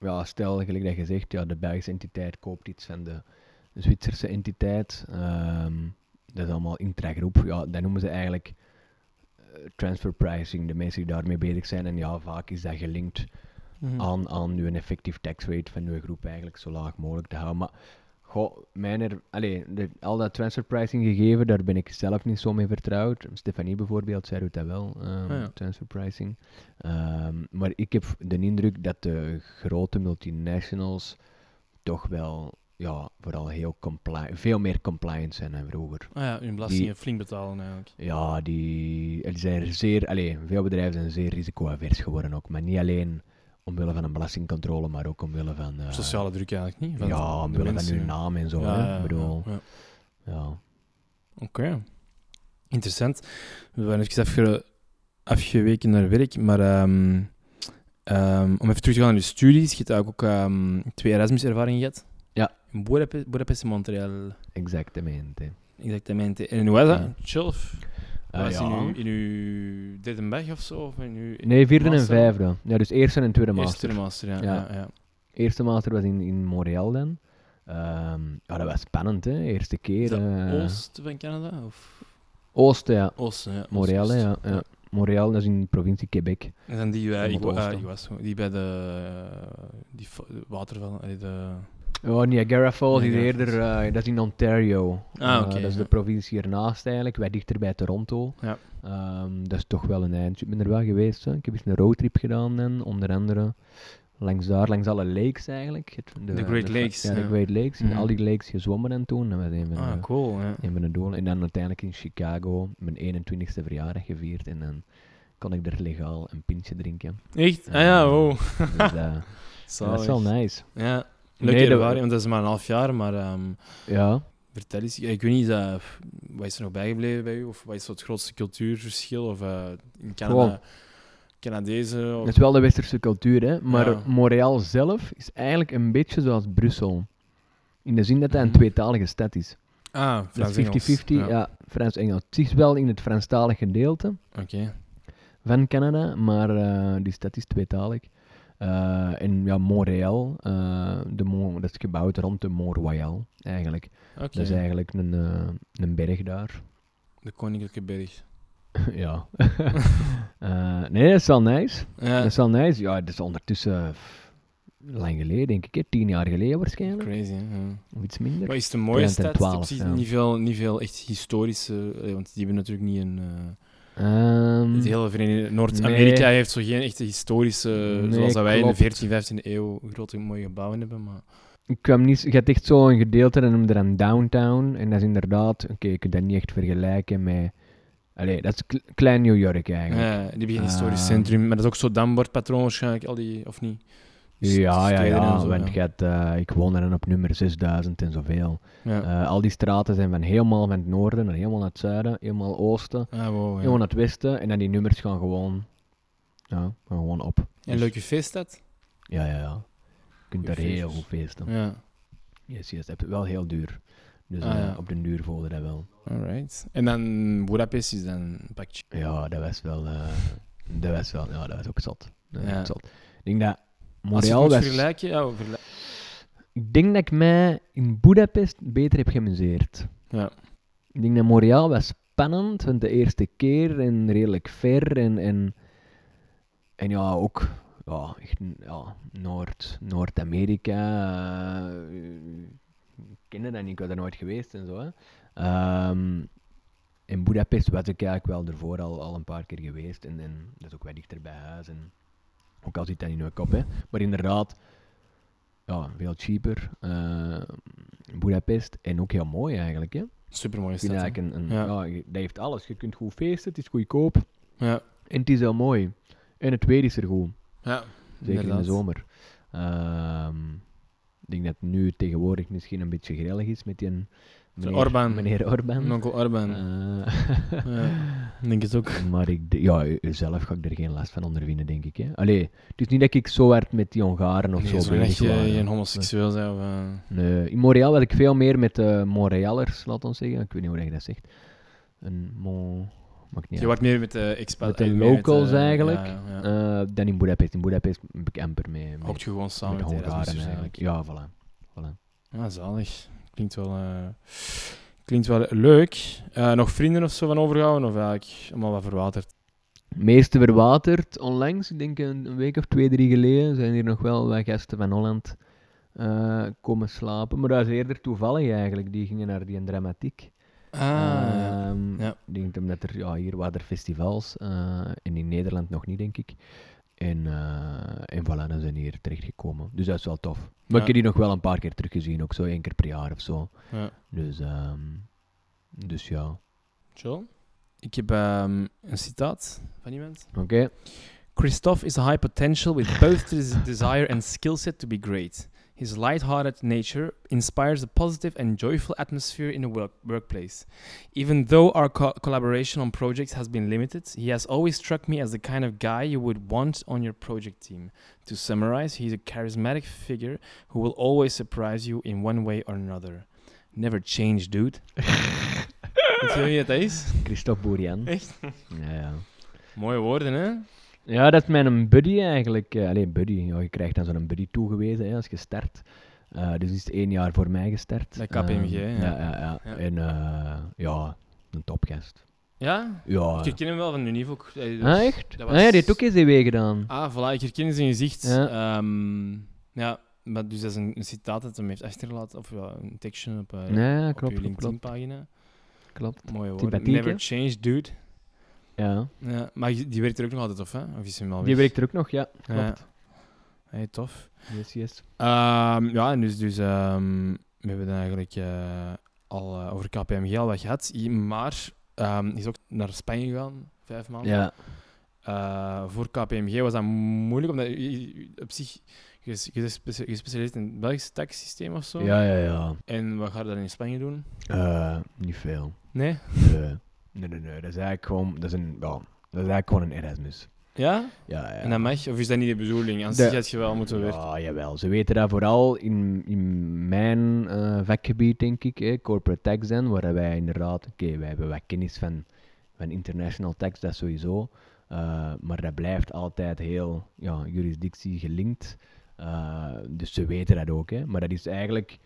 Speaker 3: ja, stel gelijk dat je zegt, ja, de Belgische entiteit koopt iets van de Zwitserse entiteit. ehm, dat is allemaal intragroep. Ja, dat noemen ze eigenlijk eh, transfer pricing, de mensen die daarmee bezig zijn. En ja, vaak is dat gelinkt
Speaker 1: Mhm.
Speaker 3: aan, aan je effective tax rate van je groep eigenlijk zo laag mogelijk te houden. Maar goh, mijn er, allee, de- al dat transfer pricing gegeven, daar ben ik zelf niet zo mee vertrouwd. Stefanie bijvoorbeeld, zij doet dat wel, ehm,
Speaker 1: Ah, ja.
Speaker 3: transfer pricing. Ehm, maar ik heb de indruk dat de grote multinationals toch wel, ja, vooral heel compliant, veel meer compliant zijn dan vroeger.
Speaker 1: Ah ja, hun belastingen
Speaker 3: Die-
Speaker 1: flink betalen eigenlijk.
Speaker 3: Ja, die, die zijn er zeer, allee, veel bedrijven zijn zeer risicoavers geworden ook. Maar niet alleen omwille van een belastingcontrole, maar ook omwille van... eh,
Speaker 1: Sociale druk eigenlijk niet. Van
Speaker 3: ja,
Speaker 1: de
Speaker 3: omwille van
Speaker 1: mensen.
Speaker 3: hun naam en zo.
Speaker 1: Ja,
Speaker 3: hè.
Speaker 1: ja,
Speaker 3: Ik bedoel,
Speaker 1: ja, ja.
Speaker 3: ja.
Speaker 1: Oké. Interessant. We waren even afge- afgeweken naar werk, maar ehm, ehm, om even terug te gaan naar je studies. Je hebt eigenlijk ook ehm, twee Erasmus-ervaringen gehad.
Speaker 3: Ja.
Speaker 1: In Boedape- Budapest en Montreal.
Speaker 3: exactamente.
Speaker 1: Exactamente. En hoe was dat?
Speaker 3: Ja.
Speaker 1: Chill. of
Speaker 3: Ah,
Speaker 1: was
Speaker 3: ja.
Speaker 1: in, uw, in uw derde weg of zo? Of in uw
Speaker 3: Nee, vierde en
Speaker 1: master?
Speaker 3: vijfde. Ja, dus eerste en tweede master.
Speaker 1: Eerste master, ja.
Speaker 3: Ja.
Speaker 1: ja. ja,
Speaker 3: Eerste master was in, in Montreal dan. Ehm, ja, dat was spannend, hè. Eerste
Speaker 1: Is
Speaker 3: keer.
Speaker 1: dat
Speaker 3: eh,
Speaker 1: Oost van Canada? Of?
Speaker 3: Oosten, ja.
Speaker 1: Oosten, ja. Oost-
Speaker 3: Montreal, hè,
Speaker 1: Oost.
Speaker 3: ja. ja. Montreal, dat is in de provincie Quebec.
Speaker 1: En dan die,
Speaker 3: Om
Speaker 1: bij,
Speaker 3: het
Speaker 1: ik, wa-
Speaker 3: oosten.
Speaker 1: ah, ik was, die bij de eh, die fa- de watervallen. allee, De...
Speaker 3: Oh, Niagara Falls is
Speaker 1: Niagara
Speaker 3: eerder, eh, dat is in Ontario.
Speaker 1: Ah,
Speaker 3: Eh,
Speaker 1: oké,
Speaker 3: dat is
Speaker 1: ja.
Speaker 3: de provincie hiernaast eigenlijk, wij dichter bij Toronto.
Speaker 1: Ja.
Speaker 3: Ehm, dat is toch wel een eindje. Ik ben er wel geweest, hè. ik heb eens een roadtrip gedaan en onder andere langs daar, langs alle lakes eigenlijk. Het-
Speaker 1: De Great
Speaker 3: fa-
Speaker 1: Lakes,
Speaker 3: Ja, de
Speaker 1: ja.
Speaker 3: Great Lakes. In
Speaker 1: Mhm.
Speaker 3: al die lakes gezwommen en toen. Dat was een van, de,
Speaker 1: Ah, cool. Ja.
Speaker 3: een van de doelen. En dan uiteindelijk in Chicago mijn 21ste verjaardag gevierd en dan kon ik er legaal een pintje drinken.
Speaker 1: Echt? Ah ja, wow.
Speaker 3: Dus, eh, dat is wel
Speaker 1: Zalig.
Speaker 3: nice.
Speaker 1: Ja, leuke
Speaker 3: Nee, dat-
Speaker 1: ervaring, want dat is maar een half jaar, maar ehm,
Speaker 3: Ja.
Speaker 1: vertel eens. Ik weet niet, eh, wat is er nog bijgebleven bij u? Of wat is zo het grootste cultuurverschil? Of eh, in Canada,
Speaker 3: Gewoon.
Speaker 1: Canadezen? Of...
Speaker 3: Dat is wel de westerse cultuur, hè? maar
Speaker 1: Ja.
Speaker 3: Montreal zelf is eigenlijk een beetje zoals Brussel. In de zin dat dat een
Speaker 1: Mhm.
Speaker 3: tweetalige stad is.
Speaker 1: Ah,
Speaker 3: Dat is
Speaker 1: Frans-Engels.
Speaker 3: 50-50, ja, Frans-Engels. Het is wel in het Franstalig gedeelte
Speaker 1: Oké.
Speaker 3: van Canada, maar eh, die stad is tweetalig. Eh, en ja, Montreal, eh, de Mo- dat is gebouwd rond de Mont Royal, eigenlijk.
Speaker 1: Oké.
Speaker 3: Dat is eigenlijk een, eh, een berg daar.
Speaker 1: De Koninklijke Berg.
Speaker 3: ja. Eh, nee, dat is wel nice.
Speaker 1: Ja, Eh.
Speaker 3: Dat is wel nice. Ja, het is ondertussen pff, lang geleden, denk ik, hè? tien jaar geleden waarschijnlijk.
Speaker 1: Crazy, hè? Ja.
Speaker 3: Of iets minder.
Speaker 1: Wat is de mooie
Speaker 3: 312,
Speaker 1: stad? Ik zie
Speaker 3: ja.
Speaker 1: niet, veel, niet veel echt historische, eh, want die hebben natuurlijk niet een. eh,
Speaker 3: Ehm,
Speaker 1: het hele Verenigde Noord-Amerika
Speaker 3: nee.
Speaker 1: heeft zo geen echte historische,
Speaker 3: Nee,
Speaker 1: zoals dat wij in de
Speaker 3: klopt.
Speaker 1: 14e, 15e eeuw grote mooie gebouwen hebben. Maar
Speaker 3: Ik kwam niet, je hebt echt zo'n gedeelte en noemde dan downtown. En dat is inderdaad, oké, je kunt dat niet echt vergelijken met. Allee, dat is kle- klein New York eigenlijk.
Speaker 1: ja, die hebben geen historisch
Speaker 3: Ah.
Speaker 1: centrum, maar dat is ook zo'n dambordpatroon waarschijnlijk, al die, of niet? Dus
Speaker 3: ja, ja,
Speaker 1: steden
Speaker 3: ja.
Speaker 1: en zo,
Speaker 3: want je hebt, eh, ik woon er dan op nummer 6000 en zoveel.
Speaker 1: Ja.
Speaker 3: Eh, al die straten zijn van helemaal van het noorden naar helemaal naar het zuiden, helemaal oosten,
Speaker 1: Ah, wow, ja.
Speaker 3: helemaal naar het westen. En dan die nummers gaan gewoon, ja, gaan gewoon op.
Speaker 1: En leuke feeststad?
Speaker 3: Ja, ja, ja. Je kunt
Speaker 1: Goeie
Speaker 3: daar heel
Speaker 1: feestjes.
Speaker 3: goed feesten.
Speaker 1: Ja,
Speaker 3: Yes, yes. Het is wel heel duur. Dus
Speaker 1: Ah,
Speaker 3: eh,
Speaker 1: ja.
Speaker 3: op den duur voelde dat wel.
Speaker 1: alright. En dan Budapest is dan een pakje.
Speaker 3: Ja, dat was wel. eh, dat was wel. Ja, dat was ook zat. Dat was
Speaker 1: Ja.
Speaker 3: ook zat. Ik denk dat.
Speaker 1: Als je het
Speaker 3: Montreal
Speaker 1: moet
Speaker 3: was.
Speaker 1: vergelijken, ja, dus vergelijk-
Speaker 3: Ik denk dat ik mij in Budapest beter heb geamuseerd.
Speaker 1: Ja.
Speaker 3: Ik denk dat Montreal was spannend, want de eerste keer en redelijk ver en. En, en ja, ook. Ja, echt, ja, Noord, Noord-Amerika. eh, ik kende dat niet, ik was daar nooit geweest en zo. Hè. Ehm, in Budapest was ik eigenlijk wel ervoor al, al een paar keer geweest. En, en dat is ook wel dichter bij huis. En, ook al zit dat niet in mijn kop, hè. Maar inderdaad, ja, veel cheaper. eh, Budapest en ook heel mooi eigenlijk, hè.
Speaker 1: supermooie
Speaker 3: Ik vind
Speaker 1: stad. hè.
Speaker 3: eigenlijk een, een,
Speaker 1: Ja.
Speaker 3: ja. je- dat heeft alles. Je kunt goed feesten, het is goedkoop
Speaker 1: Ja,
Speaker 3: en het is heel mooi. En het weer is er goed,
Speaker 1: ja.
Speaker 3: zeker in de zomer. Ehm, ik denk dat het nu tegenwoordig misschien een beetje grillig is met die meneer
Speaker 1: Orbán.
Speaker 3: Meneer Orbán.
Speaker 1: Onkel Orban.
Speaker 3: Eh,
Speaker 1: Ja, ik denk het ook.
Speaker 3: Maar ik, d- ja, u- zelf ga ik er geen last van ondervinden, denk ik. Hè? Allee, het is niet dat ik zo hard met die Hongaren of
Speaker 1: Nee,
Speaker 3: zo
Speaker 1: zolang
Speaker 3: bezig
Speaker 1: eh, je
Speaker 3: waren.
Speaker 1: geen homoseksueel zijn of... eh,
Speaker 3: Nee, in Montreal had ik veel meer met eh Montrealers, laat ons zeggen. Ik weet niet hoe dat je dat zegt. Een Mon... Maakt niet
Speaker 1: Je
Speaker 3: uit.
Speaker 1: wordt meer met de expat...
Speaker 3: Met de
Speaker 1: eh, meer met,
Speaker 3: locals
Speaker 1: eh,
Speaker 3: eigenlijk.
Speaker 1: Ja, ja.
Speaker 3: Eh, dan in Budapest. In Budapest heb ik amper mee. met-
Speaker 1: Hoopt je gewoon samen
Speaker 3: met
Speaker 1: met,
Speaker 3: de
Speaker 1: de
Speaker 3: Hongaren
Speaker 1: Erasmus
Speaker 3: eigenlijk.
Speaker 1: eigenlijk.
Speaker 3: Ja, voilà. voilà.
Speaker 1: Ja, zalig. Klinkt wel, eh, klinkt wel leuk. Eh, nog vrienden of zo van overgehouden? Of eigenlijk allemaal wat verwaterd?
Speaker 3: Meeste verwaterd onlangs, ik denk een een week of twee, drie geleden, zijn hier nog wel wat gasten van Holland eh, komen slapen. Maar dat is eerder toevallig eigenlijk. Die gingen naar die en dramatiek.
Speaker 1: Ah, ja.
Speaker 3: Ehm,
Speaker 1: Ja.
Speaker 3: Ik denk omdat er, ja, hier waren er festivals eh, en in Nederland nog niet, denk ik. En, eh, en voilà, dan zijn die hier terechtgekomen. Dus dat is wel tof. Maar
Speaker 1: Ja.
Speaker 3: ik heb die nog wel een paar keer teruggezien, ook zo één keer per jaar of zo.
Speaker 1: Ja.
Speaker 3: Dus, ehm, dus ja. Oké.
Speaker 1: Joel? Ik heb ehm, een citaat van iemand. Christophe is a high potential with both his desire and skill set to be great. His light-hearted nature inspires a positive and joyful atmosphere in the work- workplace. Even though our co- collaboration on projects has been limited, he has always struck me as the kind of guy you would want on your project team. To summarize, he's a charismatic figure who will always surprise you in one way or another. Never change, dude. Weet je wie dat is?
Speaker 3: Christophe Bourian.
Speaker 1: Echt?
Speaker 3: Ja, ja.
Speaker 1: Mooie woorden, hè?
Speaker 3: Ja, dat is mijn buddy eigenlijk. eh, alleen buddy. Ja, je krijgt dan zo'n buddy toegewezen hè, als je start. Eh, dus is het één jaar voor mij gestart.
Speaker 1: Bij
Speaker 3: Ehm,
Speaker 1: KPMG, ja.
Speaker 3: Ja, ja, ja.
Speaker 1: Ja.
Speaker 3: En eh, ja, een topgast.
Speaker 1: Ja?
Speaker 3: Ja.
Speaker 1: Ik herken hem wel van hun niveau. Hij- dus-
Speaker 3: Ah, echt?
Speaker 1: dat
Speaker 3: Ah ja, die heeft
Speaker 1: was-
Speaker 3: ook ECW gedaan.
Speaker 1: Ah, voilà, ik herken zijn gezicht.
Speaker 3: Ja.
Speaker 1: Ja, ja maar dus dat is een, een citaat dat hem heeft achtergelaten, of ja, een tekstje op, eh
Speaker 3: Nee, klopt, klopt,
Speaker 1: op je
Speaker 3: klopt,
Speaker 1: LinkedIn-pagina.
Speaker 3: klopt.
Speaker 1: Mooie woorden.
Speaker 3: Sympathiek,
Speaker 1: Never
Speaker 3: hè?
Speaker 1: change, dude.
Speaker 3: Ja.
Speaker 1: Ja, maar die die werkt er ook nog altijd, of hè? Of is hem al
Speaker 3: Die
Speaker 1: weg?
Speaker 3: werkt er ook nog, ja.
Speaker 1: Ja.
Speaker 3: Klopt.
Speaker 1: Hey, tof.
Speaker 3: Yes, yes.
Speaker 1: Ehm, ja, en dus, dus ehm, we hebben dan eigenlijk eh, al eh, over KPMG al wat gehad. I- Maar ehm, hij is ook naar Spanje gegaan, vijf maanden.
Speaker 3: Ja.
Speaker 1: Eh, voor KPMG was dat moeilijk, omdat je- je- je- op zich, je is je is gespe- gespecialiseerd in het Belgische taxsysteem of zo.
Speaker 3: Ja, ja, ja.
Speaker 1: En wat ga je dan in Spanje doen?
Speaker 3: Eh, niet veel.
Speaker 1: Nee?
Speaker 3: Nee. nee, nee, nee. Dat is eigenlijk gewoon, dat is een, ja, dat is eigenlijk gewoon een Erasmus.
Speaker 1: Ja?
Speaker 3: Ja, ja.
Speaker 1: En dat mag? Of is dat niet de bedoeling? Anders
Speaker 3: De-
Speaker 1: had je wel moeten werken.
Speaker 3: Ja, jawel. Ze weten dat vooral in, in mijn eh, vakgebied, denk ik, hè, corporate tax dan, waar wij inderdaad, oké, wij hebben wat kennis van, van international tax, dat sowieso, eh, maar dat blijft altijd heel ja, juridictie gelinkt. Eh, dus ze weten dat ook, hè. maar dat is eigenlijk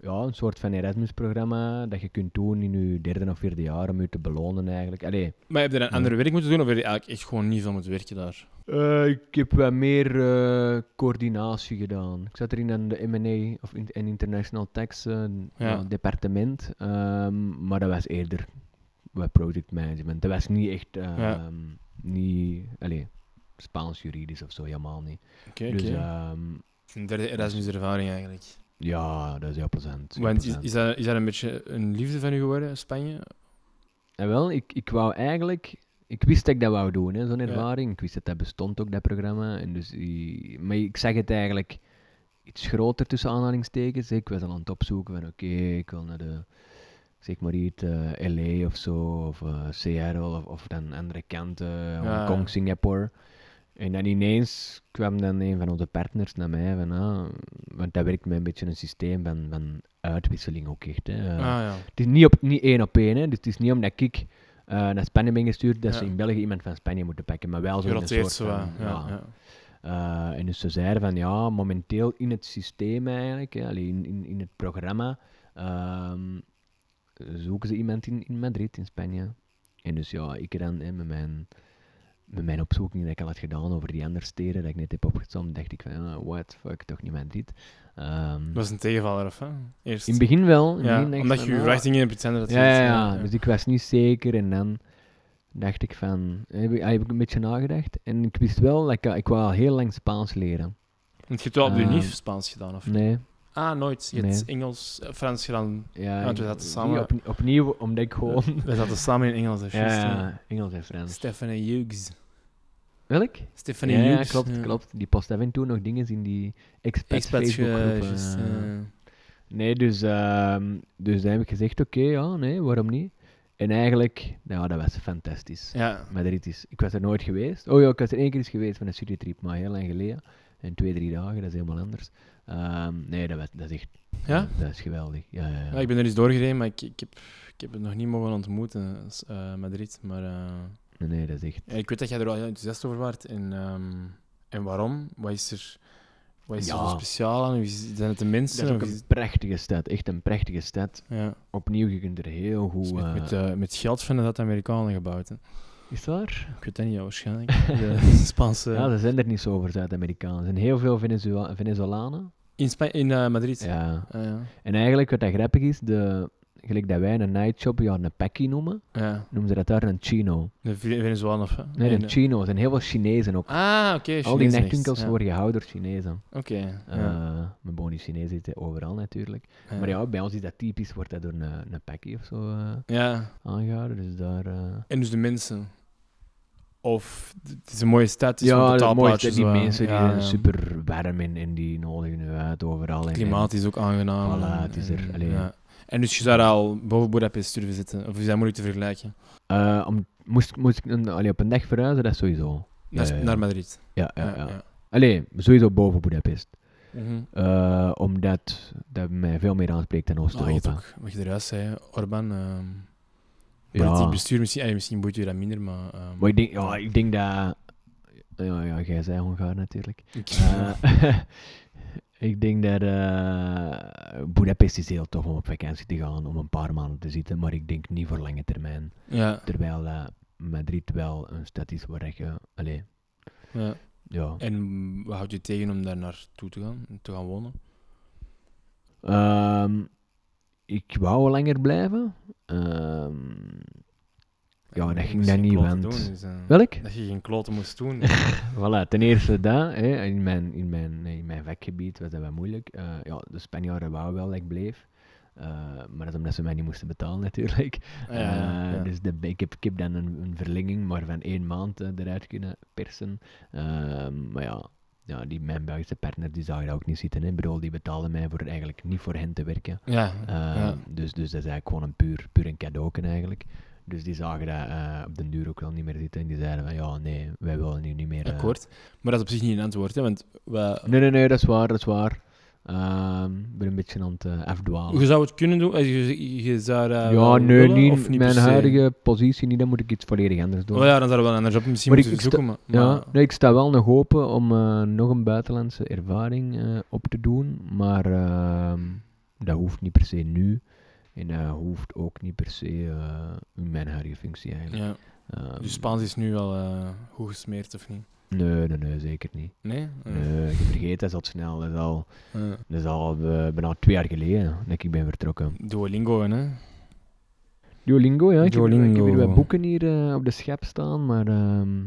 Speaker 3: ja, een soort van Erasmus-programma dat je kunt doen in je derde of vierde jaar om je te belonen eigenlijk. Allee,
Speaker 1: Maar heb je dan andere werk moeten doen of heb je eigenlijk echt gewoon niet veel moeten werken daar?
Speaker 3: eh, ik heb wat meer eh, coördinatie gedaan. Ik zat erin aan de M&A of in, en International Tax eh, ja, departement, ehm, maar dat was eerder wat project management. Dat was niet echt, eh,
Speaker 1: Ja.
Speaker 3: ehm, niet, allee, Spaans juridisch of zo, helemaal niet.
Speaker 1: Oké, oké.
Speaker 3: Dus ehm,
Speaker 1: Een derde Erasmus-ervaring eigenlijk.
Speaker 3: ja, dat is heel plezant. heel
Speaker 1: Want is,
Speaker 3: plezant.
Speaker 1: is, dat, is dat een beetje een liefde van u geworden, Spanje?
Speaker 3: En Eh, wel, ik, ik wou eigenlijk... Ik wist dat ik dat wou doen, hè, zo'n
Speaker 1: Ja.
Speaker 3: ervaring. Ik wist dat dat bestond ook, dat programma. En dus, i- maar ik zeg het eigenlijk iets groter tussen aanhalingstekens. hè. Ik was al aan het opzoeken van, oké, ik wil naar de... Zeg maar iets, eh, LA of zo, of eh, Seattle, of, of dan andere kanten,
Speaker 1: Ah.
Speaker 3: Hongkong, Singapore. En dan ineens kwam dan een van onze partners naar mij, van, ah, want dat werkt met een beetje een systeem van, van uitwisseling ook echt. Hè. Eh,
Speaker 1: ah ja.
Speaker 3: het is niet, op, niet één op één, hè. Dus het is niet omdat ik eh, naar Spanje ben gestuurd, dat ze
Speaker 1: Ja.
Speaker 3: in België iemand van Spanje moeten pakken. Maar wel
Speaker 1: Je
Speaker 3: zo in een
Speaker 1: roteert
Speaker 3: soort
Speaker 1: zo
Speaker 3: van...
Speaker 1: wat, Ja,
Speaker 3: ja.
Speaker 1: ja.
Speaker 3: Eh, en dus ze zeiden van, ja, momenteel in het systeem eigenlijk, hè, allee, in, in, in het programma, ehm, zoeken ze iemand in, in Madrid, in Spanje. En dus ja, ik dan hè, met mijn... Met mijn opzoeking dat ik al had gedaan over die andere steden, dat ik net heb opgezomd, dacht ik van, ah, what, fuck, toch niet Madrid. Ehm,
Speaker 1: Dat was een tegenvaller, of hè? Eerst.
Speaker 3: in het begin wel. in het
Speaker 1: ja,
Speaker 3: begin dacht ik
Speaker 1: omdat
Speaker 3: van,
Speaker 1: je je
Speaker 3: ah,
Speaker 1: verwachtingen hebt, zijn dat
Speaker 3: ja, ja, ja. dus ik was niet zeker en dan dacht ik van, heb ik, heb ik een beetje nagedacht en ik wist wel, dat ik, ik wou al heel lang Spaans leren.
Speaker 1: Want je hebt wel op de
Speaker 3: Ehm,
Speaker 1: UNIF Spaans gedaan, of niet?
Speaker 3: Nee,
Speaker 1: Ah, nooit. Je hebt
Speaker 3: Nee.
Speaker 1: Engels, eh, Frans gedaan.
Speaker 3: ja,
Speaker 1: Want we
Speaker 3: ik-
Speaker 1: zaten samen-
Speaker 3: niet op- opnieuw, omdat ik gewoon...
Speaker 1: We zaten samen in Engels, dat is
Speaker 3: Ja,
Speaker 1: juist,
Speaker 3: ja,
Speaker 1: ja.
Speaker 3: Engels en Frans.
Speaker 1: Stephanie Hughes.
Speaker 3: Welk?
Speaker 1: Stephanie
Speaker 3: Ja, ja,
Speaker 1: Hughes.
Speaker 3: klopt, klopt. Die post af en toe nog dingen in die expat
Speaker 1: Expat,
Speaker 3: Facebookgroep.
Speaker 1: eh, juist,
Speaker 3: eh.
Speaker 1: eh.
Speaker 3: Nee, dus, ehm, dus dan heb ik gezegd, oké, ja, nee, waarom niet? En eigenlijk, nou, dat was fantastisch.
Speaker 1: Ja.
Speaker 3: Madrid is. Ik was er nooit geweest. Oh ja, ik was er één keer eens geweest van een studietrip, maar heel lang geleden. En twee, drie dagen, dat is helemaal anders. Ehm, nee, dat, was- dat is echt.
Speaker 1: Ja?
Speaker 3: Dat is geweldig. Ja, ja, ja.
Speaker 1: Ja, ik ben er eens doorgereden, maar ik, ik, heb, ik heb het nog niet mogen ontmoeten, s- eh, Madrid. Maar eh,
Speaker 3: Nee, nee, dat is echt.
Speaker 1: ja, ik weet dat jij er wel heel enthousiast over waart. En, ehm, en waarom? Wat is er, wat is er
Speaker 3: Ja.
Speaker 1: zo speciaal aan? Wie is- Zijn het de mensen?
Speaker 3: Dat is ook
Speaker 1: Of is
Speaker 3: een prachtige stad. Echt een prachtige stad.
Speaker 1: het- ja.
Speaker 3: Opnieuw, je kunt er heel goed.
Speaker 1: Dus met,
Speaker 3: eh,
Speaker 1: met, eh, met geld van dat Amerikanen gebouwd. Hè.
Speaker 3: Is het waar?
Speaker 1: Ik weet dat niet, ja, waarschijnlijk. De Spaanse...
Speaker 3: Ja, ze zijn er niet zo over Zuid-Amerikanen. Er zijn heel veel Venezua- Venezolanen.
Speaker 1: In, Spa- in eh, Madrid.
Speaker 3: Ja.
Speaker 1: Ah, ja.
Speaker 3: En eigenlijk, wat dat grappig is, de, gelijk dat wij een nightshop ja, een pekkie noemen,
Speaker 1: Ah, ja.
Speaker 3: noemen ze dat daar een chino.
Speaker 1: De Ve- Venezolaan of... hè?
Speaker 3: Nee,
Speaker 1: En,
Speaker 3: een
Speaker 1: eh,
Speaker 3: chino. Er zijn heel veel Chinezen ook.
Speaker 1: Ah, oké.
Speaker 3: Al die
Speaker 1: Chinees rechts,
Speaker 3: nachtwinkels
Speaker 1: ja.
Speaker 3: worden gehouden door Chinezen.
Speaker 1: Oké.
Speaker 3: Eh
Speaker 1: ja,
Speaker 3: Mijn bonus Chinezen zitten overal natuurlijk.
Speaker 1: ja.
Speaker 3: Maar ja, bij ons is dat typisch, wordt dat door een, een pakkie of zo eh,
Speaker 1: Ja.
Speaker 3: aangehouden. Dus daar. eh,
Speaker 1: En dus de mensen. Of d- het is een mooie stad. Het is
Speaker 3: ja,
Speaker 1: een
Speaker 3: dat
Speaker 1: totaal
Speaker 3: is mooi.
Speaker 1: plaatje,
Speaker 3: dat Die
Speaker 1: zo, hè.
Speaker 3: mensen die
Speaker 1: Ja,
Speaker 3: zijn
Speaker 1: ja.
Speaker 3: super warm en, en die nodigen u uit overal. en-
Speaker 1: Het klimaat is ook aangenaam.
Speaker 3: Voilà, het is er,
Speaker 1: En-
Speaker 3: allee.
Speaker 1: ja. En dus je zou daar al boven Budapest durven zitten. Of is dat moeilijk te vergelijken?
Speaker 3: en, eh, om, moest, ik- moest ik een, allee, op een dag verhuizen, dat sowieso.
Speaker 1: Naar,
Speaker 3: Ja, ja.
Speaker 1: naar Madrid.
Speaker 3: Ja, ja, ja. Allee, sowieso boven Budapest.
Speaker 1: Mhm.
Speaker 3: Eh, omdat dat mij veel meer aanspreekt dan
Speaker 1: Maar Ah, je hebt
Speaker 3: Oost-Europa.
Speaker 1: ook, wat je er juist zei, Orban. ehm
Speaker 3: Ja.
Speaker 1: politiek bestuur, misschien, eh, misschien boeit je dat minder, maar... ehm,
Speaker 3: maar ik denk, ja, ik denk dat. Ja, ja, jij zei Hongaar natuurlijk.
Speaker 1: ik-
Speaker 3: Eh, ik denk dat eh Budapest is heel tof om op vakantie te gaan, om een paar maanden te zitten, maar ik denk niet voor lange termijn.
Speaker 1: ja,
Speaker 3: Terwijl eh, Madrid wel een stad is waar je, allee,
Speaker 1: ja.
Speaker 3: ja.
Speaker 1: En wat houdt je tegen om daar naartoe te gaan, te gaan wonen?
Speaker 3: Ehm, ik wou langer blijven. Ehm, Ja, dat
Speaker 1: Je
Speaker 3: ging
Speaker 1: moest
Speaker 3: dan
Speaker 1: geen
Speaker 3: niet,
Speaker 1: kloten
Speaker 3: want-
Speaker 1: doen, dus, eh,
Speaker 3: welk?
Speaker 1: Dat je geen kloten moest doen. Ah,
Speaker 3: Voilà, ten eerste dat, hè, in, mijn, in, mijn, in mijn vakgebied was dat wel moeilijk. Eh, ja, de Spanjaarden wouden wel dat ik bleef, Eh, maar dat is omdat ze mij niet moesten betalen natuurlijk.
Speaker 1: Ah, ja, ja,
Speaker 3: Eh,
Speaker 1: ja.
Speaker 3: Dus de, ik, heb, ik heb dan een, een verlenging, maar van één maand eh, eruit kunnen persen. Ehm, maar ja, ja die, mijn Belgische partner die zag dat ook niet zitten. Hè. Ik bedoel, die betalen mij voor, eigenlijk niet voor hen te werken.
Speaker 1: Ja,
Speaker 3: Ehm,
Speaker 1: ja.
Speaker 3: dus, dus dat is eigenlijk gewoon een puur, puur een cadeauken eigenlijk. Dus die zagen dat eh, op den duur ook wel niet meer zitten. En die zeiden van, ja, nee, wij willen nu niet meer... eh,
Speaker 1: akkoord. Maar dat is op zich niet een antwoord, hè, want we,
Speaker 3: Nee, nee, nee, dat is waar, dat is waar. Ehm, ik ben een beetje aan het eh, afdwalen.
Speaker 1: je zou het kunnen doen. eh, Je, je zou dat
Speaker 3: ja,
Speaker 1: eh, wel
Speaker 3: nee,
Speaker 1: willen,
Speaker 3: niet
Speaker 1: of
Speaker 3: in
Speaker 1: per
Speaker 3: mijn
Speaker 1: se?
Speaker 3: huidige positie niet. Dan moet ik iets volledig anders doen.
Speaker 1: Oh ja, dan zou we wel een andere job misschien
Speaker 3: Maar ik-
Speaker 1: moeten
Speaker 3: ik sta-
Speaker 1: zoeken. Maar,
Speaker 3: Ja,
Speaker 1: maar-
Speaker 3: nee, ik sta wel nog open om eh, nog een buitenlandse ervaring eh, op te doen. Maar ehm, Dat hoeft niet per se nu. En dat hoeft ook niet per se eh, in mijn huidige functie eigenlijk.
Speaker 1: Ja.
Speaker 3: Ehm,
Speaker 1: Dus Spaans is nu wel eh, goed gesmeerd, of niet?
Speaker 3: Nee, nee, nee, zeker niet.
Speaker 1: Nee? Eh,
Speaker 3: Nee, ik vergeet dat is al snel. Dat is al,
Speaker 1: eh,
Speaker 3: dat is al eh, bijna twee jaar geleden dat ik ben vertrokken.
Speaker 1: Duolingo, hè?
Speaker 3: Duolingo, ja. Ik, Heb, ik heb hier
Speaker 1: Duolingo.
Speaker 3: wat boeken hier eh, op de schep staan, maar ehm,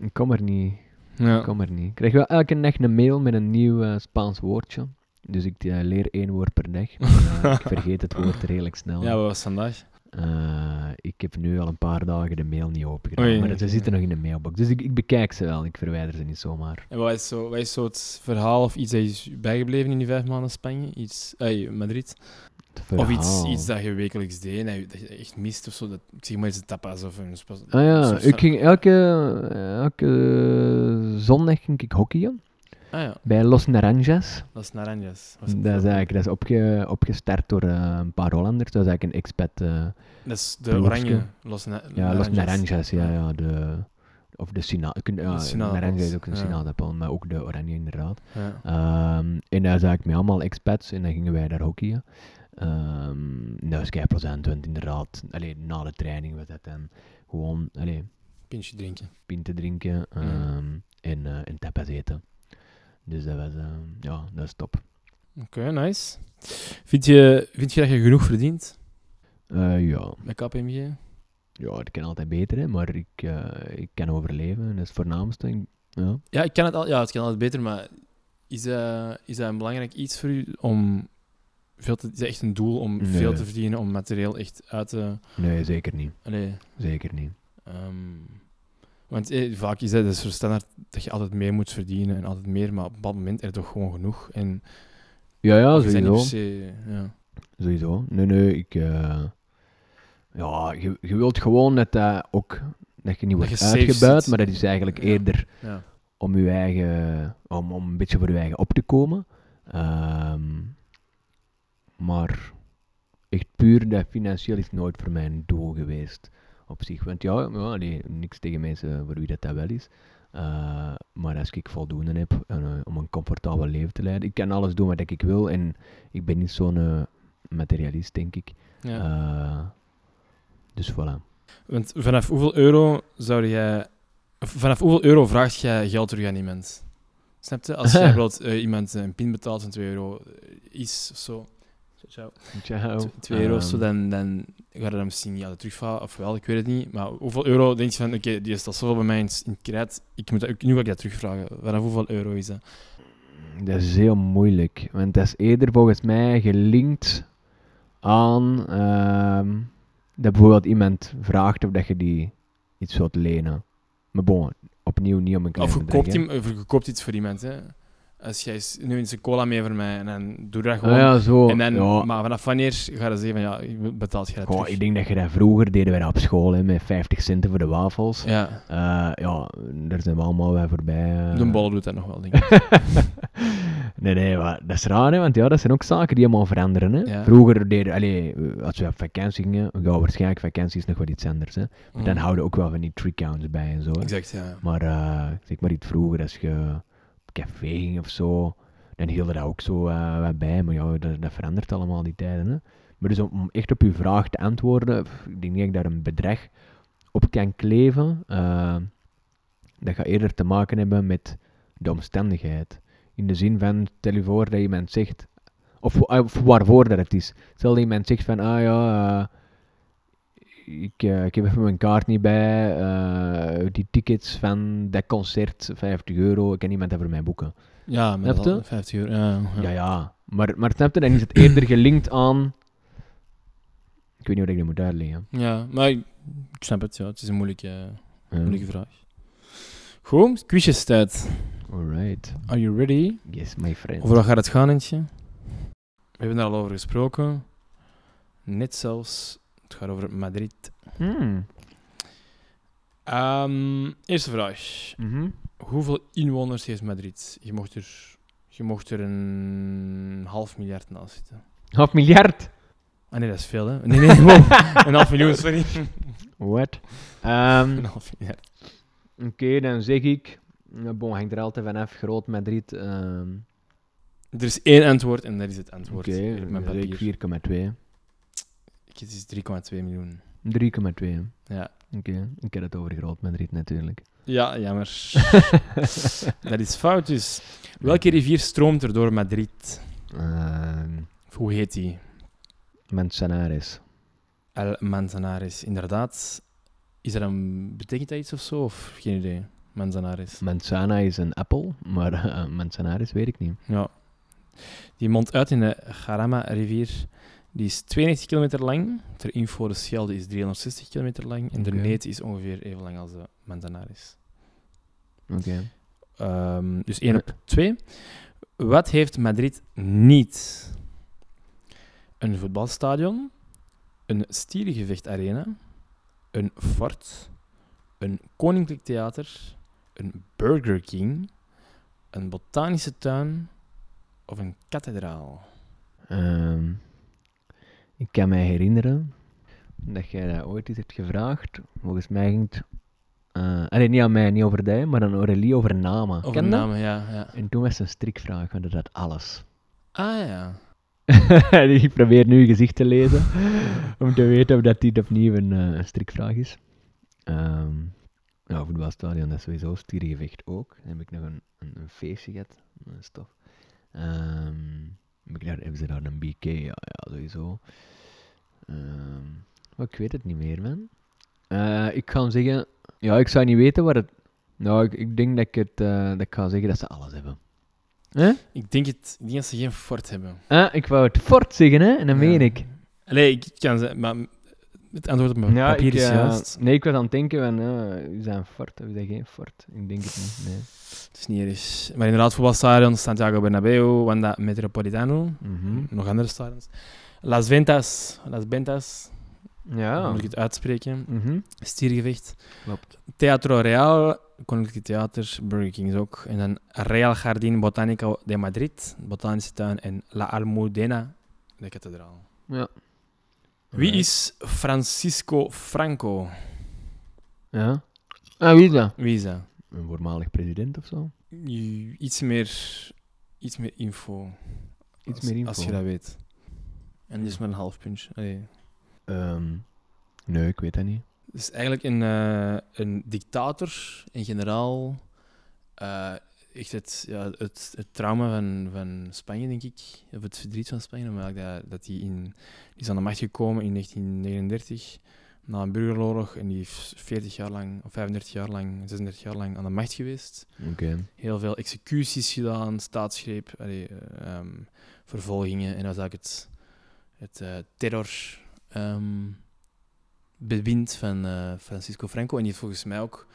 Speaker 3: ik kom er niet. Ik
Speaker 1: Ja.
Speaker 3: kom er niet. Ik krijg wel elke dag een mail met een nieuw eh, Spaans woordje. Dus ik eh, leer één woord per dag. Maar, eh, ik vergeet het woord redelijk snel.
Speaker 1: Ja, wat was vandaag?
Speaker 3: Eh, ik heb nu al een paar dagen de mail niet
Speaker 1: Oei.
Speaker 3: opengedaan, maar ze zitten nog in de mailbox. Dus ik, ik bekijk ze wel, ik verwijder ze niet zomaar.
Speaker 1: En wat is, zo, wat is zo het verhaal of iets dat is bijgebleven in die vijf maanden Spanje? Iets, ey, Madrid?
Speaker 3: Het
Speaker 1: Of iets,
Speaker 3: verhaal.
Speaker 1: iets dat je wekelijks deed en dat je, dat je echt mist of zo? Dat, ik zeg maar eens een tapas of een... spas-
Speaker 3: Ah ja,
Speaker 1: soort
Speaker 3: ik
Speaker 1: van-
Speaker 3: ging elke, elke zondag ging ik hockeyen
Speaker 1: Ah ja,
Speaker 3: bij Los Naranjas.
Speaker 1: dat is Naranjas.
Speaker 3: Dat is eigenlijk dat is opge, opgestart door eh, een paar Hollanders. Dat is eigenlijk een expat. eh,
Speaker 1: Dat is de
Speaker 3: Ploegske.
Speaker 1: oranje. Los na
Speaker 3: ja, Los Naranjas, ja,
Speaker 1: Ja.
Speaker 3: ja. De, of de Sina. ik- Ja,
Speaker 1: sinaasappels,
Speaker 3: Naranja is ook een
Speaker 1: ja.
Speaker 3: sinaasappel, maar ook de oranje inderdaad.
Speaker 1: Ja.
Speaker 3: Ehm, en daar zag ik met allemaal expats en dan gingen wij daar hockeyen. Ehm dat was kei plezant, want inderdaad, allee, na de training was dat dan gewoon allee,
Speaker 1: Pintje drinken.
Speaker 3: pinten drinken ehm, en, eh, en tapas eten. Dus dat was, eh, ja, dat is top.
Speaker 1: Oké, nice. Vind je, vind je dat je genoeg verdient
Speaker 3: Eh, ja,
Speaker 1: bij KPMG?
Speaker 3: ja, het kan altijd beter, hè, maar ik, eh, ik kan overleven, dat is het voornaamste. Ik- Ja.
Speaker 1: Ja, ik kan het al, ja, het kan altijd beter, maar is dat, is dat een belangrijk iets voor u om veel te, is dat echt een doel om
Speaker 3: Nee.
Speaker 1: veel te verdienen, om materieel echt uit te.
Speaker 3: Nee, zeker niet.
Speaker 1: Allee,
Speaker 3: Zeker niet.
Speaker 1: ehm, want eh, vaak is dat, dat is zo standaard dat je altijd meer moet verdienen en altijd meer, maar op dat moment is er toch gewoon genoeg. En
Speaker 3: Ja, ja,
Speaker 1: of is dat niet
Speaker 3: sowieso.
Speaker 1: per se. Ja.
Speaker 3: Sowieso. Nee, nee, ik... eh, ja, je, je wilt gewoon dat dat ook... Dat je niet
Speaker 1: Dat
Speaker 3: wordt
Speaker 1: je safe
Speaker 3: uitgebuit,
Speaker 1: zit.
Speaker 3: maar dat is eigenlijk
Speaker 1: Ja.
Speaker 3: eerder
Speaker 1: Ja.
Speaker 3: om je eigen... Om, om een beetje voor je eigen op te komen. Ehm, maar echt puur dat financieel is nooit voor mij een doel geweest op zich. Want ja, ja allee, niks tegen mensen voor wie dat, dat wel is. Eh, maar als ik voldoende heb en, eh, om een comfortabel leven te leiden, ik kan alles doen wat ik wil en ik ben niet zo'n eh, materialist, denk ik.
Speaker 1: Ja.
Speaker 3: Eh, dus voilà.
Speaker 1: Want vanaf hoeveel euro zou jij. of Vanaf hoeveel euro vraagt jij geld terug aan iemand? Snap je? Als jij bijvoorbeeld eh, iemand een pin betaalt van 2 euro eh, is of zo. Ciao.
Speaker 3: Ciao.
Speaker 1: 2 euro of
Speaker 3: ehm,
Speaker 1: zo, dan, dan ga je hem misschien niet altijd terugvallen, of wel, ik weet het niet. Maar hoeveel euro denk je van, oké, die is dat zoveel bij mij in, in krijt, ik moet dat, ik- nu ga ik dat terugvragen. Vanaf hoeveel euro is dat?
Speaker 3: Dat is heel moeilijk, want dat is eerder volgens mij gelinkt aan ehm, dat bijvoorbeeld iemand vraagt of dat je die iets wilt lenen. Maar bon, opnieuw niet om een klein
Speaker 1: Of je
Speaker 3: bedrag,
Speaker 1: koopt,
Speaker 3: hè.
Speaker 1: hem- of je koopt iets voor iemand, hè. Als jij eens- nu eens een cola mee voor mij, en dan doe dat
Speaker 3: Ah
Speaker 1: gewoon.
Speaker 3: ja, zo.
Speaker 1: en dan, dus.
Speaker 3: ja.
Speaker 1: Maar vanaf wanneer ga je zeggen van, ja, betaalt jij dat
Speaker 3: Goh,
Speaker 1: terug?
Speaker 3: ik denk dat je dat vroeger deden wij dat op school, hè, met 50 centen voor de wafels.
Speaker 1: Ja,
Speaker 3: Eh, ja, daar zijn we allemaal bij voorbij. eh.
Speaker 1: de bolle doet dat nog wel, denk ik.
Speaker 3: nee, nee, maar dat is raar, hè, want ja, dat zijn ook zaken die helemaal veranderen. Hè.
Speaker 1: Ja.
Speaker 3: Vroeger deden, allee, als we op vakantie gingen, ja, waarschijnlijk vakantie is nog wat iets anders. Hè. Maar Dan houden we ook wel van die trick counts bij en zo. hè.
Speaker 1: Mm. Exact, ja.
Speaker 3: Maar eh, zeg maar iets vroeger, als je op café ging of zo, dan hield er dat ook zo eh, wat bij. Maar ja, dat, dat verandert allemaal die tijden. Hè? Maar dus om, om echt op uw vraag te antwoorden, pff, ik denk niet dat ik daar een bedrag op kan kleven. Eh, dat gaat eerder te maken hebben met de omstandigheid. In de zin van, stel je voor dat iemand zegt, of, eh, of waarvoor dat het is. Stel dat iemand zegt van, ah ja... eh, ik, eh, ik heb even mijn kaart niet bij. eh, die tickets van dat concert, 50 euro. Kan iemand dat voor mij boeken?
Speaker 1: Ja, met
Speaker 3: Snap je?
Speaker 1: al- 50 euro. Ja, ja.
Speaker 3: Ja, ja. Maar, maar snap je, dan is het eerder gelinkt aan... Ik weet niet hoe ik dat moet uitleggen.
Speaker 1: Ja, maar ik, ik snap het, ja. Het is een moeilijke,
Speaker 3: Eh,
Speaker 1: moeilijke vraag. Goed, quizjes tijd.
Speaker 3: alright.
Speaker 1: Are you ready?
Speaker 3: Yes, my friend.
Speaker 1: Over wat gaat het gaan, Eentje? We hebben daar al over gesproken. Net zelfs. Het gaat over Madrid.
Speaker 3: Hmm.
Speaker 1: Ehm, eerste vraag.
Speaker 3: Mhm.
Speaker 1: Hoeveel inwoners heeft Madrid? Je mocht er, je mocht er een half miljard naast zitten.
Speaker 3: Half miljard.
Speaker 1: Ah nee, dat is veel, hè? Nee, nee, gewoon een half miljoen, sorry.
Speaker 3: What? Ehm,
Speaker 1: Een half miljard.
Speaker 3: Oké, dan zeg ik... eh, Bon, hangt er altijd vanaf. Groot Madrid. ehm,
Speaker 1: Er is één antwoord en dat is het antwoord.
Speaker 3: Oké,
Speaker 1: Hier, mijn
Speaker 3: dan
Speaker 1: papier.
Speaker 3: zeg ik 4,2.
Speaker 1: Het is 3,2 miljoen.
Speaker 3: 3,2. hè.
Speaker 1: Ja.
Speaker 3: Oké, ik heb het over Groot Madrid natuurlijk.
Speaker 1: Ja, jammer. dat is fout dus. Welke rivier stroomt er door Madrid?
Speaker 3: Ehm
Speaker 1: Of hoe heet die?
Speaker 3: Manzanares.
Speaker 1: El Manzanares, inderdaad. Is dat een... Betekent dat iets of zo? Of geen idee? Manzanares.
Speaker 3: Manzana is een appel, maar eh, Manzanares weet ik niet.
Speaker 1: Ja. Die mondt uit in de Jarama-rivier. Die is 92 kilometer lang. Ter info, de Schelde is 360 kilometer lang. En de
Speaker 3: Oké.
Speaker 1: Neet is ongeveer even lang als de Manzanares.
Speaker 3: Oké.
Speaker 1: Ehm, dus 1 op 2. Wat heeft Madrid niet? Een voetbalstadion, een stierengevechtarena, een fort, een koninklijk theater, een Burger King, een botanische tuin of een kathedraal.
Speaker 3: Ehm, ik kan mij herinneren dat jij dat ooit eens hebt gevraagd. Volgens mij ging het... eh, allee, niet aan mij, niet over die, maar aan Aurélie over namen.
Speaker 1: Of
Speaker 3: Ken
Speaker 1: een
Speaker 3: dat?
Speaker 1: naam, ja, ja.
Speaker 3: En toen was het een strikvraag, want dat had alles.
Speaker 1: Ah ja.
Speaker 3: ik probeer nu je gezicht te lezen, om te weten of dat dit opnieuw een, eh, een strikvraag is. Ehm ja, voetbalstadion, dat is sowieso. Stierengevecht ook. Dan heb ik nog een, een, een feestje gehad. Dat is tof. Ehm, heb ik daar, hebben ze daar een BK? Ja, ja sowieso. Ehm, maar ik weet het niet meer, man. Eh, ik ga hem zeggen... Ja, ik zou niet weten wat het... Nou, ik, ik denk dat ik het... eh, dat ik ga zeggen dat ze alles hebben. Hè?
Speaker 1: Ik denk, het, ik denk dat ze geen fort hebben.
Speaker 3: Ah, ik wou het fort zeggen, hè? En dat meen
Speaker 1: Ja.
Speaker 3: ik.
Speaker 1: Allee, ik kan ze... Maar het antwoord op mijn papier
Speaker 3: ik,
Speaker 1: is
Speaker 3: eh,
Speaker 1: juist.
Speaker 3: Nee, ik was aan het denken van, eh, is dat een fort of is dat geen fort? Ik denk het niet, nee.
Speaker 1: Het is niet erg. Maar inderdaad, voetbalstadion Santiago Bernabeu, Wanda Metropolitano,
Speaker 3: Mhm.
Speaker 1: nog andere stadions. Las Ventas, Las Ventas, hoe
Speaker 3: Ja.
Speaker 1: moet ik het uitspreken?
Speaker 3: Mhm.
Speaker 1: Stiergevecht.
Speaker 3: Klopt.
Speaker 1: Teatro Real, Koninklijk Theater, Burger King is ook. En dan Real Jardín Botánico de Madrid, Botanische Tuin en La Almudena, de kathedraal.
Speaker 3: Ja.
Speaker 1: Wie is Francisco Franco?
Speaker 3: Ja. Ah, wie is dat?
Speaker 1: Wie is dat?
Speaker 3: Een voormalig president of zo?
Speaker 1: I- Iets meer, iets meer info.
Speaker 3: Iets
Speaker 1: Als-
Speaker 3: meer info.
Speaker 1: Als je dat weet. En dit is maar een half puntje. Allee.
Speaker 3: Ehm, nee, ik weet dat niet.
Speaker 1: Het is eigenlijk een, eh, een dictator, een generaal. Eh, echt het, ja, het, het trauma van, van Spanje, denk ik. Of het verdriet van Spanje. Maar dat, dat die, in, die is aan de macht gekomen in 1939. Na een burgeroorlog. En die is 40 jaar lang, of 35 jaar lang, 36 jaar lang aan de macht geweest.
Speaker 3: Oké.
Speaker 1: heel veel executies gedaan, staatsgreep, allee, eh, ehm, vervolgingen. En dat was eigenlijk het, het eh, terror ehm, bewind van eh, Francisco Franco. En die heeft volgens mij ook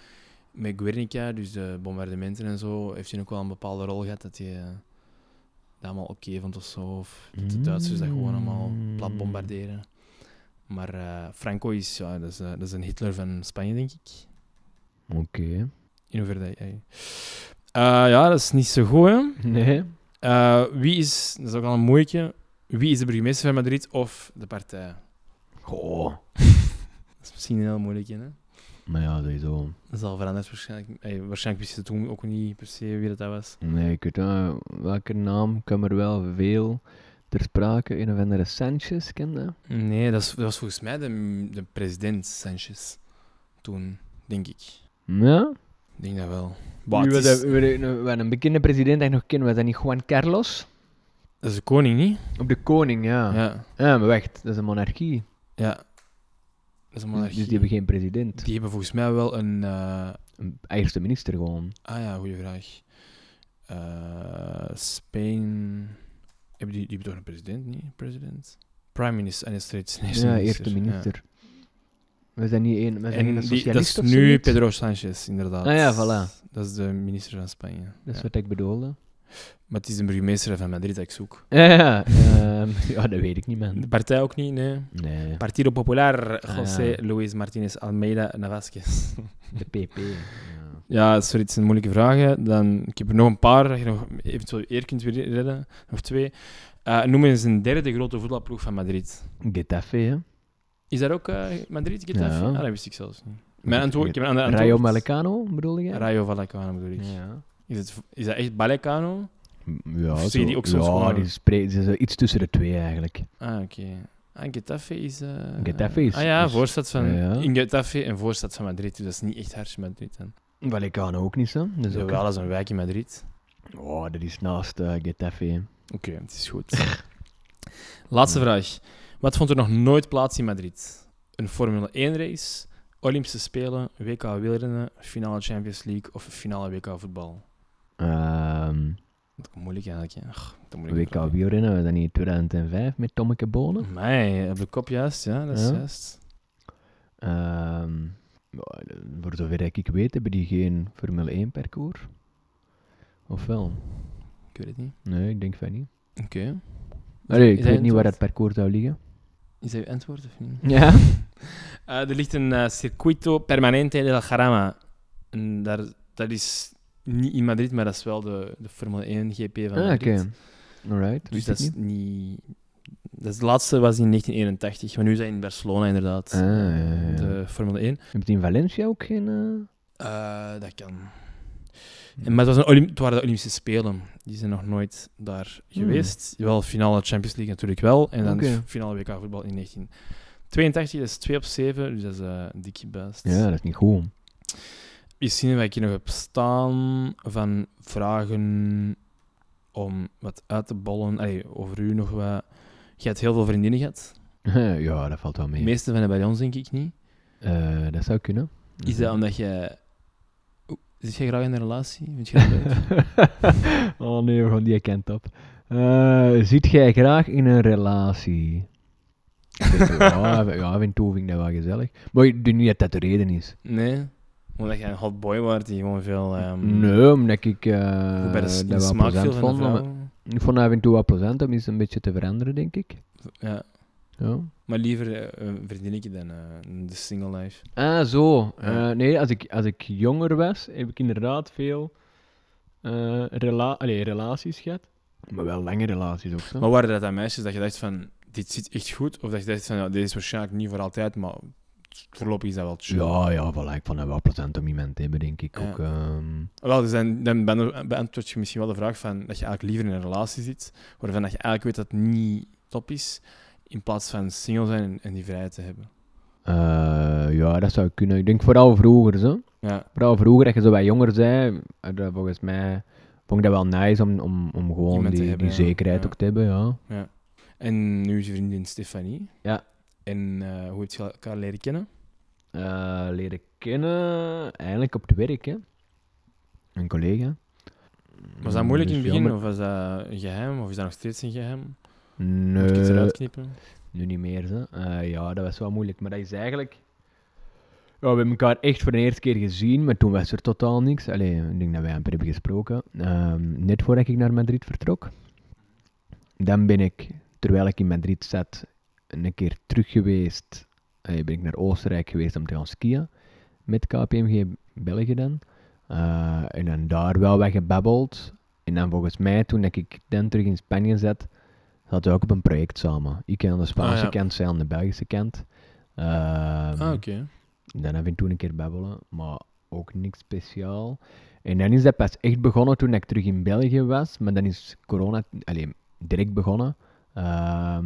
Speaker 1: met Guernica, dus de bombardementen en zo, heeft hij ook wel een bepaalde rol gehad dat hij eh, dat allemaal oké vond of zo. Of dat de Duitsers dat gewoon
Speaker 3: Mm.
Speaker 1: allemaal plat bombarderen. Maar eh, Franco is, ja, dat is, eh, dat is een Hitler van Spanje, denk ik.
Speaker 3: Oké.
Speaker 1: In hoeverre dat jij... Eh, ja, dat is niet zo goed, hè.
Speaker 3: Nee.
Speaker 1: Eh, wie is... Dat is ook al een moeitje. Wie is de burgemeester van Madrid of de partij?
Speaker 3: Goh.
Speaker 1: Dat is misschien een heel moeilijk, hè.
Speaker 3: Maar ja, sowieso.
Speaker 1: Dat zal veranderd waarschijnlijk. Eh, waarschijnlijk wist je toen ook niet per se wie dat, dat was.
Speaker 3: Nee, ik weet eh, welke naam kwam er wel veel ter sprake. Een of andere Sanchez, ken je dat?
Speaker 1: Nee, dat, is, dat was volgens mij de, de president Sanchez. Toen, denk ik.
Speaker 3: Ja?
Speaker 1: Ik denk dat wel. Bah,
Speaker 3: Nu
Speaker 1: het
Speaker 3: was
Speaker 1: is,
Speaker 3: dat- we- we- we- we- een bekende president dat ik nog ken, was dat niet Juan Carlos?
Speaker 1: dat is de koning, niet?
Speaker 3: Op de koning, ja. ja.
Speaker 1: Ja.
Speaker 3: maar wacht, dat is een monarchie.
Speaker 1: Ja. Dat is een
Speaker 3: Dus-
Speaker 1: monarchie.
Speaker 3: Dus die hebben geen president.
Speaker 1: Die hebben volgens mij wel een... eh,
Speaker 3: Een eerste minister gewoon.
Speaker 1: Ah ja, goede vraag. Eh Spain. Hebben die, die hebben toch een president, niet? President? Prime Minister. En is er iets eerste
Speaker 3: ja, eerste minister. Was dat niet één, was dat niet
Speaker 1: En
Speaker 3: een
Speaker 1: die, dat is
Speaker 3: socialist of
Speaker 1: nu
Speaker 3: zoiets?
Speaker 1: Pedro Sanchez, inderdaad.
Speaker 3: Ah ja, voilà.
Speaker 1: Dat is de minister van Spanje.
Speaker 3: Dat is
Speaker 1: Ja.
Speaker 3: wat ik bedoelde.
Speaker 1: Maar het is de burgemeester van Madrid dat ik zoek.
Speaker 3: Ja, ja, ehm, ja, dat weet ik niet, man.
Speaker 1: De partij ook niet, nee.
Speaker 3: Nee,
Speaker 1: Partido Popular,
Speaker 3: Ah,
Speaker 1: José
Speaker 3: ja.
Speaker 1: Luis Martínez Almeida Navasquez.
Speaker 3: de PP. ja.
Speaker 1: Ja, sorry, het zijn moeilijke vragen. Dan, ik heb er nog een paar, dat je nog eventueel eer kunt redden. Of twee. Eh, noem eens een derde grote voetbalploeg van Madrid.
Speaker 3: Getafe, hè.
Speaker 1: Is dat ook eh, Madrid, Getafe?
Speaker 3: Ja.
Speaker 1: Ah, dat wist ik zelfs niet. Mijn antwoord, ik heb een ander antwoord.
Speaker 3: Rayo Vallecano, bedoelde jij?
Speaker 1: Rayo Vallecano bedoel ik.
Speaker 3: Ja.
Speaker 1: Is, het, is dat echt Vallecano?
Speaker 3: Ja,
Speaker 1: Of zie je die ook soms
Speaker 3: ja,
Speaker 1: gewoon-
Speaker 3: die spree- ze zijn iets tussen de twee eigenlijk.
Speaker 1: Ah, oké. Ah, Getafe is... eh,
Speaker 3: Getafe is-
Speaker 1: Ah ja,
Speaker 3: is-
Speaker 1: voorstad van...
Speaker 3: Ja.
Speaker 1: In Getafe en voorstad van Madrid. Dus dat is niet echt Hartje Madrid. Dan.
Speaker 3: Valecano ook niet zo. Dat is ook
Speaker 1: Zowel als een wijk in Madrid.
Speaker 3: Oh, dat is naast eh, Getafe. hè.
Speaker 1: Oké, het is goed. Laatste vraag. Wat vond er nog nooit plaats in Madrid? Een Formule 1 race, Olympische Spelen, WK wielrennen, finale Champions League of finale WK voetbal?
Speaker 3: Ehm,
Speaker 1: Dat is moeilijk eigenlijk. hè. Ach, dat moet ik
Speaker 3: WK wielrennen, was dat niet in 2005 met Tommeke Bonen?
Speaker 1: Mij, op de kop juist, ja, dat is
Speaker 3: Ja.
Speaker 1: juist.
Speaker 3: Ehm, ja, voor zover ik weet, hebben die geen Formule 1 parcours. Of wel?
Speaker 1: Ik weet het niet.
Speaker 3: Nee, ik denk van niet.
Speaker 1: Oké.
Speaker 3: Allee,
Speaker 1: is
Speaker 3: ik
Speaker 1: hij
Speaker 3: weet niet waar
Speaker 1: enthousiast?
Speaker 3: dat parcours zou liggen.
Speaker 1: Is dat uw antwoord of niet?
Speaker 3: Ja.
Speaker 1: Eh, er ligt een eh, Circuito Permanente de la Jarama. En daar, dat is niet in Madrid, maar dat is wel de, de Formule 1 GP van
Speaker 3: Ah, oké.
Speaker 1: Madrid.
Speaker 3: Alright,
Speaker 1: Dus
Speaker 3: wist
Speaker 1: dat
Speaker 3: ik
Speaker 1: is
Speaker 3: niet.
Speaker 1: niet... Dat is, de laatste was in 1981, maar nu zijn in Barcelona inderdaad.
Speaker 3: Ah, ja, ja, ja.
Speaker 1: eh, De Formule 1.
Speaker 3: Heb je in Valencia ook geen... eh,
Speaker 1: Eh, dat kan. En, maar het, was een Olymp- het waren de Olympische Spelen. Die zijn nog nooit daar
Speaker 3: Hmm.
Speaker 1: geweest. Wel, finale Champions League natuurlijk wel. En dan
Speaker 3: Oké.
Speaker 1: finale WK voetbal in 1982. Dat is 2 op 7, dus dat is eh dik best.
Speaker 3: Ja, dat is niet goed.
Speaker 1: Eens zien wat ik hier nog heb staan van vragen om wat uit te bollen. Allee, over u nog wat. Je hebt heel veel vriendinnen gehad.
Speaker 3: ja, dat valt wel
Speaker 1: De
Speaker 3: mee.
Speaker 1: meeste van de bij ons denk ik niet.
Speaker 3: Eh, dat zou kunnen. Dus,
Speaker 1: Is dat omdat je... Oeh, Zit jij graag in een relatie? Vind je dat leuk?
Speaker 3: oh nee, we gaan die kant op. Eh zit jij graag in een relatie? Ik zeg, ja, ja, af en toe vind ik dat wel gezellig. Maar ik denk niet dat dat de reden is.
Speaker 1: Nee? Omdat jij een hot boy wordt die gewoon veel... ehm
Speaker 3: Nee, omdat ik eh
Speaker 1: goed bij de, s- in de
Speaker 3: dat wel
Speaker 1: smaak viel
Speaker 3: plezant
Speaker 1: van de
Speaker 3: vond. maar-
Speaker 1: vrouwen.
Speaker 3: Ik vond dat af en toe wel plezant om eens een beetje te veranderen, denk ik.
Speaker 1: Ja.
Speaker 3: Ja.
Speaker 1: Maar liever eh, een vriendinnetje dan eh, de single life.
Speaker 3: Ah, zo.
Speaker 1: Ja.
Speaker 3: Eh, nee, als ik, als ik jonger was, heb ik inderdaad veel eh, rela allee, relaties gehad. Maar wel lange relaties ook, zo.
Speaker 1: Maar waren dat dan meisjes dat je dacht van, dit zit echt goed? Of dat je dacht van, ja, dit is waarschijnlijk niet voor altijd, maar voorlopig is dat wel chill.
Speaker 3: Ja, ja, voilà, ik vond dat wel plezant om iemand te hebben, denk ik
Speaker 1: Ja.
Speaker 3: ook. ehm.
Speaker 1: Wel, dus dan, dan beant- beantwoord je misschien wel de vraag van, dat je eigenlijk liever in een relatie zit, waarvan dat je eigenlijk weet dat het niet top is, in plaats van single zijn en, en die vrijheid te hebben.
Speaker 3: Eh, ja, dat zou kunnen. Ik denk vooral vroeger, zo.
Speaker 1: Ja,
Speaker 3: Vooral vroeger, dat je zo wat jonger zei, eh, volgens mij vond ik dat wel nice om, om, om gewoon
Speaker 1: Iemand te
Speaker 3: die,
Speaker 1: hebben,
Speaker 3: die
Speaker 1: ja.
Speaker 3: zekerheid
Speaker 1: Ja.
Speaker 3: ook te hebben, ja.
Speaker 1: ja. En nu is je vriendin Stefanie.
Speaker 3: Ja.
Speaker 1: En eh, hoe heb je elkaar leren kennen?
Speaker 3: Eh, leren kennen, eigenlijk op het werk, hè. Een collega.
Speaker 1: Was dat
Speaker 3: Mm,
Speaker 1: moeilijk in
Speaker 3: dus
Speaker 1: het begin,
Speaker 3: jammer.
Speaker 1: of was dat een geheim, of is dat nog steeds een geheim? Moet ik het
Speaker 3: Nee,
Speaker 1: eruit knippen?
Speaker 3: nu niet meer. Zo. Eh, ja, dat was wel moeilijk. Maar dat is eigenlijk... Ja, we hebben elkaar echt voor de eerste keer gezien, maar toen was er totaal niks. Allee, ik denk dat wij amper hebben gesproken. Ehm, net voordat ik naar Madrid vertrok. Dan ben ik, terwijl ik in Madrid zat, een keer terug geweest. Allee, ben ik naar Oostenrijk geweest om te gaan skiën. Met KPMG België dan. Eh, en dan daar wel wat gebabbeld. En dan volgens mij, toen ik dan terug in Spanje zat, zaten we ook op een project samen. Ik aan de Spaanse
Speaker 1: Ah, ja.
Speaker 3: kant, zij aan de Belgische kant. Ehm,
Speaker 1: Ah, oké.
Speaker 3: dan heb ik toen een keer babbelen, maar ook niks speciaal. En dan is dat pas echt begonnen toen ik terug in België was, maar dan is corona allee, direct begonnen. Ehm,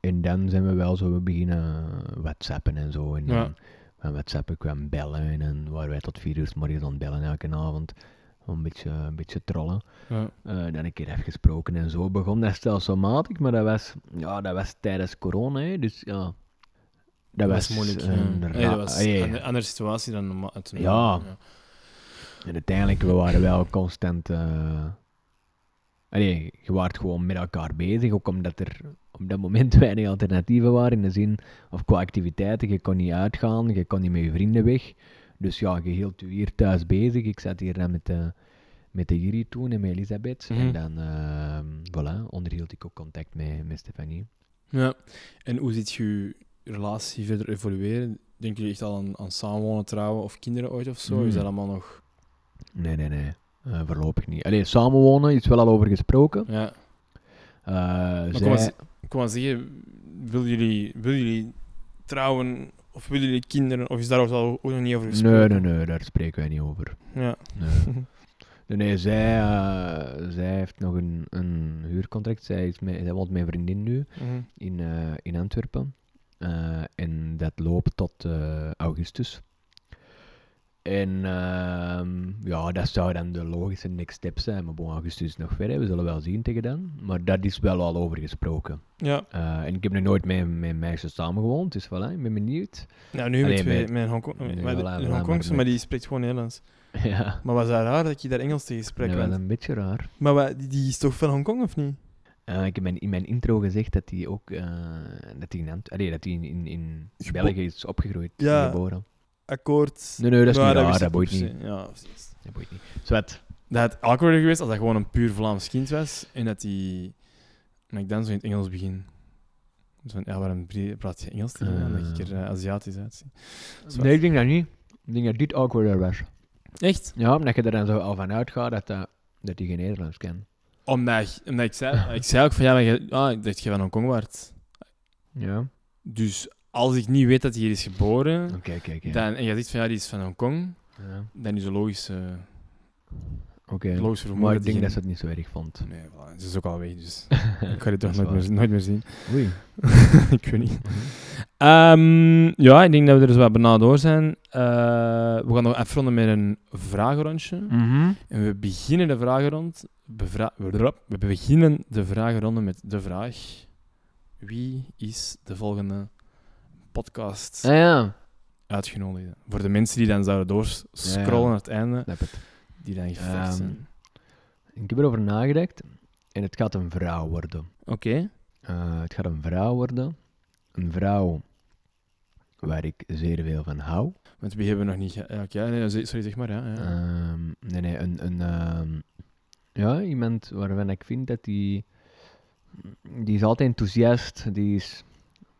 Speaker 3: en dan zijn we wel zo beginnen whatsappen en zo. En
Speaker 1: Ja.
Speaker 3: dan van whatsappen kwam bellen en dan waren wij tot vier uur 's morgens aan het bellen elke avond. Om een beetje, een beetje trollen.
Speaker 1: Ja.
Speaker 3: Eh, dan een keer afgesproken en zo begon dat stelselmatig, maar dat was, ja, dat was tijdens corona, hè, dus ja. Dat was,
Speaker 1: moeilijk. ja.
Speaker 3: een ra-
Speaker 1: Nee, dat was
Speaker 3: ah, ja, ja.
Speaker 1: een andere situatie dan normaal. het
Speaker 3: Ja. En uiteindelijk, we waren wel constant... eh, Allee, je waart gewoon met elkaar bezig, ook omdat er op dat moment weinig alternatieven waren, in de zin, of qua activiteiten, je kon niet uitgaan, je kon niet met je vrienden weg. Dus ja, je hield je hier thuis bezig. Ik zat hier dan met de, met de Jiri toen en met Elisabeth.
Speaker 1: Mhm.
Speaker 3: En dan, eh, voilà, onderhield ik ook contact met, met Stefanie.
Speaker 1: Ja. En hoe ziet je relatie verder evolueren? Denken jullie echt al aan, aan samenwonen, trouwen of kinderen ooit of zo?
Speaker 3: Hmm.
Speaker 1: Is dat allemaal nog...
Speaker 3: Nee, nee, nee. eh, voorlopig niet. Allee, samenwonen is wel al over gesproken.
Speaker 1: Ja.
Speaker 3: Eh,
Speaker 1: Maar
Speaker 3: zij-
Speaker 1: kom, maar, ik wou zeggen, willen jullie, willen jullie trouwen of willen jullie kinderen? Of is daar ook al ook nog niet over
Speaker 3: Nee,
Speaker 1: gesproken?
Speaker 3: nee, nee, daar spreken wij niet over.
Speaker 1: Ja.
Speaker 3: Nee. Nee, nee, zij, eh, zij heeft nog een, een huurcontract. Zij, is met, zij woont met mijn vriendin nu
Speaker 1: Mhm.
Speaker 3: in, eh, in Antwerpen. Eh, en dat loopt tot eh, augustus. En ehm, ja, dat zou dan de logische next step zijn. Maar bon, augustus is nog ver, hè. we zullen wel zien tegen dan. Maar dat is wel al over gesproken.
Speaker 1: Ja,
Speaker 3: Eh, en ik heb nog nooit met mijn meisje samengewoond, dus voilà, ik ben benieuwd.
Speaker 1: nou nu met
Speaker 3: Allee,
Speaker 1: twee,
Speaker 3: met-
Speaker 1: mijn Hongkong,
Speaker 3: Nee,
Speaker 1: maar, de-
Speaker 3: voilà,
Speaker 1: een
Speaker 3: voilà, maar
Speaker 1: Hongkongse, maar
Speaker 3: met-
Speaker 1: die spreekt gewoon Nederlands.
Speaker 3: ja,
Speaker 1: Maar was dat raar dat je daar Engels tegen
Speaker 3: dat
Speaker 1: spreekt?
Speaker 3: is wel
Speaker 1: want-
Speaker 3: een beetje raar.
Speaker 1: Maar wat, die, die is toch van Hongkong of niet?
Speaker 3: Eh, ik heb mijn- in mijn intro gezegd dat hij ook eh, dat hij in, Ant- allee, dat hij in, in, in
Speaker 1: Gebo-
Speaker 3: België is opgegroeid,
Speaker 1: Ja.
Speaker 3: en geboren.
Speaker 1: Akkoord.
Speaker 3: Nee, nee, dat is niet
Speaker 1: Maar wist
Speaker 3: raar,
Speaker 1: ik
Speaker 3: dat boeit
Speaker 1: per
Speaker 3: niet.
Speaker 1: se. Ja, precies.
Speaker 3: Dat boeit niet. Zwat.
Speaker 1: Dat had awkward geweest als dat gewoon een puur Vlaams kind was en dat die... En ik dan zo in het Engels begin. Dus van, ja, waarom pre- praat je Engels tegen mij? Omdat ik er eh, Aziatisch uitzie. Zwat.
Speaker 3: Nee, ik denk dat niet. Ik denk dat dit awkwarder was.
Speaker 1: Echt?
Speaker 3: Ja, omdat je er dan zo al van uitgaat dat, dat, dat die geen Nederlands kan.
Speaker 1: Omdat, ik- omdat ik zei... Ik zei ook van, ja, maar je, ah, ik dacht, je van Hongkong waard.
Speaker 3: Ja.
Speaker 1: Dus als ik niet weet dat hij hier is geboren,
Speaker 3: Oké, kijk. ja.
Speaker 1: dan, en je zegt van, ja, die is van Hongkong,
Speaker 3: Ja.
Speaker 1: dan is het logisch, eh
Speaker 3: Oké.
Speaker 1: logisch vermoeden
Speaker 3: Maar ik denk
Speaker 1: die
Speaker 3: dat ze
Speaker 1: geen-
Speaker 3: het niet zo erg vond.
Speaker 1: Nee, voilà, ze is ook al weg, dus ik ga
Speaker 3: Dat
Speaker 1: dit toch
Speaker 3: is
Speaker 1: nooit
Speaker 3: waar.
Speaker 1: meer, nooit meer zien.
Speaker 3: Oei.
Speaker 1: ik weet niet. Ehm, ja, ik denk dat we er dus wat bijna door zijn. Eh, we gaan nog afronden met een vragenrondje. En we beginnen de vragenrond. bevra- brrrap, we beginnen de vragenronde met de vraag: Wie is de volgende podcast
Speaker 3: Ah ja.
Speaker 1: uitgenodigd? Voor de mensen die dan zouden doorscrollen
Speaker 3: Ja, ja.
Speaker 1: naar het einde,
Speaker 3: Snap het.
Speaker 1: die dan gevecht
Speaker 3: Ehm,
Speaker 1: zijn.
Speaker 3: Ik heb erover nagedacht. En het gaat een vrouw worden.
Speaker 1: Oké.
Speaker 3: Eh, het gaat een vrouw worden. Een vrouw waar ik zeer veel van hou.
Speaker 1: Want we hebben nog niet. ge- ja, Oké, nee, ze- sorry, zeg maar. Ja, ja.
Speaker 3: Ehm, nee, nee, een, een, ehm, ja, iemand waarvan ik vind dat die, die is altijd enthousiast, die is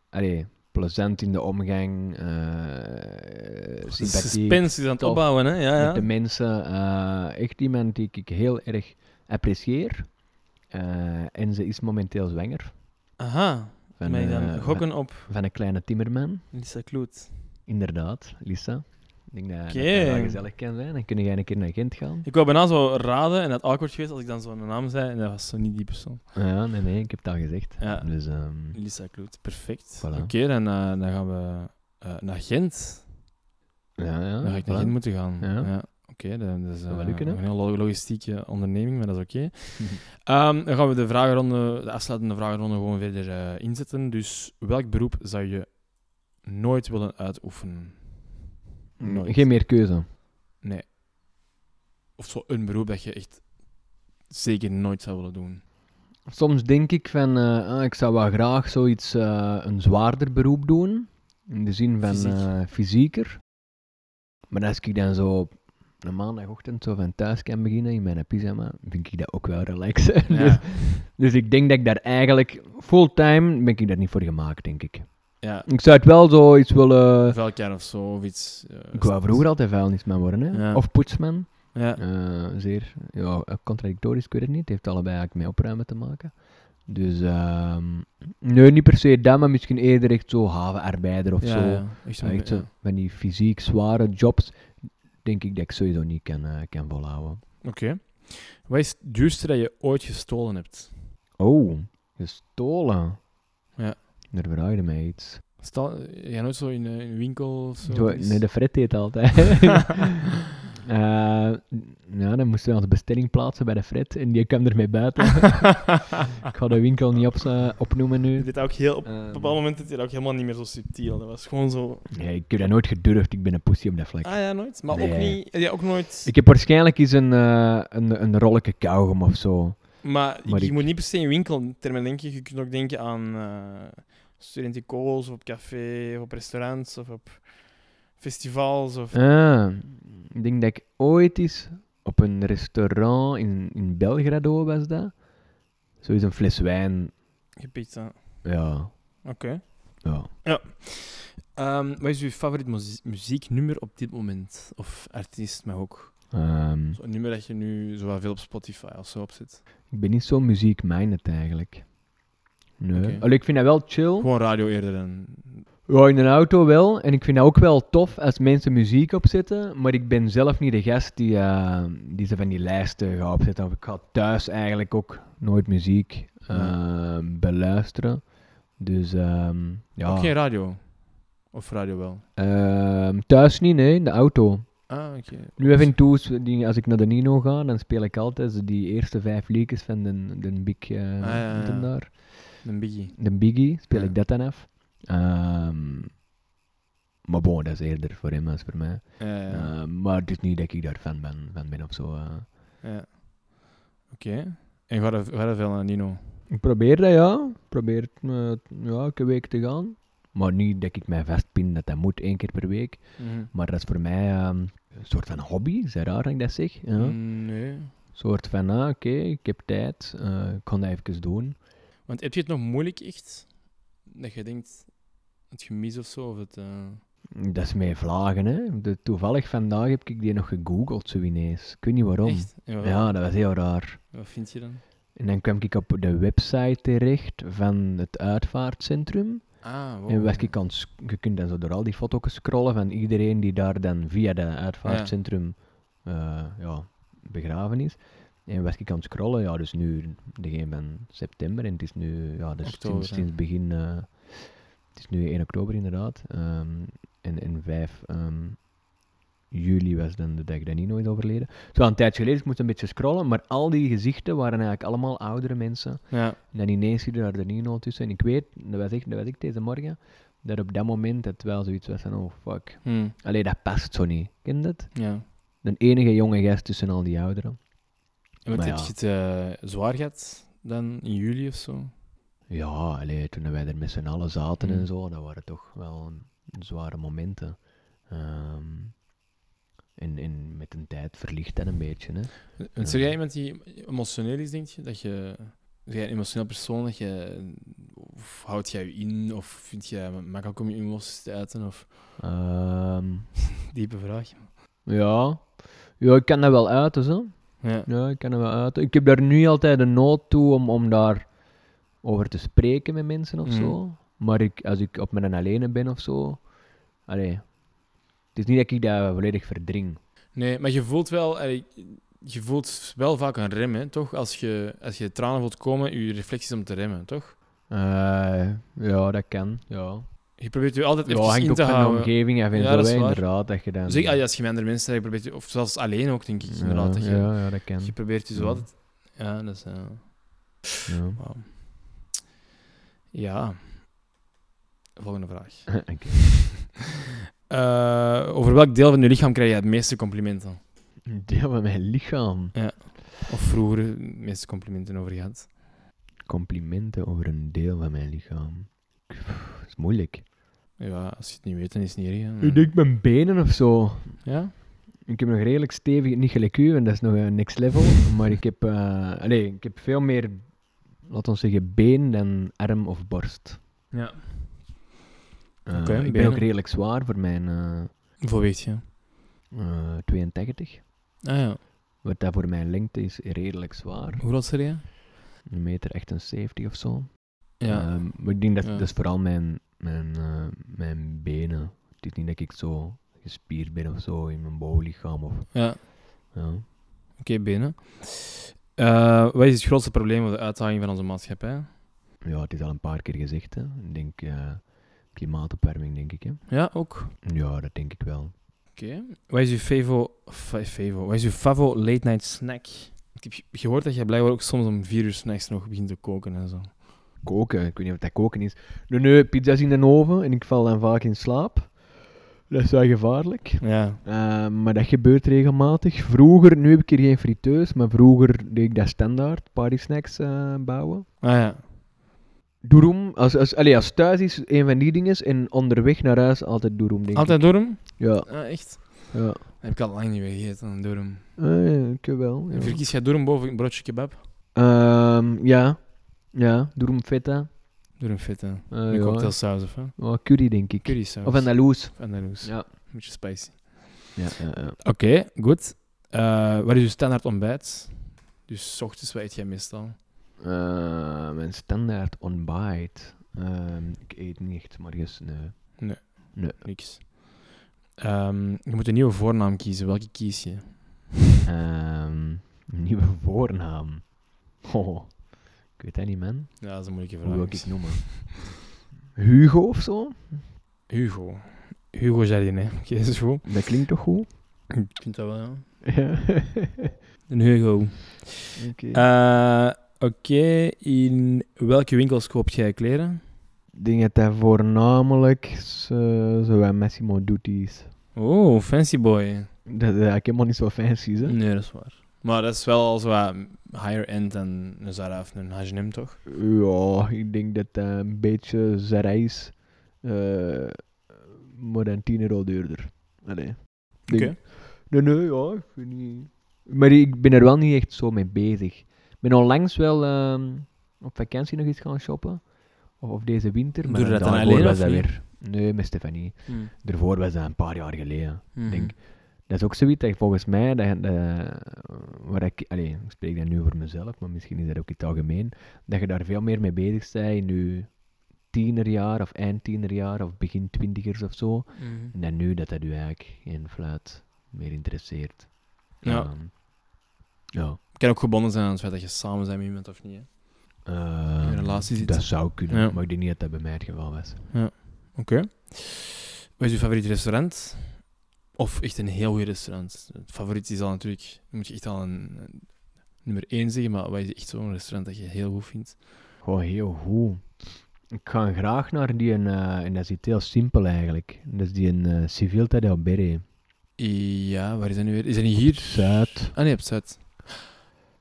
Speaker 3: allee, plezant in de omgang, eh sympathiek
Speaker 1: Suspense is aan het
Speaker 3: tof.
Speaker 1: opbouwen, hè? Ja, ja.
Speaker 3: met de mensen. eh, echt iemand die ik heel erg apprecieer. Eh, en ze is momenteel zwanger
Speaker 1: Aha.
Speaker 3: van,
Speaker 1: mij
Speaker 3: eh,
Speaker 1: dan
Speaker 3: van-
Speaker 1: gokken op
Speaker 3: van een kleine timmerman.
Speaker 1: Lisa Kloet.
Speaker 3: Inderdaad, Lisa. Ik denk dat, dat dat
Speaker 1: Oké.
Speaker 3: wel gezellig kan zijn. Dan kun jij een keer naar Gent gaan.
Speaker 1: Ik wou bijna zo raden en dat awkward geweest als ik dan zo'n naam zei en dat was zo niet die persoon.
Speaker 3: Ah Ja, nee, nee, ik heb het al gezegd.
Speaker 1: Ja.
Speaker 3: Dus, ehm,
Speaker 1: Lisa Kloet, perfect.
Speaker 3: Voilà.
Speaker 1: Oké, dan, eh, dan gaan we eh, naar Gent.
Speaker 3: ja, ja.
Speaker 1: Dan ga ik naar
Speaker 3: voilà.
Speaker 1: Gent moeten gaan.
Speaker 3: Ja.
Speaker 1: Oké, dat, dat is
Speaker 3: Zou wel
Speaker 1: eh,
Speaker 3: lukken, hè? Mhm.
Speaker 1: een heel lo- logistieke onderneming, maar dat is oké. Ehm, dan gaan we de vragenronde, de afsluitende vragenronde gewoon verder eh, inzetten. Dus welk beroep zou je nooit willen uitoefenen? Nooit.
Speaker 3: Mm, Geen meer keuze.
Speaker 1: Nee. Of zo een beroep dat je echt zeker nooit zou willen doen.
Speaker 3: Soms denk ik van, eh, ah, ik zou wel graag zoiets, eh, een zwaarder beroep doen. In de zin van
Speaker 1: Fysiek.
Speaker 3: eh, fysieker. Maar als ik dan zo op een maandagochtend zo van thuis kan beginnen in mijn pyjama, vind ik dat ook wel relaxen. Dus,
Speaker 1: Ja.
Speaker 3: dus ik denk dat ik daar eigenlijk fulltime ben ik daar niet voor gemaakt, denk ik.
Speaker 1: ja.
Speaker 3: Ik zou het wel zoiets willen...
Speaker 1: vuilkern of zo, of iets. eh,
Speaker 3: Ik wou vroeger altijd vuilnisman worden, hè.
Speaker 1: Ja.
Speaker 3: Of poetsman.
Speaker 1: Ja.
Speaker 3: Eh, zeer ja, contradictorisch, ik weet het niet. Het heeft allebei eigenlijk met opruimen te maken. Dus, ehm, nee, niet per se dat, maar misschien eerder echt zo havenarbeider of
Speaker 1: ja,
Speaker 3: zo.
Speaker 1: ja, echt zo'n-
Speaker 3: echt zo
Speaker 1: ja.
Speaker 3: van die fysiek zware jobs, denk ik dat ik sowieso niet kan, eh, kan volhouden.
Speaker 1: Oké. Wat is het duurste dat je ooit gestolen hebt?
Speaker 3: Oh, gestolen.
Speaker 1: Ja.
Speaker 3: Daar vraagde mij iets.
Speaker 1: Stel, jij nooit zo in eh, in een winkel of zo?
Speaker 3: Zo,
Speaker 1: iets?
Speaker 3: nee, de Fred deed het altijd. Eh, ja, dan moesten we onze bestelling plaatsen bij de Fred en die kwam ermee buiten. ik ga de winkel niet op, eh, opnoemen nu.
Speaker 1: Dit ook heel, op een
Speaker 3: Ehm,
Speaker 1: bepaald moment is dit ook helemaal niet meer zo subtiel. Dat was gewoon zo...
Speaker 3: Nee, ik heb dat nooit gedurfd. Ik ben een poesie op dat vlak.
Speaker 1: Ah ja, dus- nooit. Maar ook
Speaker 3: Nee.
Speaker 1: niet... Ja, ook nooit...
Speaker 3: Ik heb waarschijnlijk eens een, eh een, een rolletje kauwgom of zo.
Speaker 1: maar
Speaker 3: maar
Speaker 1: je
Speaker 3: ik-
Speaker 1: moet niet per se in winkeltermen denken. Je kunt ook denken aan eh studentenkools, of op café, of op restaurants, of op festivals, of...
Speaker 3: Ah, ik denk dat ik ooit eens op een restaurant in, in Belgrado was dat. Zo is een fles wijn.
Speaker 1: Gepikt, hè.
Speaker 3: Ja.
Speaker 1: Oké.
Speaker 3: Ja.
Speaker 1: Ehm, wat is uw favoriet muzie- muzieknummer op dit moment? Of artiest, maar ook.
Speaker 3: Ehm,
Speaker 1: Zo'n nummer dat je nu zowel veel op Spotify als zo op zit.
Speaker 3: ik ben niet zo muziek-minded eigenlijk. Nee.
Speaker 1: Oké.
Speaker 3: Allee, ik vind dat wel chill.
Speaker 1: Gewoon radio eerder dan.
Speaker 3: Ja, in een auto wel. En ik vind dat ook wel tof als mensen muziek opzetten. Maar ik ben zelf niet de gast die, eh, die ze van die lijsten gaat opzetten. Of ik ga thuis eigenlijk ook nooit muziek eh, beluisteren. Dus ehm, ja.
Speaker 4: Ook geen radio? Of radio wel?
Speaker 3: Ehm, thuis niet, nee, in de auto.
Speaker 4: Ah, oké.
Speaker 3: Nu even in toes, die- als ik naar de Nino ga, dan speel ik altijd zo die eerste vijf liedjes van de, de Big eh,
Speaker 4: Ah, ja, ja.
Speaker 3: ding daar.
Speaker 4: Een biggie.
Speaker 3: De Biggie, speel
Speaker 4: Ja.
Speaker 3: ik dat dan af. Ehm, maar bon, dat is eerder voor hem als voor mij.
Speaker 4: Ja, ja, ja.
Speaker 3: Ehm, maar het is niet dat ik daar fan ben, fan ben of zo. eh.
Speaker 4: Ja. Oké. En ga er, ga er veel naar Nino?
Speaker 3: Ik probeer dat, ja. Ik Probeer het eh, ja, elke week te gaan. Maar niet dat ik mij vastpin dat dat moet één keer per week.
Speaker 4: Mhm.
Speaker 3: Maar dat is voor mij ehm, een soort van hobby. Is dat raar dat ik dat zeg? Ja.
Speaker 4: Mm, Nee.
Speaker 3: soort van, ah, oké, ik heb tijd, eh, ik kan dat even doen.
Speaker 4: Want heb je het nog moeilijk echt? Dat je denkt, het gemis of zo? Of het, eh,
Speaker 3: Dat is mij vlagen, hè. De, toevallig vandaag heb ik die nog gegoogeld, zo ineens. Ik weet niet waarom.
Speaker 4: Echt? En wat,
Speaker 3: Ja, dat was heel raar.
Speaker 4: wat vind je dan?
Speaker 3: En dan kwam ik op de website terecht van het uitvaartcentrum.
Speaker 4: Ah, wow.
Speaker 3: En was ik aan, het sc- je kunt dan zo door al die foto's scrollen van iedereen die daar dan via dat uitvaartcentrum eh, ja, begraven is. En was ik aan het scrollen, ja, dus nu degene van september en het is nu, ja, dus
Speaker 4: Oktober,
Speaker 3: sinds,
Speaker 4: hè.
Speaker 3: sinds begin, eh, het is nu 1 oktober inderdaad. ehm, en, en 5 ehm, juli was dan de dag dat Nino is overleden. Het was een tijdje geleden, dus ik moest een beetje scrollen, maar al die gezichten waren eigenlijk allemaal oudere mensen.
Speaker 4: Ja.
Speaker 3: En dan ineens zie je daar de Nino tussen. En ik weet, dat was, ik, dat was ik deze morgen, dat op dat moment het wel zoiets was van, oh fuck.
Speaker 4: Hm.
Speaker 3: Allee, dat past zo niet. Ken je dat?
Speaker 4: Ja.
Speaker 3: De enige jonge gast tussen al die ouderen.
Speaker 4: En wat
Speaker 3: Maar
Speaker 4: heb
Speaker 3: ja.
Speaker 4: je het eh, zwaar gehad dan in juli of zo?
Speaker 3: Ja, allee, toen wij er met z'n allen zaten
Speaker 4: Mm.
Speaker 3: en zo, dat waren toch wel zware momenten. Ehm, en, en met een tijd verlicht dat een beetje, hè.
Speaker 4: Want Zou jij iemand die emotioneel is, denk je? Dat je... Ben jij een emotioneel persoon? Dat je, of houd jij je in? Of vind jij het makkelijk om je emoties te uiten? Of...
Speaker 3: Ehm,
Speaker 4: Diepe vraag.
Speaker 3: ja. ja, ik kan dat wel uiten, zo.
Speaker 4: Ja.
Speaker 3: Ja, ik kan er wel uit. Ik heb daar nu altijd de nood toe om, om daar over te spreken met mensen of
Speaker 4: Mm.
Speaker 3: zo. Maar ik, als ik op mijn alleen ben of zo. Allee. Het is niet dat ik dat volledig verdring.
Speaker 4: Nee, maar je voelt wel... eh, Je voelt wel vaak een rem, hè, toch? Als je, als je tranen voelt komen, je reflecties om te remmen, toch?
Speaker 3: Eh, ja, dat kan. Ja,
Speaker 4: Je probeert je altijd
Speaker 3: ja
Speaker 4: even
Speaker 3: hangt
Speaker 4: in
Speaker 3: ook
Speaker 4: te
Speaker 3: van de
Speaker 4: houden.
Speaker 3: omgeving af en
Speaker 4: Ja,
Speaker 3: zo,
Speaker 4: dat is
Speaker 3: hè,
Speaker 4: waar. ah
Speaker 3: inderdaad. Dat je dan...
Speaker 4: Zeker als je met andere mensen hebt, probeert je- of zelfs alleen ook, denk ik,
Speaker 3: Ja,
Speaker 4: inderdaad. dat je,
Speaker 3: ja, ja, dat kan.
Speaker 4: je probeert je zo
Speaker 3: Ja.
Speaker 4: altijd... Ja, dat is... eh,
Speaker 3: Ja.
Speaker 4: Wauw. Ja. Volgende vraag.
Speaker 3: Oké.
Speaker 4: Eh, over welk deel van je lichaam krijg je het meeste complimenten?
Speaker 3: Een Deel van mijn lichaam.
Speaker 4: Of vroeger het meeste complimenten over gehad?
Speaker 3: Complimenten over een deel van mijn lichaam. Pff, Dat is moeilijk.
Speaker 4: Ja, als je het niet weet, dan is het niet erg. hè.
Speaker 3: Ik denk mijn benen of zo.
Speaker 4: Ja?
Speaker 3: Ik heb nog redelijk stevig, niet gelijk u, en dat is nog een next level. Maar ik heb, eh, allee, ik heb veel meer, laten we zeggen, been dan arm of borst.
Speaker 4: Ja.
Speaker 3: Eh,
Speaker 4: Oké,
Speaker 3: ik ben
Speaker 4: benen.
Speaker 3: ook redelijk zwaar voor mijn eh,
Speaker 4: Hoeveel weegt je?
Speaker 3: eh, 82.
Speaker 4: Ah ja.
Speaker 3: Wat dat voor mijn lengte is, redelijk zwaar.
Speaker 4: Hoe oud ben je?
Speaker 3: Een meter 78 of zo.
Speaker 4: Ja.
Speaker 3: Ehm, maar ik denk dat
Speaker 4: Ja.
Speaker 3: dat is vooral mijn, mijn, eh, mijn benen. Het is niet dat ik zo gespierd ben of zo in mijn bouwlichaam. Of,
Speaker 4: ja.
Speaker 3: ja.
Speaker 4: Oké, binnen. Eh, wat is het grootste probleem of de uitdaging van onze maatschappij?
Speaker 3: ja, het is al een paar keer gezegd. Hè. Ik denk eh, klimaatopwarming, denk ik. Hè.
Speaker 4: Ja, ook.
Speaker 3: Ja, dat denk ik wel.
Speaker 4: Oké. Wat is uw favo... fa- favo- Wat is uw favo late night snack? Ik heb ge- gehoord dat jij blijkbaar ook soms om vier uur s'nachts nog begint te koken en zo.
Speaker 3: Koken, ik weet niet of dat koken is. Nee, nee, pizza's in de oven en ik val dan vaak in slaap. Dat is wel gevaarlijk.
Speaker 4: Ja.
Speaker 3: Eh, maar dat gebeurt regelmatig. Vroeger, nu heb ik hier geen friteus, maar vroeger deed ik dat standaard, party snacks eh, bouwen.
Speaker 4: Ah ja.
Speaker 3: Doeroem, als, als, allee, als thuis is, een van die dingen. En onderweg naar huis altijd doeroem, denk
Speaker 4: Altijd dorm?
Speaker 3: ik. Ja,
Speaker 4: Ah, echt?
Speaker 3: ja.
Speaker 4: Dat heb ik al lang niet meer gegeten, een dorm.
Speaker 3: Eh, ik wel.
Speaker 4: En
Speaker 3: Ja.
Speaker 4: Verkies jij dorm boven een broodje kebab?
Speaker 3: Ehm, ja, ja, doeroem feta.
Speaker 4: Dorm fit, hè.
Speaker 3: Eh,
Speaker 4: Met
Speaker 3: ja,
Speaker 4: cocktailsaus of hè?
Speaker 3: hè. Ja, curry, denk ik.
Speaker 4: Curry saus.
Speaker 3: Of Andaloes.
Speaker 4: Andaloes.
Speaker 3: Ja.
Speaker 4: Een beetje spicy.
Speaker 3: Ja, ja, ja.
Speaker 4: Oké, goed. Eh, wat is uw standaard ontbijt? Dus 's ochtends, wat eet jij meestal?
Speaker 3: Eh, mijn standaard ontbijt. Ehm, ik eet niet echt morgens, nee.
Speaker 4: Nee.
Speaker 3: Nee.
Speaker 4: Niks. Ehm, je moet een nieuwe voornaam kiezen. Welke kies je?
Speaker 3: Ehm, een nieuwe voornaam. Oh, ik weet dat niet, man.
Speaker 4: Ja, dat is een moeilijke
Speaker 3: Hoe
Speaker 4: vraag.
Speaker 3: wil ik het noemen? Hugo of zo?
Speaker 4: Hugo. Hugo Jardinet. Oké, dat is goed.
Speaker 3: Dat klinkt toch goed?
Speaker 4: Ik vind dat wel, ja.
Speaker 3: Ja.
Speaker 4: Een Hugo.
Speaker 3: Oké.
Speaker 4: Eh, Oké, in welke winkels koop jij kleren?
Speaker 3: Ik denk dat hij voornamelijk zo, zo bij Massimo Dutti's.
Speaker 4: Oh, fancy boy.
Speaker 3: Dat is eigenlijk helemaal niet zo fancy, hè?
Speaker 4: Nee, dat is waar. Maar dat is wel al zo wat higher end dan een Zara of een H&M, toch?
Speaker 3: Ja, ik denk dat dat een beetje Zara is, eh, maar dan 10 euro duurder. Allee.
Speaker 4: Oké.
Speaker 3: Denk- Nee, nee, ja, ik vind niet... Maar ik ben er wel niet echt zo mee bezig. Ik ben onlangs wel ehm, op vakantie nog iets gaan shoppen. Of, of deze winter. Maar
Speaker 4: Doe je dat dan
Speaker 3: daarvoor
Speaker 4: alleen,
Speaker 3: was
Speaker 4: of
Speaker 3: dat
Speaker 4: niet?
Speaker 3: weer. Nee, met Stefanie.
Speaker 4: Hmm.
Speaker 3: Daarvoor was dat een paar jaar geleden.
Speaker 4: Mhm.
Speaker 3: Denk, dat is ook zoiets dat je volgens mij, dat, dat- waar ik, allee, ik spreek dat nu voor mezelf, maar misschien is dat ook in het algemeen, dat je daar veel meer mee bezig bent nu tienerjaar of eind tienerjaar of begin twintigers of zo,
Speaker 4: Mhm.
Speaker 3: en dan nu dat dat u eigenlijk geen fluit meer interesseert.
Speaker 4: Ja.
Speaker 3: Ehm, ja.
Speaker 4: Het kan ook gebonden zijn aan het feit dat je samen bent met iemand of niet. hè.
Speaker 3: Ehm,
Speaker 4: In een relatie zitten.
Speaker 3: Dat zou kunnen,
Speaker 4: Ja.
Speaker 3: maar ik denk niet dat dat bij mij het geval was.
Speaker 4: Oké. Wat is je favoriet restaurant? Of echt een heel goed restaurant? Het favoriet is al natuurlijk... Dan moet je echt al een, een nummer één zeggen, maar wat is echt zo'n restaurant dat je heel goed vindt?
Speaker 3: Gewoon heel goed. Ik ga graag naar die, een, eh, en dat is iets heel simpel eigenlijk, dat is die een eh Civilta del Bere.
Speaker 4: Ja, waar is dat nu weer? Is dat niet hier?
Speaker 3: Zuid.
Speaker 4: Ah nee, op Zuid.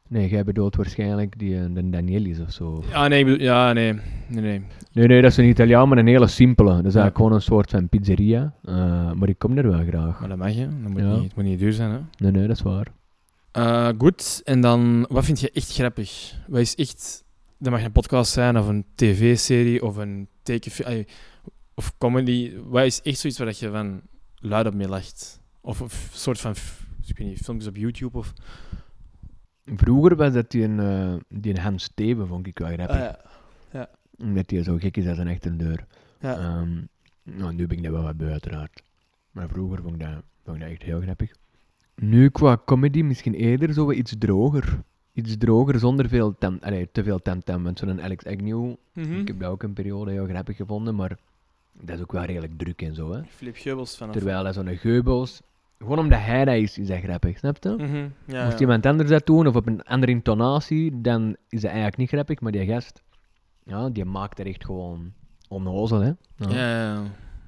Speaker 3: Nee, jij bedoelt waarschijnlijk die, eh, de Danielis of zo.
Speaker 4: Ah nee, ik bedoel... Ja, nee. Nee, nee.
Speaker 3: Nee, nee, dat is een Italiaan, maar een hele simpele. Dat is
Speaker 4: Ja.
Speaker 3: eigenlijk gewoon een soort van pizzeria. Eh, maar ik kom er wel graag.
Speaker 4: Maar dat mag je. Dat moet
Speaker 3: Ja.
Speaker 4: niet, het moet niet duur zijn, hè.
Speaker 3: Nee, nee, dat is waar.
Speaker 4: Eh, goed, en dan, wat vind je echt grappig? Wat is echt... Dat mag een podcast zijn, of een tv-serie, of een tekenfilm, ai, of comedy. Wat is echt zoiets waar dat je van luid op mee lacht? Of een f- soort van, f- ik weet niet, filmpjes op YouTube of...
Speaker 3: Vroeger was dat die, een, eh, die een Hans Steven, vond
Speaker 4: Ah,
Speaker 3: ik wel grappig. Omdat die zo gek is als een achterdeur.
Speaker 4: Ja.
Speaker 3: Ehm, nou, nu ben ik dat wel wat beu, uiteraard. Maar vroeger vond ik dat, vond ik dat echt heel grappig. Nu qua comedy misschien eerder zo wat iets droger. Iets droger zonder veel tam, allee, te veel tam-tam. Want zo'n Alex Agnew
Speaker 4: Mhm.
Speaker 3: Ik heb dat ook een periode heel grappig gevonden, maar dat is ook wel redelijk druk en zo. Hè?
Speaker 4: Flip Geubels vanaf.
Speaker 3: Terwijl dat zo'n Geubels, gewoon omdat hij dat is, is dat grappig, snap je?
Speaker 4: Mhm, ja,
Speaker 3: Moest
Speaker 4: ja.
Speaker 3: iemand anders dat doen of op een andere intonatie, dan is dat eigenlijk niet grappig, maar die gast, ja, die maakt er echt gewoon onnozel, hè?
Speaker 4: Ja, ja, ja.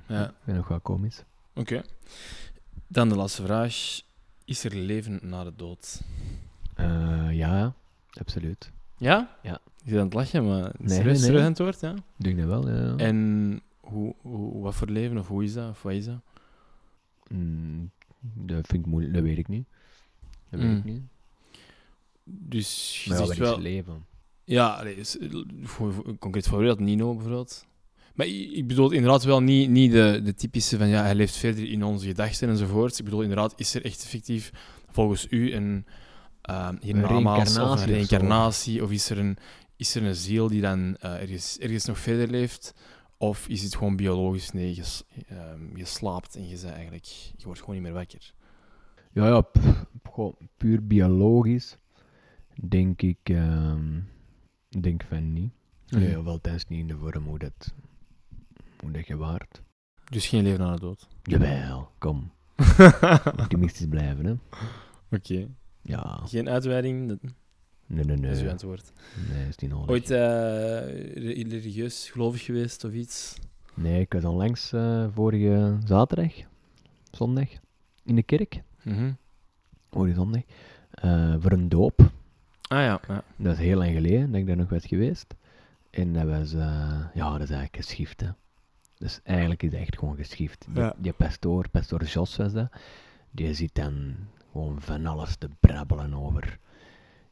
Speaker 4: ja.
Speaker 3: Ik vind nog wel komisch.
Speaker 4: Oké. Dan de laatste vraag. Is er leven na de dood?
Speaker 3: Eh, ja, absoluut.
Speaker 4: Ja?
Speaker 3: Ja.
Speaker 4: Ik zit aan het lachen, maar het is
Speaker 3: Nee,
Speaker 4: serieus-
Speaker 3: nee.
Speaker 4: serieus antwoord, ja?
Speaker 3: Ik denk dat wel, ja.
Speaker 4: Eh. En hoe, hoe, wat voor leven of hoe is dat? Of wat is dat?
Speaker 3: Mm, dat vind ik moeilijk, dat weet ik niet. Dat weet
Speaker 4: Mm.
Speaker 3: ik niet.
Speaker 4: Dus je
Speaker 3: Maar ja, wat
Speaker 4: zegt
Speaker 3: is
Speaker 4: wel...
Speaker 3: leven?
Speaker 4: Ja, allee, is- voor- voor- een concreet voorbeeld, Nino bijvoorbeeld. Maar i- ik bedoel inderdaad wel niet, niet de, de typische van ja, hij leeft verder in onze gedachten enzovoort. Ik bedoel inderdaad, is er echt effectief volgens u een uh, hiernamaals
Speaker 3: reïncarnatie of
Speaker 4: of
Speaker 3: zo?
Speaker 4: een reïncarnatie? Of is er een, is er een ziel die dan eh, ergens, ergens nog verder leeft? Of is het gewoon biologisch? Nee, je, s- ehm, je slaapt en je, bent eigenlijk, je wordt gewoon niet meer wakker.
Speaker 3: Ja, ja p- gewoon puur biologisch denk ik, ehm, denk van niet.
Speaker 4: Mhm.
Speaker 3: Nee, of althans niet in de vorm hoe dat, hoe dat je waart.
Speaker 4: Dus geen leven na de dood.
Speaker 3: Jawel, kom. Optimistisch blijven, hè.
Speaker 4: Oké.
Speaker 3: Ja,
Speaker 4: Geen uitweiding, dat
Speaker 3: nee, nee,
Speaker 4: dat
Speaker 3: nee.
Speaker 4: is uw
Speaker 3: Nee,
Speaker 4: antwoord.
Speaker 3: is niet nodig.
Speaker 4: Ooit eh, re- religieus gelovig geweest of iets?
Speaker 3: Nee, ik was onlangs eh, vorige zaterdag, zondag, in de kerk.
Speaker 4: Mhm.
Speaker 3: Vorige zondag. eh, voor een doop.
Speaker 4: Ah ja, ja.
Speaker 3: Dat is heel lang geleden dat ik daar nog was geweest. En dat was, eh, ja, dat is eigenlijk geschift, hè. Dus eigenlijk is het echt gewoon geschift. Die,
Speaker 4: Ja.
Speaker 3: die pastoor, pastoor Jos was dat, die zit dan gewoon van alles te brabbelen over.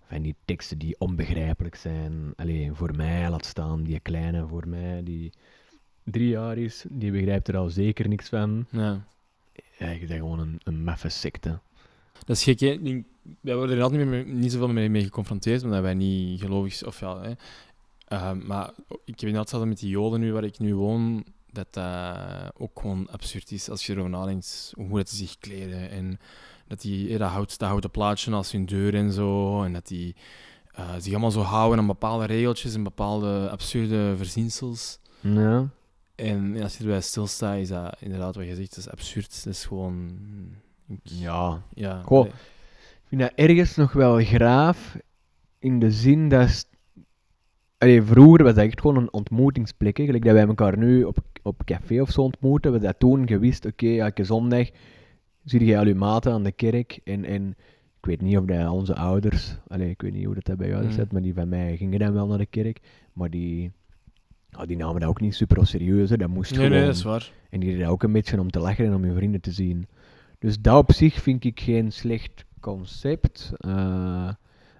Speaker 3: Van die teksten die onbegrijpelijk zijn. Alleen voor mij, laat staan, die kleine voor mij, die drie jaar is, die begrijpt er al zeker niks van. Eigenlijk is dat gewoon een, een maffe secte.
Speaker 4: Dat is gek, hè? Ik denk- Wij worden er altijd niet, meer, niet zoveel mee, mee geconfronteerd, omdat wij niet Eh, gelovig zijn. Of ja, hè. Ehm, maar ik heb inderdaad hetzelfde met die Joden nu, waar ik nu woon. dat dat ook gewoon absurd is als je erover nadenkt hoe dat die zich kleden. En dat die eh, dat, hout, dat houten plaatje als hun deur en zo. En dat die eh, zich allemaal zo houden aan bepaalde regeltjes en bepaalde absurde verzinsels.
Speaker 3: Ja.
Speaker 4: En als je erbij stilstaat, is dat inderdaad wat je zegt. Dat is absurd. Dat is gewoon...
Speaker 3: Ja.
Speaker 4: Ja.
Speaker 3: Goh.
Speaker 4: nee.
Speaker 3: Ik vind dat ergens nog wel graaf, in de zin dat... s- Allee, vroeger was dat echt gewoon een ontmoetingsplek. hè. Gelijk dat wij elkaar nu op, op café of zo ontmoeten, we dat toen gewist, oké, elke zondag zie je al je maten aan de kerk. En, en ik weet niet of dat onze ouders, allee, ik weet niet hoe dat, dat bij jou
Speaker 4: Mhm.
Speaker 3: zit, maar die van mij gingen dan wel naar de kerk. Maar die, ja, die namen dat ook niet super serieus, hè. dat moest
Speaker 4: Nee, nee,
Speaker 3: gewoon.
Speaker 4: dat is waar.
Speaker 3: En die deden dat ook een beetje om te lachen en om hun vrienden te zien. Dus dat op zich vind ik geen slecht concept. Eh,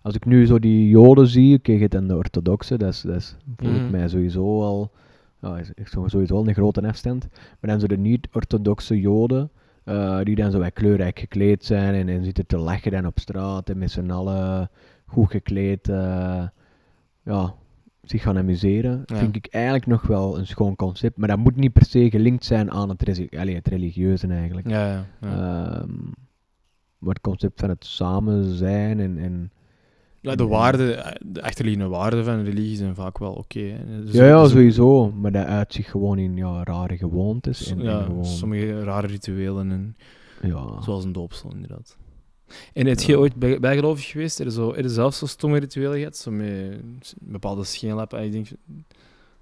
Speaker 3: als ik nu zo die joden zie, oké, je hebt dan de orthodoxe, dat is, dat is volgens
Speaker 4: Mhm.
Speaker 3: mij sowieso al ja, is, is zo- sowieso al een grote afstand. Maar dan zo de niet-orthodoxe joden, eh, die dan zo wat kleurrijk gekleed zijn en, en zitten te lachen dan op straat en met z'n allen goed gekleed eh, ja, zich gaan amuseren,
Speaker 4: Ja.
Speaker 3: vind ik eigenlijk nog wel een schoon concept. Maar dat moet niet per se gelinkt zijn aan het, resi- allee, het religieuze eigenlijk.
Speaker 4: Ja, ja. ja.
Speaker 3: Ehm, maar het concept van het samen zijn en... en
Speaker 4: Ja, de
Speaker 3: Ja.
Speaker 4: waarden, de achterliggende waarden van religie zijn vaak wel oké. hè. Dus
Speaker 3: ja,
Speaker 4: er
Speaker 3: ja,
Speaker 4: is ook-
Speaker 3: sowieso. Maar dat uitzicht gewoon in ja, rare gewoontes. En, en
Speaker 4: ja,
Speaker 3: gewoon, Ah.
Speaker 4: sommige rare rituelen, en,
Speaker 3: ja.
Speaker 4: zoals een doopsel inderdaad. En heb je ooit bij, bijgelovig geweest? Er, zo, er zelfs zo stomme rituelen gehad, zo met s- bepaalde scheenlappen. en je denkt,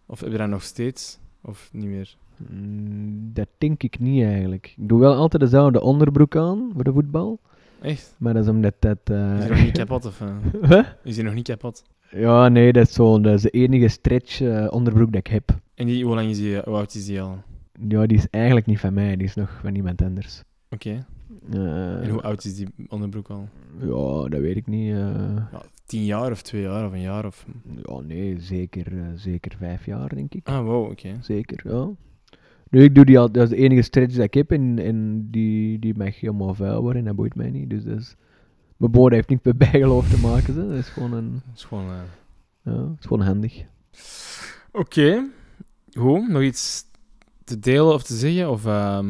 Speaker 4: of heb je dat nog steeds? Of niet meer?
Speaker 3: Mm, Dat denk ik niet eigenlijk. Ik doe wel altijd dezelfde onderbroek aan voor de voetbal.
Speaker 4: Echt?
Speaker 3: Maar dat is omdat dat.
Speaker 4: Is
Speaker 3: eh,
Speaker 4: die nog niet kapot? Of, eh?
Speaker 3: Huh?
Speaker 4: Is die nog niet kapot?
Speaker 3: Ja, nee, dat is, zo, dat is de enige stretch eh, onderbroek dat ik heb.
Speaker 4: En die, hoe lang is die? Hoe oud is die al?
Speaker 3: Ja, die is eigenlijk niet van mij, die is nog van iemand anders.
Speaker 4: Oké.
Speaker 3: Eh,
Speaker 4: En hoe oud is die onderbroek al?
Speaker 3: Ja, dat weet ik niet. eh.
Speaker 4: Ja, tien jaar of twee jaar of een jaar of...
Speaker 3: ja, nee, zeker, eh, zeker vijf jaar, denk ik.
Speaker 4: Ah, wow, oké.
Speaker 3: Zeker, ja. Nu, ik doe die al, dat is de enige stretch dat ik heb en, en die, die mag helemaal vuil worden en dat boeit mij niet. Dus dat is, mijn boord heeft niks met bijgeloof te maken, zo. dat is gewoon, een,
Speaker 4: Dat is gewoon... eh,
Speaker 3: ja, dat is gewoon handig.
Speaker 4: Oké. hoe Nog iets te delen of te zeggen? Of ehm,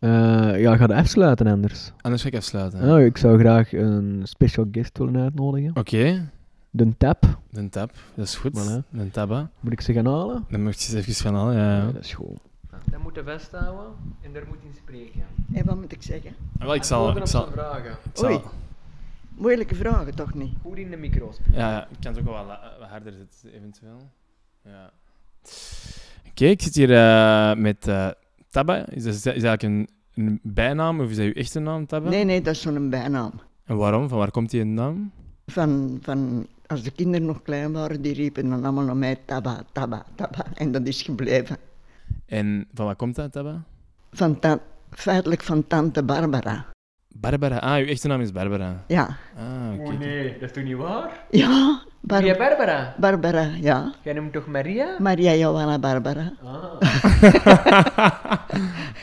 Speaker 3: Eh, ja, ga het afsluiten anders.
Speaker 4: anders ga ik afsluiten.
Speaker 3: Nou, ik zou graag een special guest willen uitnodigen.
Speaker 4: Oké,
Speaker 3: De tap,
Speaker 4: de tap. Dat is goed.
Speaker 3: Voilà.
Speaker 4: De tabba.
Speaker 3: moet ik ze gaan halen?
Speaker 4: Dan moet je eens even gaan halen. Ja.
Speaker 3: Ja, dat is schoon. Dat moet je vasthouden en daar moet in spreken.
Speaker 5: En wat moet ik zeggen?
Speaker 4: Ah, wel, ik zal... Ik zal,
Speaker 3: vragen.
Speaker 4: ik zal-
Speaker 5: Oei. Moeilijke vragen toch niet?
Speaker 3: Goed in de micro
Speaker 4: ja, ja, ik kan het ook wel wat, la- wat harder zetten, eventueel. Ja. Oké, ik zit hier eh, met eh, Tabba. Is dat, is dat eigenlijk een, een bijnaam of is dat uw echte naam, Tabba?
Speaker 5: Nee, nee, dat is zo'n bijnaam.
Speaker 4: En waarom? Van waar komt die naam?
Speaker 5: Van, van, als de kinderen nog klein waren, die riepen dan allemaal naar mij taba, taba, taba. En dat is gebleven.
Speaker 4: En van waar komt dat, Tabba?
Speaker 5: Van ta- feitelijk van tante Barbara.
Speaker 4: Barbara. Ah, uw echte naam is Barbara.
Speaker 5: Ja.
Speaker 4: Ah, oké.
Speaker 3: nee, dat is toch niet waar?
Speaker 5: Ja, Bar-
Speaker 3: Barbara,
Speaker 5: Barbara, ja.
Speaker 3: jij noemt toch Maria?
Speaker 5: Maria Johanna Barbara.
Speaker 3: Ah.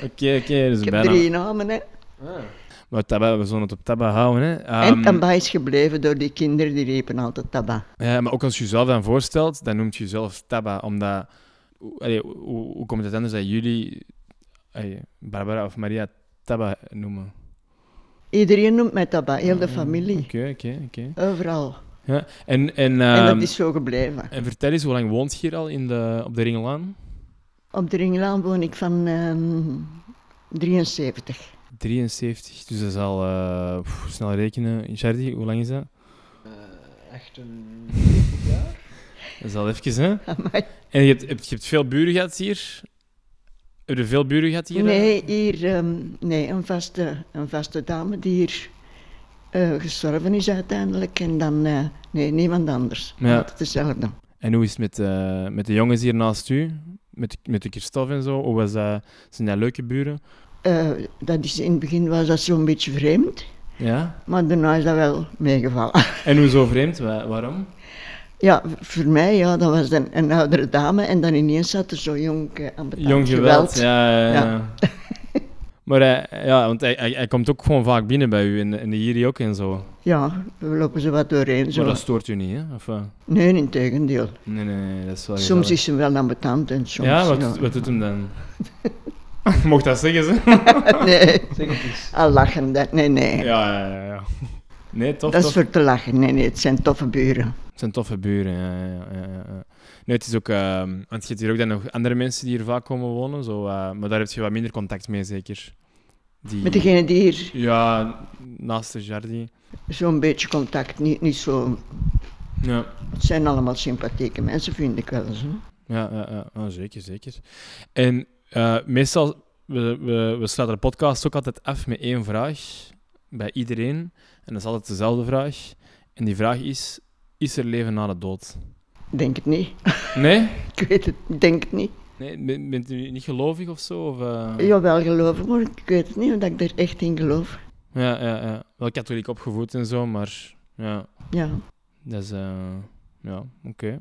Speaker 4: Oké, oké, dus
Speaker 5: Ik heb
Speaker 4: bijna.
Speaker 5: drie namen, hè.
Speaker 4: Maar tabba, we zullen het op tabba houden, hè.
Speaker 5: En
Speaker 4: Ehm,
Speaker 5: Taba is gebleven door die kinderen, die riepen altijd Taba.
Speaker 4: ja, maar ook als je jezelf dan voorstelt, dan noemt je jezelf tabba, omdat... hoe- allee, hoe, hoe komt het anders dat jullie allee, Barbara of Maria tabba noemen?
Speaker 5: Iedereen noemt mij Taba, heel de familie.
Speaker 4: Oké, oké, Ehm, oké.
Speaker 5: Overal.
Speaker 4: Ja, En, en,
Speaker 5: En
Speaker 4: ehm,
Speaker 5: dat is zo gebleven.
Speaker 4: en vertel eens, hoe lang woont je hier al in de, op de Ringelaan?
Speaker 5: Op de Ringlaan woon ik van ehm, 73.
Speaker 4: 73, dus dat is al... eh, pff, snel rekenen. Jardi, hoe lang is dat?
Speaker 3: Eh, Echt een...
Speaker 4: Dat is al even, hè?
Speaker 5: Amai.
Speaker 4: En je hebt, hebt- je hebt veel buren gehad hier? Heb je veel buren gehad hier? eh?
Speaker 5: Nee, hier, ehm, nee een, vaste, een vaste dame die hier eh, gestorven is uiteindelijk. En dan, eh, nee, niemand anders.
Speaker 4: Ja.
Speaker 5: Altijd dezelfde.
Speaker 4: En hoe is het met, eh, met de jongens hier naast u? Met, met de Christophe en zo? Hoe was dat? Zijn dat leuke buren?
Speaker 5: Eh, dat is, in het begin was dat zo'n beetje vreemd,
Speaker 4: Ja.
Speaker 5: maar daarna is dat wel meegevallen.
Speaker 4: En hoe zo vreemd? Wa- waarom?
Speaker 5: Ja, v- voor mij, ja, dat was een, een oudere dame en dan ineens zat er zo'n jong eh, ambetant
Speaker 4: Jong geweld. Ja, ja, ja.
Speaker 5: Ja.
Speaker 4: Maar hij, ja, want hij, hij, hij komt ook gewoon vaak binnen bij u en, en hier ook en zo.
Speaker 5: Ja, we lopen ze wat doorheen. Zo.
Speaker 4: Maar dat stoort u niet, hè? Of, eh?
Speaker 5: Nee, in tegendeel.
Speaker 4: nee, nee, nee, dat is wel
Speaker 5: Soms
Speaker 4: gezellig.
Speaker 5: is ze wel ambetant en soms...
Speaker 4: Ja, wat, wat doet hem dan? Mocht dat zeggen, ze?
Speaker 5: nee,
Speaker 3: Zeg het eens.
Speaker 5: al lachen. Dat, nee, nee.
Speaker 4: Ja, ja, ja. ja. Nee, tof,
Speaker 5: dat
Speaker 4: tof.
Speaker 5: is voor te lachen. Nee, nee, het zijn toffe buren.
Speaker 4: Het zijn toffe buren, ja. ja, ja, ja, ja. Nee, het is ook... ehm, want je hebt hier ook dan nog andere mensen die hier vaak komen wonen, zo, eh, maar daar heb je wat minder contact mee, zeker? Die...
Speaker 5: Met degene die hier
Speaker 4: Ja, naast de Jardi.
Speaker 5: zo'n beetje contact, niet, niet zo...
Speaker 4: Ja.
Speaker 5: Het zijn allemaal sympathieke mensen, vind ik wel eens. Hè?
Speaker 4: Ja, ja, ja. Ah, zeker, zeker. En eh, meestal, we, we, we sluiten de podcast ook altijd af met één vraag bij iedereen. En dat is altijd dezelfde vraag. En die vraag is, is er leven na de dood?
Speaker 5: Denk het niet.
Speaker 4: Nee?
Speaker 5: Ik weet het, ik denk het niet.
Speaker 4: nee ben- bent u niet gelovig of zo? Of, eh?
Speaker 5: Jawel, geloof ik, maar ik weet het niet, omdat ik er echt in geloof.
Speaker 4: Ja, ja, ja. Wel katholiek opgevoed en zo, maar ja,
Speaker 5: Ja.
Speaker 4: dat is... eh, ja, oké.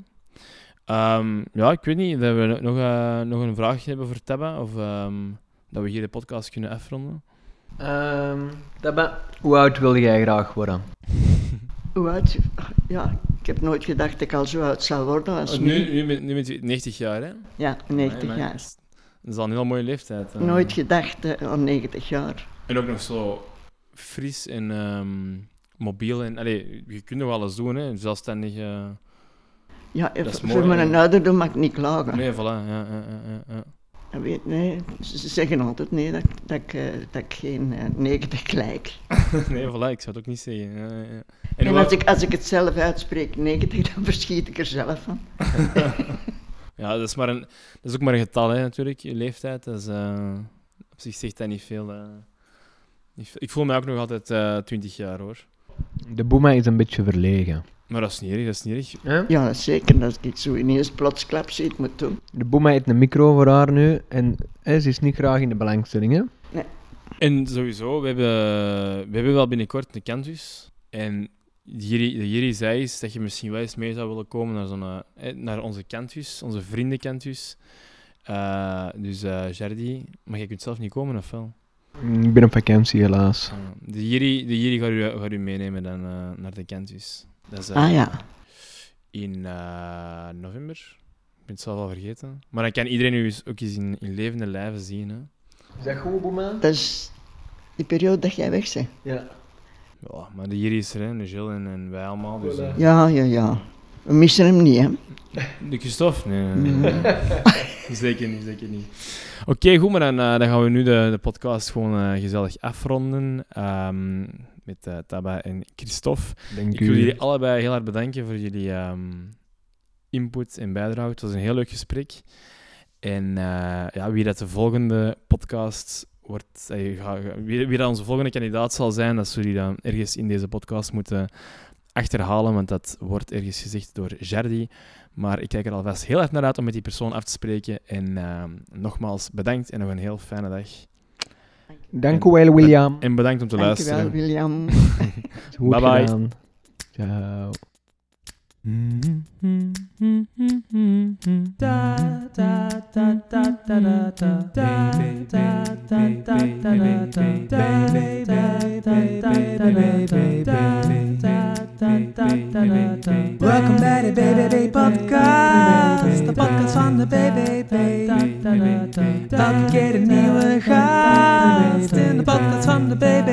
Speaker 4: Ehm, ja, ik weet niet, dat we nog, eh, nog een vraag hebben voor Tabba, of ehm, dat we hier de podcast kunnen afronden.
Speaker 3: Ehm, Tabba, hoe oud wil jij graag worden?
Speaker 5: Hoe oud? Ja, ik heb nooit gedacht dat ik al zo oud zou worden als
Speaker 4: Oh,
Speaker 5: nu.
Speaker 4: nu, nu, bent- nu bent u 90 jaar, hè?
Speaker 5: Ja, 90
Speaker 4: Nee, maar
Speaker 5: jaar.
Speaker 4: Dat is al een heel mooie leeftijd. hè.
Speaker 5: Nooit gedacht eh, aan 90 jaar.
Speaker 4: En ook nog zo fris en ehm, mobiel. En, allee, je kunt nog alles doen, hè. Zelfstandig... eh,
Speaker 5: Ja,
Speaker 4: is
Speaker 5: voor
Speaker 4: mooi,
Speaker 5: mijn
Speaker 4: hè?
Speaker 5: ouderdom mag ik niet klagen.
Speaker 4: Nee, voilà. Eh, Ja, ja, ja, ja, ja.
Speaker 5: Dat Weet, nee. Ze zeggen altijd nee, dat, dat, ik, eh, dat ik geen eh, 90 lijk.
Speaker 4: nee, voilà. Ik zou het ook niet zeggen. Eh, Ja, ja, ja.
Speaker 5: En,
Speaker 4: hoe
Speaker 5: als,
Speaker 4: oud-
Speaker 5: ik, als ik het zelf uitspreek, 90, dan verschiet ik er zelf van.
Speaker 4: Ja, dat is, maar een, dat is ook maar een getal, hè, natuurlijk. Je leeftijd. Dat is, eh, op zich zegt dat niet veel, eh. niet veel. Ik voel mij ook nog altijd eh 20 jaar, hoor.
Speaker 3: De boema is een beetje verlegen.
Speaker 4: Maar dat is niet erg, dat is niet erg.
Speaker 3: Hè?
Speaker 5: Ja, dat is zeker. Als ik zo ineens plots klap zie, ik moet doen.
Speaker 3: De boema heeft een micro voor haar nu en hè, ze is niet graag in de belangstelling. Hè?
Speaker 4: En sowieso, we hebben, we hebben wel binnenkort een kantus. En Jiri de Jiri zei is dat je misschien wel eens mee zou willen komen naar, zo'n, eh, eh, naar onze kantus, onze vriendenkantus. Eh, dus eh Jardi, maar jij kunt zelf niet komen, of wel?
Speaker 3: Mm, Ik ben op vakantie helaas.
Speaker 4: Ah, de Jiri, de Jiri gaat, u, gaat u meenemen dan, eh, naar de kantus. Dat is eh,
Speaker 5: Ah ja,
Speaker 4: in eh, november. Ik ben het zelf al vergeten. Maar dan kan iedereen u eens- ook eens in, in levende lijven zien. Hè?
Speaker 3: Is dat goed, boema?
Speaker 5: dat is die periode dat jij weg bent.
Speaker 3: Ja.
Speaker 4: Ja, maar de Jiri is er, hè, de Gilles en, en wij allemaal. Dus, eh,
Speaker 5: Ja, ja, ja. We missen hem niet, hè.
Speaker 4: De Christophe? Nee, nee, nee, nee. zeker niet, zeker niet. Oké, goed, maar dan, eh, dan gaan we nu de, de podcast gewoon eh, gezellig afronden ehm, met eh, Taba en Christophe.
Speaker 3: Dank
Speaker 4: Ik wil
Speaker 3: u.
Speaker 4: jullie allebei heel erg bedanken voor jullie ehm, input en bijdrage. Het was een heel leuk gesprek. En eh, ja, wie dat de volgende podcast wordt, eh, ga- ga- wie, wie dat onze volgende kandidaat zal zijn, dat zullen jullie dan ergens in deze podcast moeten achterhalen, want dat wordt ergens gezegd door Jardi. Maar ik kijk er alvast heel erg naar uit om met die persoon af te spreken. En ehm, nogmaals bedankt en nog een heel fijne dag.
Speaker 3: Dank u wel, William.
Speaker 4: En bedankt om te
Speaker 5: Dankjewel,
Speaker 4: luisteren.
Speaker 5: William.
Speaker 3: Goed
Speaker 4: Bye bye.
Speaker 3: gedaan. Ciao.
Speaker 4: Mm.
Speaker 2: Da da da da da da da da da da da da da da da Welkom bij de BBB podcast, de podcast van de BBB. Elke keer een nieuwe gast in de podcast van de BBB.